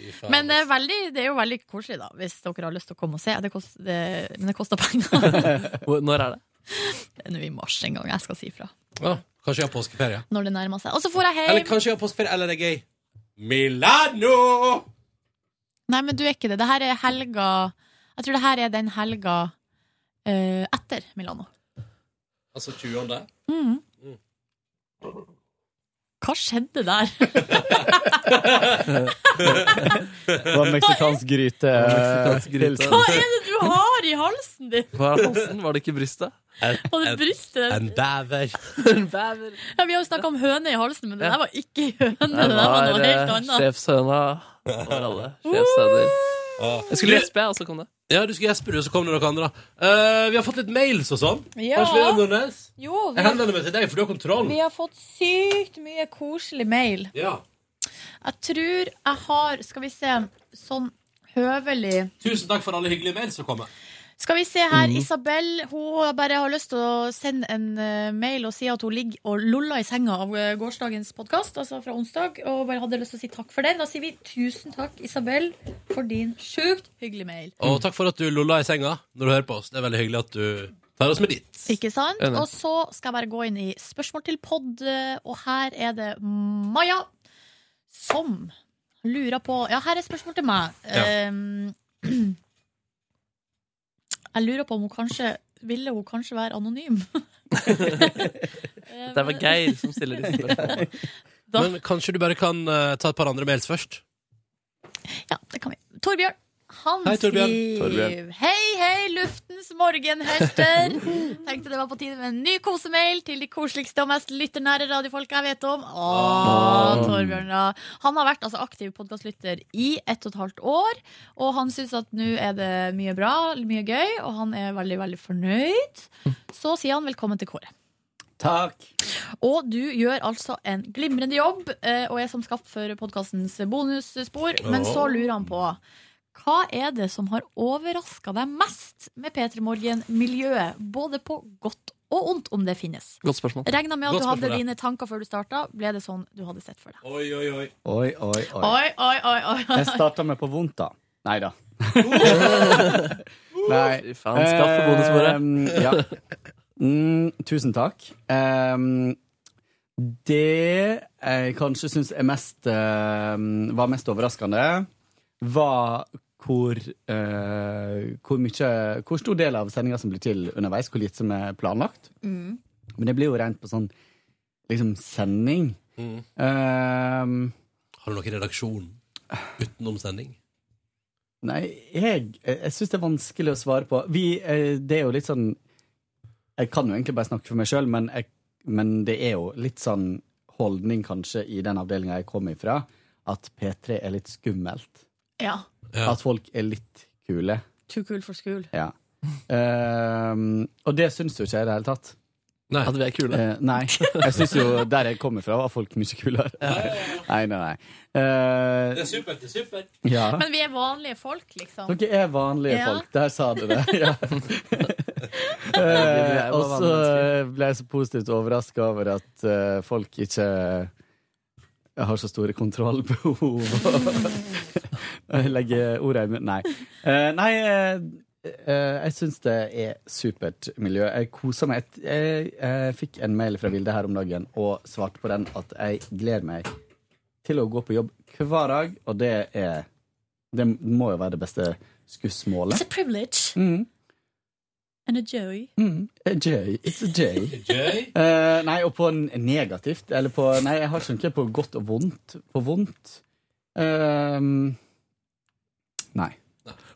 Fy faen.
Men det er, veldig, det er jo veldig koselig, da, hvis dere har lyst til å komme og se. Det kost, det, men det koster penger.
(laughs) Hvor- Når er det?
Det er nå i mars en gang. Jeg skal si fra
Ja, kanskje jeg har påskeferie.
når det nærmer seg. Og så får jeg
Eller
hjem.
kanskje jeg har påskeferie, eller det er gøy. Milano!
Nei, men du er ikke det. Det her er helga Jeg tror det her er den helga eh, etter Milano.
Altså 20.
Mm. Hva skjedde der? (laughs)
Det var meksikansk
(laughs)
gryte.
Meksikansk gryte.
Hva er det du har i halsen din?
Hva er halsen? Var det ikke brystet?
Og det brystet.
En bever.
Ja, vi har jo snakka om høne i halsen, men det der var ikke høne. Det
Det
der var
var
noe
eh,
helt annet.
sjefshøna over alle. Sjefshøner. Jeg skulle gjespe, jeg, og så kom det.
Ja, du skulle gjespe, du, og så kom det noen andre. Eh, vi har fått litt mails og sånn.
Ja.
Kanskje det er Nordnes?
Jo,
Jeg henvender meg til deg, for du har kontroll.
Vi har fått sykt mye koselig mail.
Ja.
Jeg tror jeg har Skal vi se. Sånn høvelig
Tusen takk for alle hyggelige mails som kommer.
Mm.
Skal vi se her.
Mhm.
Isabel hun bare har lyst til å sende en eh, mail og si at hun ligger og loller i senga av eh, gårsdagens podkast, altså fra onsdag, og bare hadde lyst til å si takk for den. Da sier vi tusen takk, Isabel, for din sjukt hyggelige mail.
Og takk for at du lolla i senga når du hører på oss. Det er veldig hyggelig at du tar oss med dit.
Ikke sant?
Enig.
Og så skal jeg bare gå inn i spørsmål til pod, og her er det Maja som lurer på Ja, her er spørsmål til meg.
Ja.
Um, jeg lurer på om hun kanskje Ville hun kanskje være anonym? (laughs)
Det var Geir som stiller disse spørsmålene.
Men kanskje du bare kan eh, ta et par andre mails først?
Torbjørn. Han
Hei, Torbjørn.
skriver
Torbjørn.
Hei, hei, luftens morgenhelter. Tenkte det var på tide med en ny kosemail til de koseligste og mest lytternære radiofolka jeg vet om. Åh,
Åh.
Torbjørn, ja. Han har vært altså, aktiv podkastlytter i ett og et halvt år, og han syns at nå er det mye bra, mye gøy, og han er veldig, veldig fornøyd. Så sier han velkommen til kåret.
Takk.
Og du gjør altså en glimrende jobb, eh, og er som skapt for podkastens bonusspor. Men så lurer han på hva er det som har overraska deg mest med P3 Morgen-miljøet? Både på godt og ondt, om det finnes.
Godt spørsmål.
Regna med at
Godt
du hadde
spørsmål, ja.
dine tanker før du starta. Ble det sånn du hadde sett for deg?
Oi, oi, oi.
Oi, oi,
Oi,
oi.
oi, oi, oi, oi.
(laughs) Jeg starta med på vondt, da. Nei
(laughs)
da.
Fy faen, skaff for bonusbordet.
Eh, ja. mm, tusen takk. Em, det jeg kanskje syns er mest em, var mest overraskende, var hvor, eh, hvor mye Hvor stor del av sendinga som blir til underveis, hvor lite som er planlagt.
Mm.
Men det blir jo rent på sånn liksom sending.
Mm.
Ehm,
Har du noe i redaksjonen utenom
(laughs)
sending?
Nei, jeg, jeg syns det er vanskelig å svare på. Vi, eh, det er jo litt sånn Jeg kan jo egentlig bare snakke for meg sjøl, men, jeg- men det er jo litt sånn holdning, kanskje, i den avdelinga jeg kom ifra, at P3 er litt skummelt.
Ja.
At folk er litt kule.
Too cool for school.
Ja. Ehm, og det syns jo ikke jeg i det hele tatt.
Nei.
At vi er kule.
Eh, nei. Jeg syns jo der jeg kommer fra, var folk mye kulere. Nei, nei, nei. Eh,
Det er supert, det er supert.
ja.
Men vi er vanlige folk, liksom.
Dere er vanlige
Ja.
folk. Der sa du det. Ja.
er
Eh,
jo
og
bare
så ble jeg så positivt overraska over at eh, folk ikke har så store kontrollbehov. (laughs) Jeg Legger orda i munnen Nei. Eh, nei, eh, eh, jeg syns det er supert miljø. Jeg koser meg. Jeg, jeg fikk en mail fra Vilde her om dagen og svarte på den at jeg gleder meg til å gå på jobb hver dag, og det er Det må jo være det beste skussmålet.
It's a privilege
Mm.
and a joy.
A J. It's a J.
J?
Eh, nei, og på n- negativt Eller på Nei, jeg har ikke noe på godt og vondt. På vondt Ehm, Nei.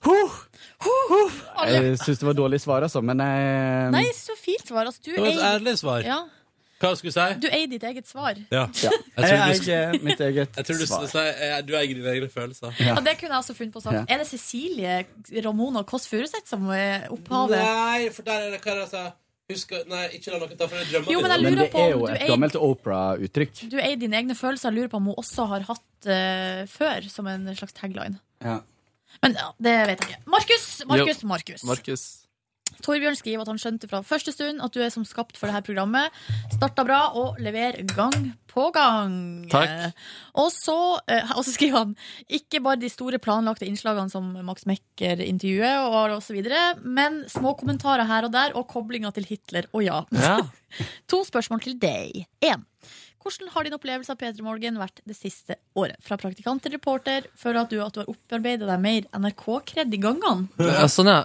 Huh!
Alle.
Jeg syns det var dårlig svar, altså, men jeg
Nei, så fint svar. Altså, du
Det var et
eier-
ærlig
eh,
svar.
Ja.
Hva skulle du si?
Du eier ditt eget svar.
Ja.
(laughs)
Jeg eier mitt eget
jeg tror du
svar.
skulle si, eh, Du eier dine egne følelser.
Og det kunne jeg også funnet på å sagt.
Ja.
Er det Cecilie Ramona Kåss Furuseth som er opphavet?
Nei, for der er det hva er det jeg sa. Husk, å- nei, ikke la noen ta for deg drømmene
Jo, men jeg
dine.
lurer
det
på om
er jo
du
et
eier-
gammelt Opera-uttrykk.
Du eier dine egne følelser. Jeg lurer på om hun også har hatt eh, før, som en slags tagline.
Ja.
Men ja, det vet jeg ikke. Markus! Markus, Markus.
Markus.
Torbjørn skriver at han skjønte fra første stund at du er som skapt for det her programmet. Starta bra og lever gang på gang.
Takk.
Og så, eh, og så skriver han ikke bare de store planlagte innslagene som Max Mekker-intervjuet og, og så videre, men små kommentarer (laughs) her og der og koblinga til Hitler. Og ja.
Ja.
To spørsmål til deg. En. Hvordan har din opplevelse av P3 Morgen vært det siste året? Fra praktikant til reporter, føler at du at du har opparbeidet deg mer NRK-kred i gangene?
Ja, sånn, ja.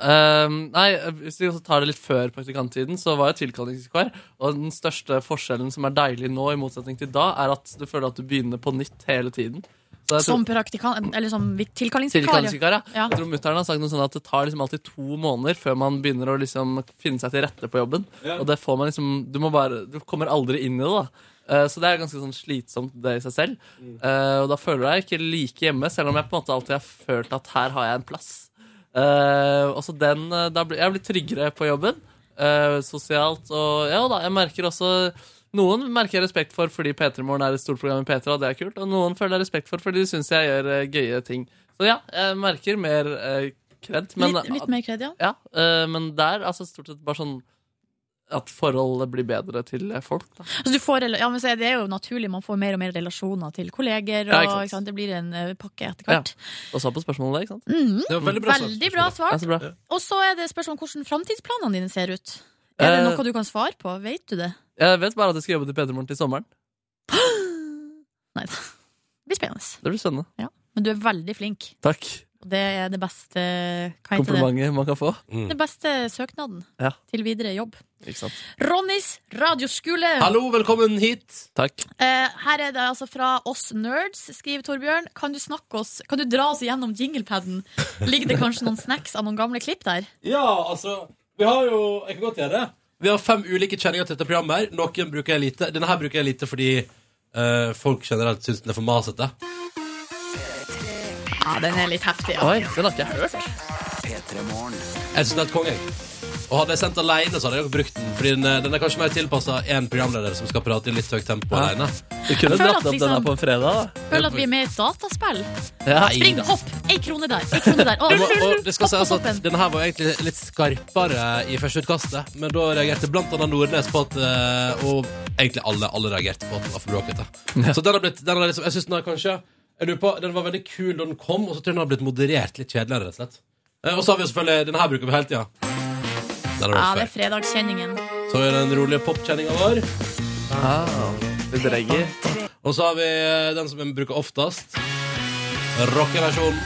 Ehm, nei, hvis vi også tar det litt før praktikanttiden, så var jeg tilkallingsvikar. Og den største forskjellen som er deilig nå, i motsetning til da, er at du føler at du begynner på nytt hele tiden. Så jeg tror-
Som praktikant, eller som vi- tilkallingsvikar?
Altså- Tilkallingsvikar, ja.
ja.
Jeg tror mutteren har sagt noe sånn at det tar liksom alltid to måneder før man begynner å liksom finne seg til rette på jobben.
Ja.
Og det får man liksom du, må bare, du kommer aldri inn i det, da. Eh, Så det er ganske sånn slitsomt det i seg selv. Eh, Og da føler jeg ikke like hjemme, selv om jeg på en måte alltid har følt at her har jeg en plass. Eh, og så den, eh, da blir, Jeg blir tryggere på jobben, eh, sosialt. Og ja da, jeg merker også Noen merker jeg respekt for fordi P3 Morgen er et stort program i P3, og det er kult. Og noen føler jeg respekt for fordi de syns jeg gjør eh, gøye ting. Så ja, jeg merker mer eh, kred. Men,
litt, litt mer kred, ja.
Ja, eh, men der altså stort sett bare sånn at forholdet blir bedre til eh, folk. Da.
Altså, du får, rela- ja men så er det er jo naturlig, man får mer og mer relasjoner til kolleger. Og,
Ja, ikke sant.
ikke sant? Det blir en eh, pakke etter
Ja.
hvert.
Og så på spørsmålet, ikke sant?
Mhm.
Det var veldig bra svart.
Veldig bra
Ja,
svart.
så bra.
Og så er det spørsmål om hvordan framtidsplanene dine ser ut. Er det
Eh,
noe du kan svare på? Vet du det?
Jeg vet bare at jeg skal jobbe til P3 Morgen til sommeren.
Nei da. Det blir spennende.
Det blir spennende.
Ja. Men du er veldig flink,
Takk.
og det er det beste hva heter det?
Komplimentet man kan få.
Det beste søknaden
Ja,
til videre jobb.
ikke sant.
Ronnys radioskole!
Hallo, velkommen hit.
Takk.
Eh, her er det altså fra oss nerds, skriver Torbjørn. Kan du snakke oss Kan du dra oss gjennom jinglepaden? Ligger det kanskje noen snacks av noen gamle klipp der?
Ja, altså Vi har jo Jeg kan godt gjøre det. Vi har fem ulike kjenninger til dette programmet. her Noen bruker jeg lite. Denne her bruker jeg lite fordi eh, folk generelt syns den er for masete.
Ja, den er litt heftig. Ja.
Oi, den har ikke jeg hørt. Jeg syns den er helt konge. jeg. Og hadde jeg sendt alene, så hadde jeg nok brukt den. Fordi den, er- den er kanskje mer tilpassa én programleder som skal prate i litt høyt tempo alene.
Du kunne
Jeg føler dratt at opp den liksom- her på
en fredag,
Føler at vi er med i et dataspill.
Ja.
Spring, hopp! Ei krone der, ei krone der.
Det må-
Å,
og det skal sies at Denne her var egentlig litt skarpere i første utkastet, men da reagerte blant annet Nordnes på at eh, Og egentlig alle, alle reagerte på at den var for bråkete. Så den har blitt den har liksom, Jeg syns den har kanskje jeg lurer på, Den var veldig kul da den kom, og så tror jeg den har blitt moderert litt kjedeligere, rett og slett. Eh, Og så har vi jo selvfølgelig Denne her bruker vi hele tida. Den har vi
Ja,
hørt før.
det er fredagskjenningen.
Så er den rolige popkjenninga vår.
Ah, Litt reggae.
Og så har vi eh, den som vi bruker oftest. Rockeversjonen.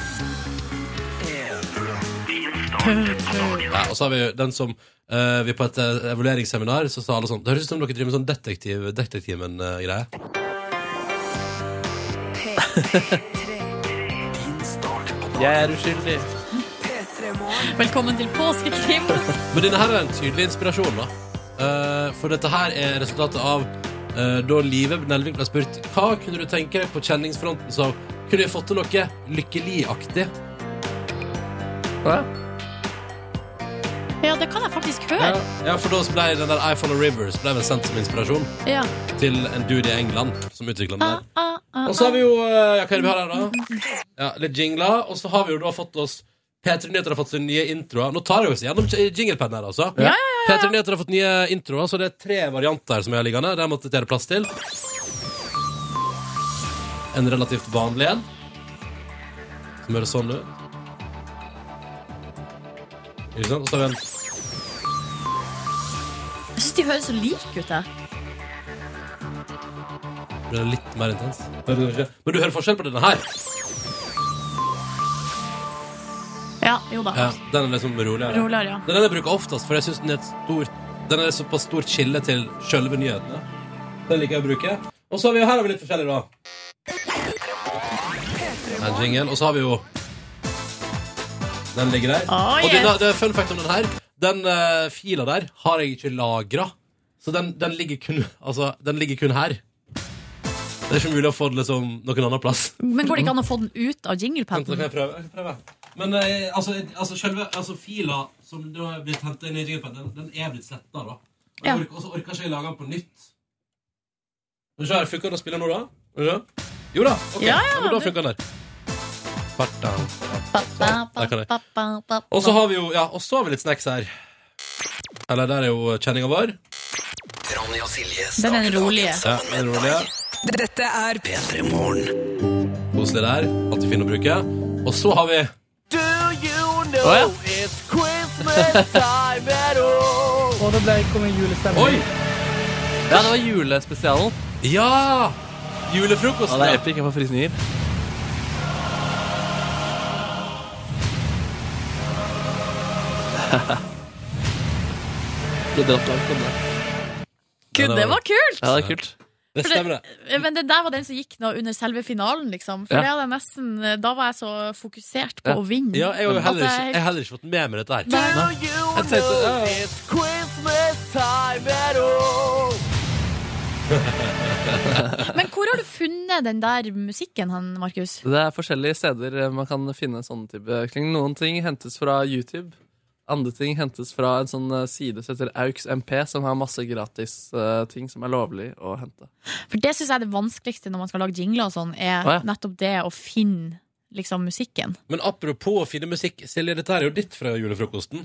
Ja, og så har vi jo den som eh, vi på et eh, evalueringsseminar så sa alle sånn Det høres ut som dere driver med sånn detektiv, eh, Detektimen-greie.
Jeg er uskyldig.
Velkommen til påskekrim.
Men denne her er en tydelig inspirasjon, da. Eh, for dette her er resultatet av eh, da Live Nelvik ble spurt hva kunne du tenke deg på kjenningsfronten som kunne vi fått til noe lykkelig-aktig.
Ja, det kan jeg faktisk høre.
Ja, for da ble den der iPhone og Rivers ble vel sendt som inspirasjon
Ja.
til en dude i England som utvikla den der.
Ah, ah,
Og så har vi
ah.
jo eh, ja, Hva er det vi har her, da? Ja, litt jingler. Og så har vi jo da fått oss P3 Nyheter har fått sine nye introer. Nå tar jeg oss gjennom jinglepennen her, altså.
Ja, ja,
P3 Nyheter har fått nye introer, så det er tre varianter som er liggende. Der måtte det være plass til. En relativt vanlig en. Som høres sånn ut. Ikke sant? Og så har vi en
Jeg syns de høres så like ut, jeg.
Det er litt mer intens. Hører du ikke? Men du hører forskjell på denne her.
Ja, jo da.
Ja, den er liksom roligere.
Roligere, ja.
Det er Den jeg bruker oftest, for jeg synes den er et stort Den er et såpass stort skille til sjølve nyhetene. Den liker jeg å bruke. Og så har vi her har vi litt forskjellig, da. Den jingle. Og så har vi jo Den ligger der.
Oh,
Og
yes.
denne, det er fun fact om den her. Den eh, fila der har jeg ikke lagra. Så den, den, ligger kun, altså, den ligger kun her. Det er ikke mulig å få det liksom noen annen plass.
Men går det ikke an å få den ut av
Vent, da kan
jinglepaden?
jeg prøve. Jeg kan prøve. Men eh, altså, eh, altså selve altså, fila som da er blitt hentet inn i jinglepaden, den, den er blitt sletta, da. Og jeg
Ja.
orker- Og så orker ikke jeg lage den på nytt. Skal vi se her, Funker den å spille nå, da? Skal vi se. Jo da. ok.
Ja, ja,
men da
det-
funker den der. Barta.
Ba, ba, ba,
Der kan jeg.
ba, ba, ba.
Og så har vi jo Ja, og så har vi litt snacks her. Eller der er jo kjenninga vår.
Ronny og Silje
Den er den rolige.
Ja, den rolige.
Dette er
P3 Morgen.
Koselig der. Alltid fin å bruke. Og så har vi
Do you know
Å, ja.
it's Christmas time at all?
Og det ble, kom en julestemning. Oi! Ja, det var julespesialen.
Ja! Julefrokosten.
Ja, det er epic. Jeg får frysninger. Ble dratt langt om (laughs) det.
Gud, det var kult!
Ja, det er kult.
For Men det der var den som gikk nå under selve finalen, liksom. For
Ja.
det hadde jeg nesten, eh, da var jeg så fokusert på
Ja.
å vinne.
Ja, jeg har jo
at
heller ikke,
jeg-
jeg har heller ikke fått med meg dette her.
Nei.
Jeg tenkte, ja.
Men hvor har du funnet den der musikken, han, Markus?
Det er forskjellige steder eh, man kan finne sånne type kling. Noen ting hentes fra YouTube. Andre ting hentes fra en sånn eh, side som heter AUX MP, som har masse gratis eh, ting som er lovlig å hente.
For det syns jeg er det vanskeligste når man skal lage jingler og sånn, er
Å, ja.
nettopp det å finne liksom musikken.
Men apropos å finne musikk, Silje, dette her er jo ditt fra julefrokosten.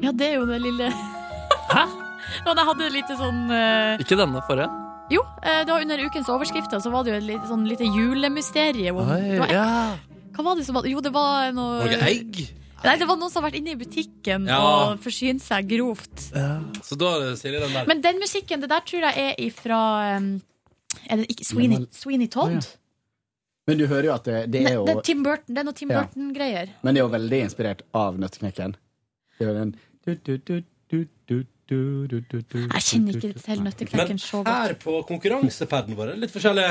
Ja, det er jo det lille Hæ? (laughs) Og jeg hadde litt sånn eh,
Ikke denne forrige.
Jo, eh, det var under ukens overskrifter så var det jo et lite, sånn, lite julemysterium. om-
Oi,
det var,
ja.
Hva var det som var Jo, det var noe
Var det ikke egg?
Nei, det var noen som har vært inne i butikken
Ja.
og forsynt seg grovt.
Så da er det Silje den der.
Men den musikken, det der tror jeg er ifra um, Er det ikke Sweeney, Sweeney Todd?
Men du hører jo at det, det
Nei,
er jo
det er Tim Burton, det er noe Tim
Ja.
Burton-greier.
Men det er jo veldig inspirert av Nøtteknekkeren. Det er jo den Jeg
Jeg kjenner ikke til
Men
Nøtteknekken så
her
godt.
på konkurransepaden vår er det litt forskjellig.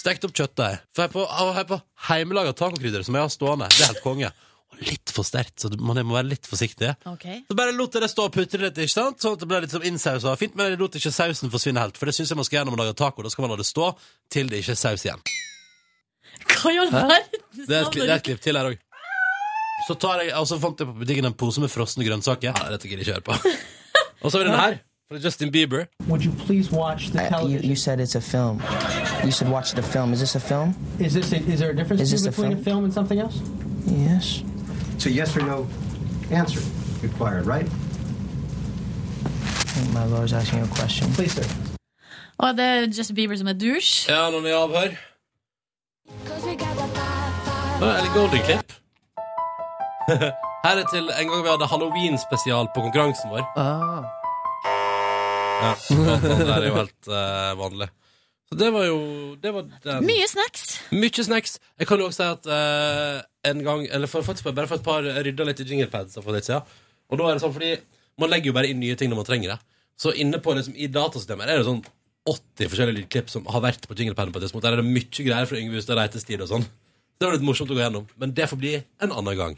Stekt opp kjøttdeig. For jeg er på, jeg er på heimelaga tacokrydder som jeg har stående. Det er helt konge. Og litt for sterkt, så man må være litt forsiktig.
Ok.
Så bare lot jeg det stå og putre litt, ikke sant? Sånn at det ble litt sånn innsausa og fint, men jeg lot ikke sausen forsvinne helt. For det syns jeg man skal gjøre når man lager taco. Da skal man la det stå til det ikke er saus igjen.
Hva i all
Hæ?
verden?
Det er et, kli- det er et klipp til her òg. Så tar jeg, og så fant jeg på butikken en pose med frosne grønnsaker. Nei, dette gidder jeg ikke høre på. (laughs) Og så har vi den her, fra Justin Bieber.
Would you please watch the
Uh, you,
television?
you said it's a film. You should watch the film. Is this a film?
Is this a, is there a difference
Is this a
between a
film?
film and something else?
Yes.
So yes or no answer required, right?
My lawyer's asking you a question.
Please, sir.
Og det er Justin Bieber som er douche.
Ja, noen i avhør. Nå er det Golden Clip. (laughs) Her er til en gang vi hadde Halloween-spesial på konkurransen vår. Ja, det er jo helt eh, vanlig. Så det var jo det var den.
Mye snacks.
Mye snacks. Jeg kan jo også si at eh, en gang Eller for, faktisk bare for et par jeg rydda litt i jinglepads for litt siden. Og da er det sånn fordi man legger jo bare inn nye ting når man trenger det. Så inne på liksom, i datasystemet er det sånn 80 forskjellige lydklipp som har vært på jinglepaden på et tidspunkt. Der er det mye greier fra Yngve Hustad Reites tid og sånn. Det var litt morsomt å gå gjennom, men det får bli en annen gang.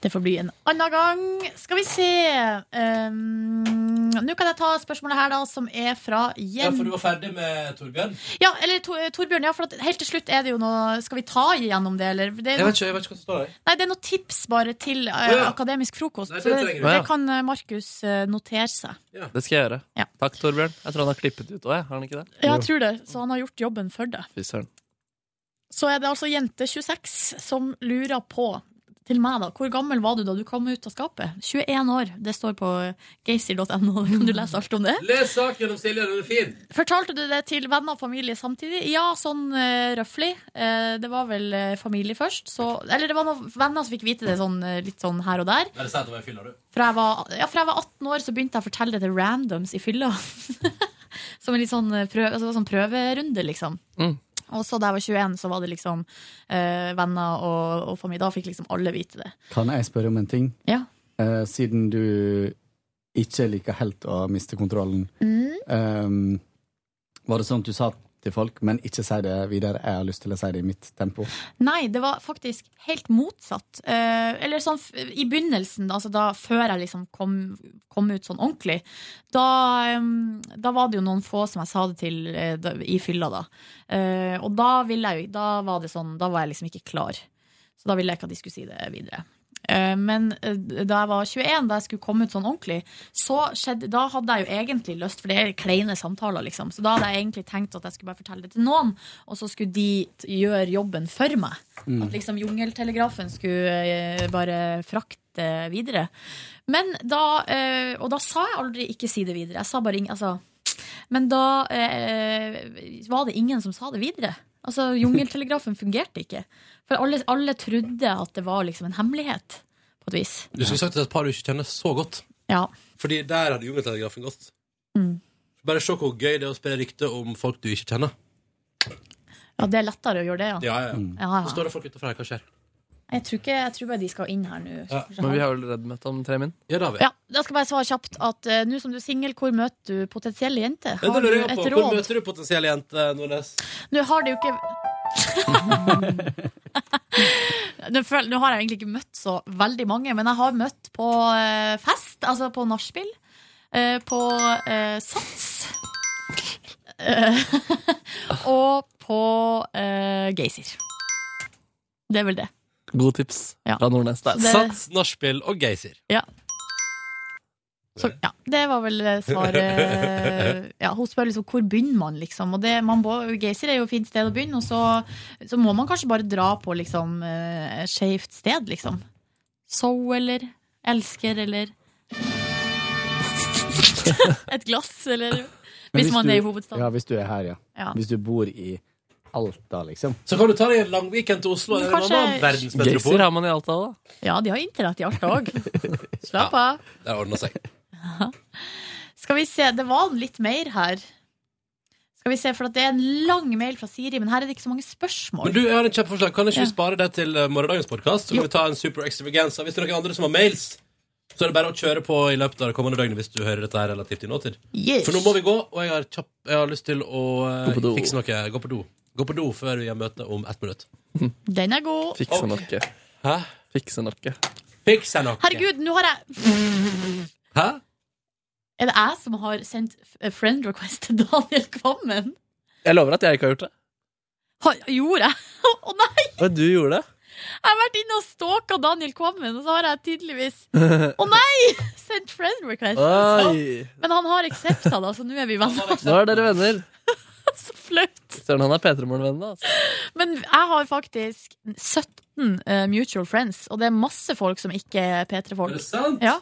Det får bli en annen gang. Skal vi se um, Nå kan jeg ta spørsmålet her, da, som er fra
Ja,
Jen...
for du var ferdig med Torbjørn?
Ja, eller Tor- eh, Torbjørn, ja, for at helt til slutt er det jo noe Skal vi ta igjennom det, eller? Det er
Jeg
noe,
vet ikke, jeg vet ikke hva som står der.
nei, det er noe tips bare til eh,
Å, ja.
akademisk frokost.
Nei, det
så det,
trenger du.
det
Ja.
kan eh, Markus eh, notere seg. Ja.
Det skal jeg gjøre.
Ja.
Takk, Torbjørn. Jeg tror han har klippet ut òg, har han ikke det?
jeg tror det. Så han har gjort jobben for det.
Fy søren.
Så er det altså jente26 som lurer på til meg da, Hvor gammel var du da du kom ut av skapet? 21 år. Det står på geysir.no. Kan du lese alt om det?
Les saken om Silje, den er fin.
Fortalte du det til venner og familie samtidig? Ja, sånn uh, røffelig. Eh, det var vel eh, familie først. Så, eller det var noen venner som fikk vite det sånn, eh, litt sånn her og der.
Bare si at det var en fylla, du.
Fra jeg, var, ja, fra jeg var 18 år, så begynte jeg å fortelle det til randoms i fylla. (laughs) Som en litt sånn, eh, prøv, altså, sånn prøverunde, liksom.
Mm.
Og så da jeg var 21, så var det liksom eh, venner og, og familie. Da fikk liksom alle vite det.
Kan jeg spørre om en ting?
Ja.
Eh, siden du ikke liker helt å miste kontrollen,
Mm.
ehm, var det sånn at du sa til folk, men ikke si det videre, jeg har lyst til å si det i mitt tempo?
Nei, det var faktisk helt motsatt. Eh, eller sånn f- i begynnelsen, altså da før jeg liksom kom, kom ut sånn ordentlig, da, em, da var det jo noen få som jeg sa det til eh, da, i fylla, da. Eh, og da ville jeg jo Da var det sånn, da var jeg liksom ikke klar. Så da ville jeg ikke at de skulle si det videre. Eh, Men eh, da jeg var 21, da jeg skulle komme ut sånn ordentlig, så skjedde, da hadde jeg jo egentlig lyst, for det er kleine samtaler, liksom. Så da hadde jeg egentlig tenkt at jeg skulle bare fortelle det til noen, og så skulle de t- gjøre jobben for meg.
Mm.
At liksom jungeltelegrafen skulle eh, bare frakte videre. Men da, eh, og da sa jeg aldri 'ikke si det videre'. Jeg sa bare ing- altså, Men da eh, var det ingen som sa det videre. Altså, Jungeltelegrafen fungerte ikke. For alle, alle trodde at det var liksom en hemmelighet, på et vis.
Du skulle sagt det til et par du ikke kjenner så godt.
Ja.
Fordi der hadde jungeltelegrafen gått.
Mm.
Bare se hvor gøy det er å spre rykter om folk du ikke kjenner.
Ja, det er lettere å gjøre det, ja.
Ja, ja,
Ja, ja.
Så står det folk utenfor her, hva skjer?
Jeg tror, ikke, jeg tror bare de skal inn her nå.
Men vi har vel Redmet om tre min?
Ja, det har
Ja, da skal jeg bare svare kjapt at eh, nå som du er singel, hvor møter du potensielle jenter?
Det
Har du
lurer jeg
et
på. Hvor
råd?
møter du potensielle jenter, Nordnes?
Nå har det jo ikke (laughs) nå, føl- nå har jeg egentlig ikke møtt så veldig mange, men jeg har møtt på eh, fest, altså på nachspiel, eh, på eh, Sats eh, (laughs) og på uh, Geysir. Det er vel det.
Gode tips fra Nordnes
Så
der.
det-
Sats, nachspiel og geysir.
Ja. Så, ja, det var vel eh,
(laughs)
svaret ja, Hun spør liksom hvor begynner man, liksom. Og det, man må, Geysir er jo et fint sted å begynne, og så, så må man kanskje bare dra på liksom eh, skeivt sted, liksom. So eller elsker eller (laughs) Et glass eller
Men
Hvis, man er i
Ja,
hovedstaden.
hvis du er her, ja.
Ja.
Hvis du bor i Alta, liksom.
Så kan du ta deg en lang weekend til Oslo.
Men
eller en
kanskje-
annen verdensmetropol.
Geysir har man i Alta òg, da.
Ja, de har internett i Alta òg.
(laughs)
Slapp av.
Det ordner seg.
Skal vi se, det var litt mer her. Skal vi se, for at det er en lang mail fra Siri, men her er det ikke så mange spørsmål.
Men du, jeg har et kjempeforslag. Kan ikke
Ja.
vi spare det til eh, morgendagens podkast? Så kan vi ta en super extravaganza. Hvis det er noen andre som har mails, så er det bare å kjøre på i løpet av det kommende døgnet hvis du hører dette her relativt i nåtid.
Yes.
For nå må vi gå, og jeg har, kjapp, jeg har lyst til å eh,
Gå på do.
fikse noe. Gå på do. Gå på do før vi har møte om ett minutt.
Den er god.
Fikse noe.
Hæ?
Fikse noe.
Fikse noe.
Herregud, nå har jeg
Hæ?
Er det jeg som har sendt f- eh, friend request til Daniel Kvammen?
Jeg lover at jeg ikke har gjort det.
Har, gjorde jeg? (laughs) Å nei!
Men du gjorde det.
Jeg har vært inne og stalka Daniel Kvammen, og så har jeg
(laughs)
tydeligvis Å nei! Sendt friend request.
Oi.
Men han har aksepta det, så nå er vi venner.
Nå er dere venner.
Så (laughs) flaut.
Søren, han er P3morgen-venn, da. Altså.
Men jeg har faktisk 17 eh, mutual friends, og det er masse folk som ikke er P3-folk.
Er det sant?
Ja.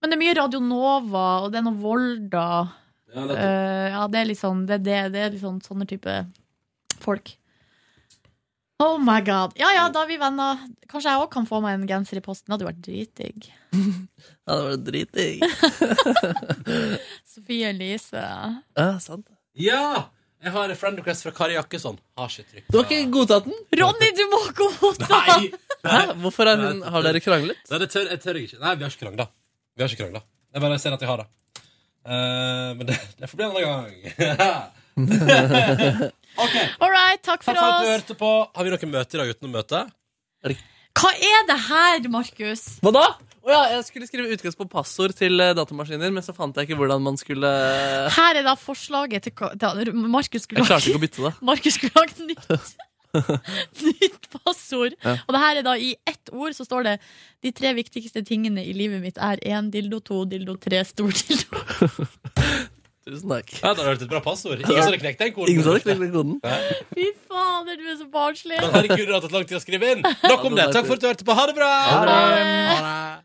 Men det er mye Radio Nova, og det er noe Volda.
Ja, nettopp.
Eh, ja, det er litt sånn det, det, det er litt sånn sånne type folk. Oh my god. Ja ja, da er vi venner. Kanskje jeg òg kan få meg en genser i posten. Det hadde jo vært dritdigg.
Ja, det var dritdigg.
Sofie Elise.
Ja, sant.
Ja! Jeg har en friend request fra Kari Jakkesson. Har ikke trykk.
Du har ikke godtatt den?
Ronny, du må godta!
Nei!
Hæ? Hvorfor er hun, har dere kranglet?
Nei, det tør, jeg tør ikke. Nei, vi har ikke krangla. Vi har ikke krangla. Jeg bare ser at jeg har det. Eh, men det, det får bli en (laughs) annen gang. OK.
All right, takk for
Takk for at du
oss.
hørte på. Har vi noe møte i dag utenom møte?
Hva er det her, Markus?
Hva da? Å ja, jeg skulle skrive utkast på passord til eh, datamaskiner, men så fant jeg ikke hvordan man skulle
Her er da forslaget til, hva- til Markus skulle
Jeg klarte ikke å bytte det.
Markus skulle lagd nytt, nytt passord.
Ja.
Og det her er da i ett ord, så står det De tre viktigste tingene i livet mitt er én dildo, to dildo, tre stor dildo.
Tusen takk.
Ja, det hadde vært et bra passord. Ingen som hadde knekt den koden.
Ingen som hadde knekt den koden.
(laughs) Fy fader, du er så barnslig.
Men herregud, det har tatt lang tid å skrive inn. Nok om det. Takk for at du hørte på. Ha det bra!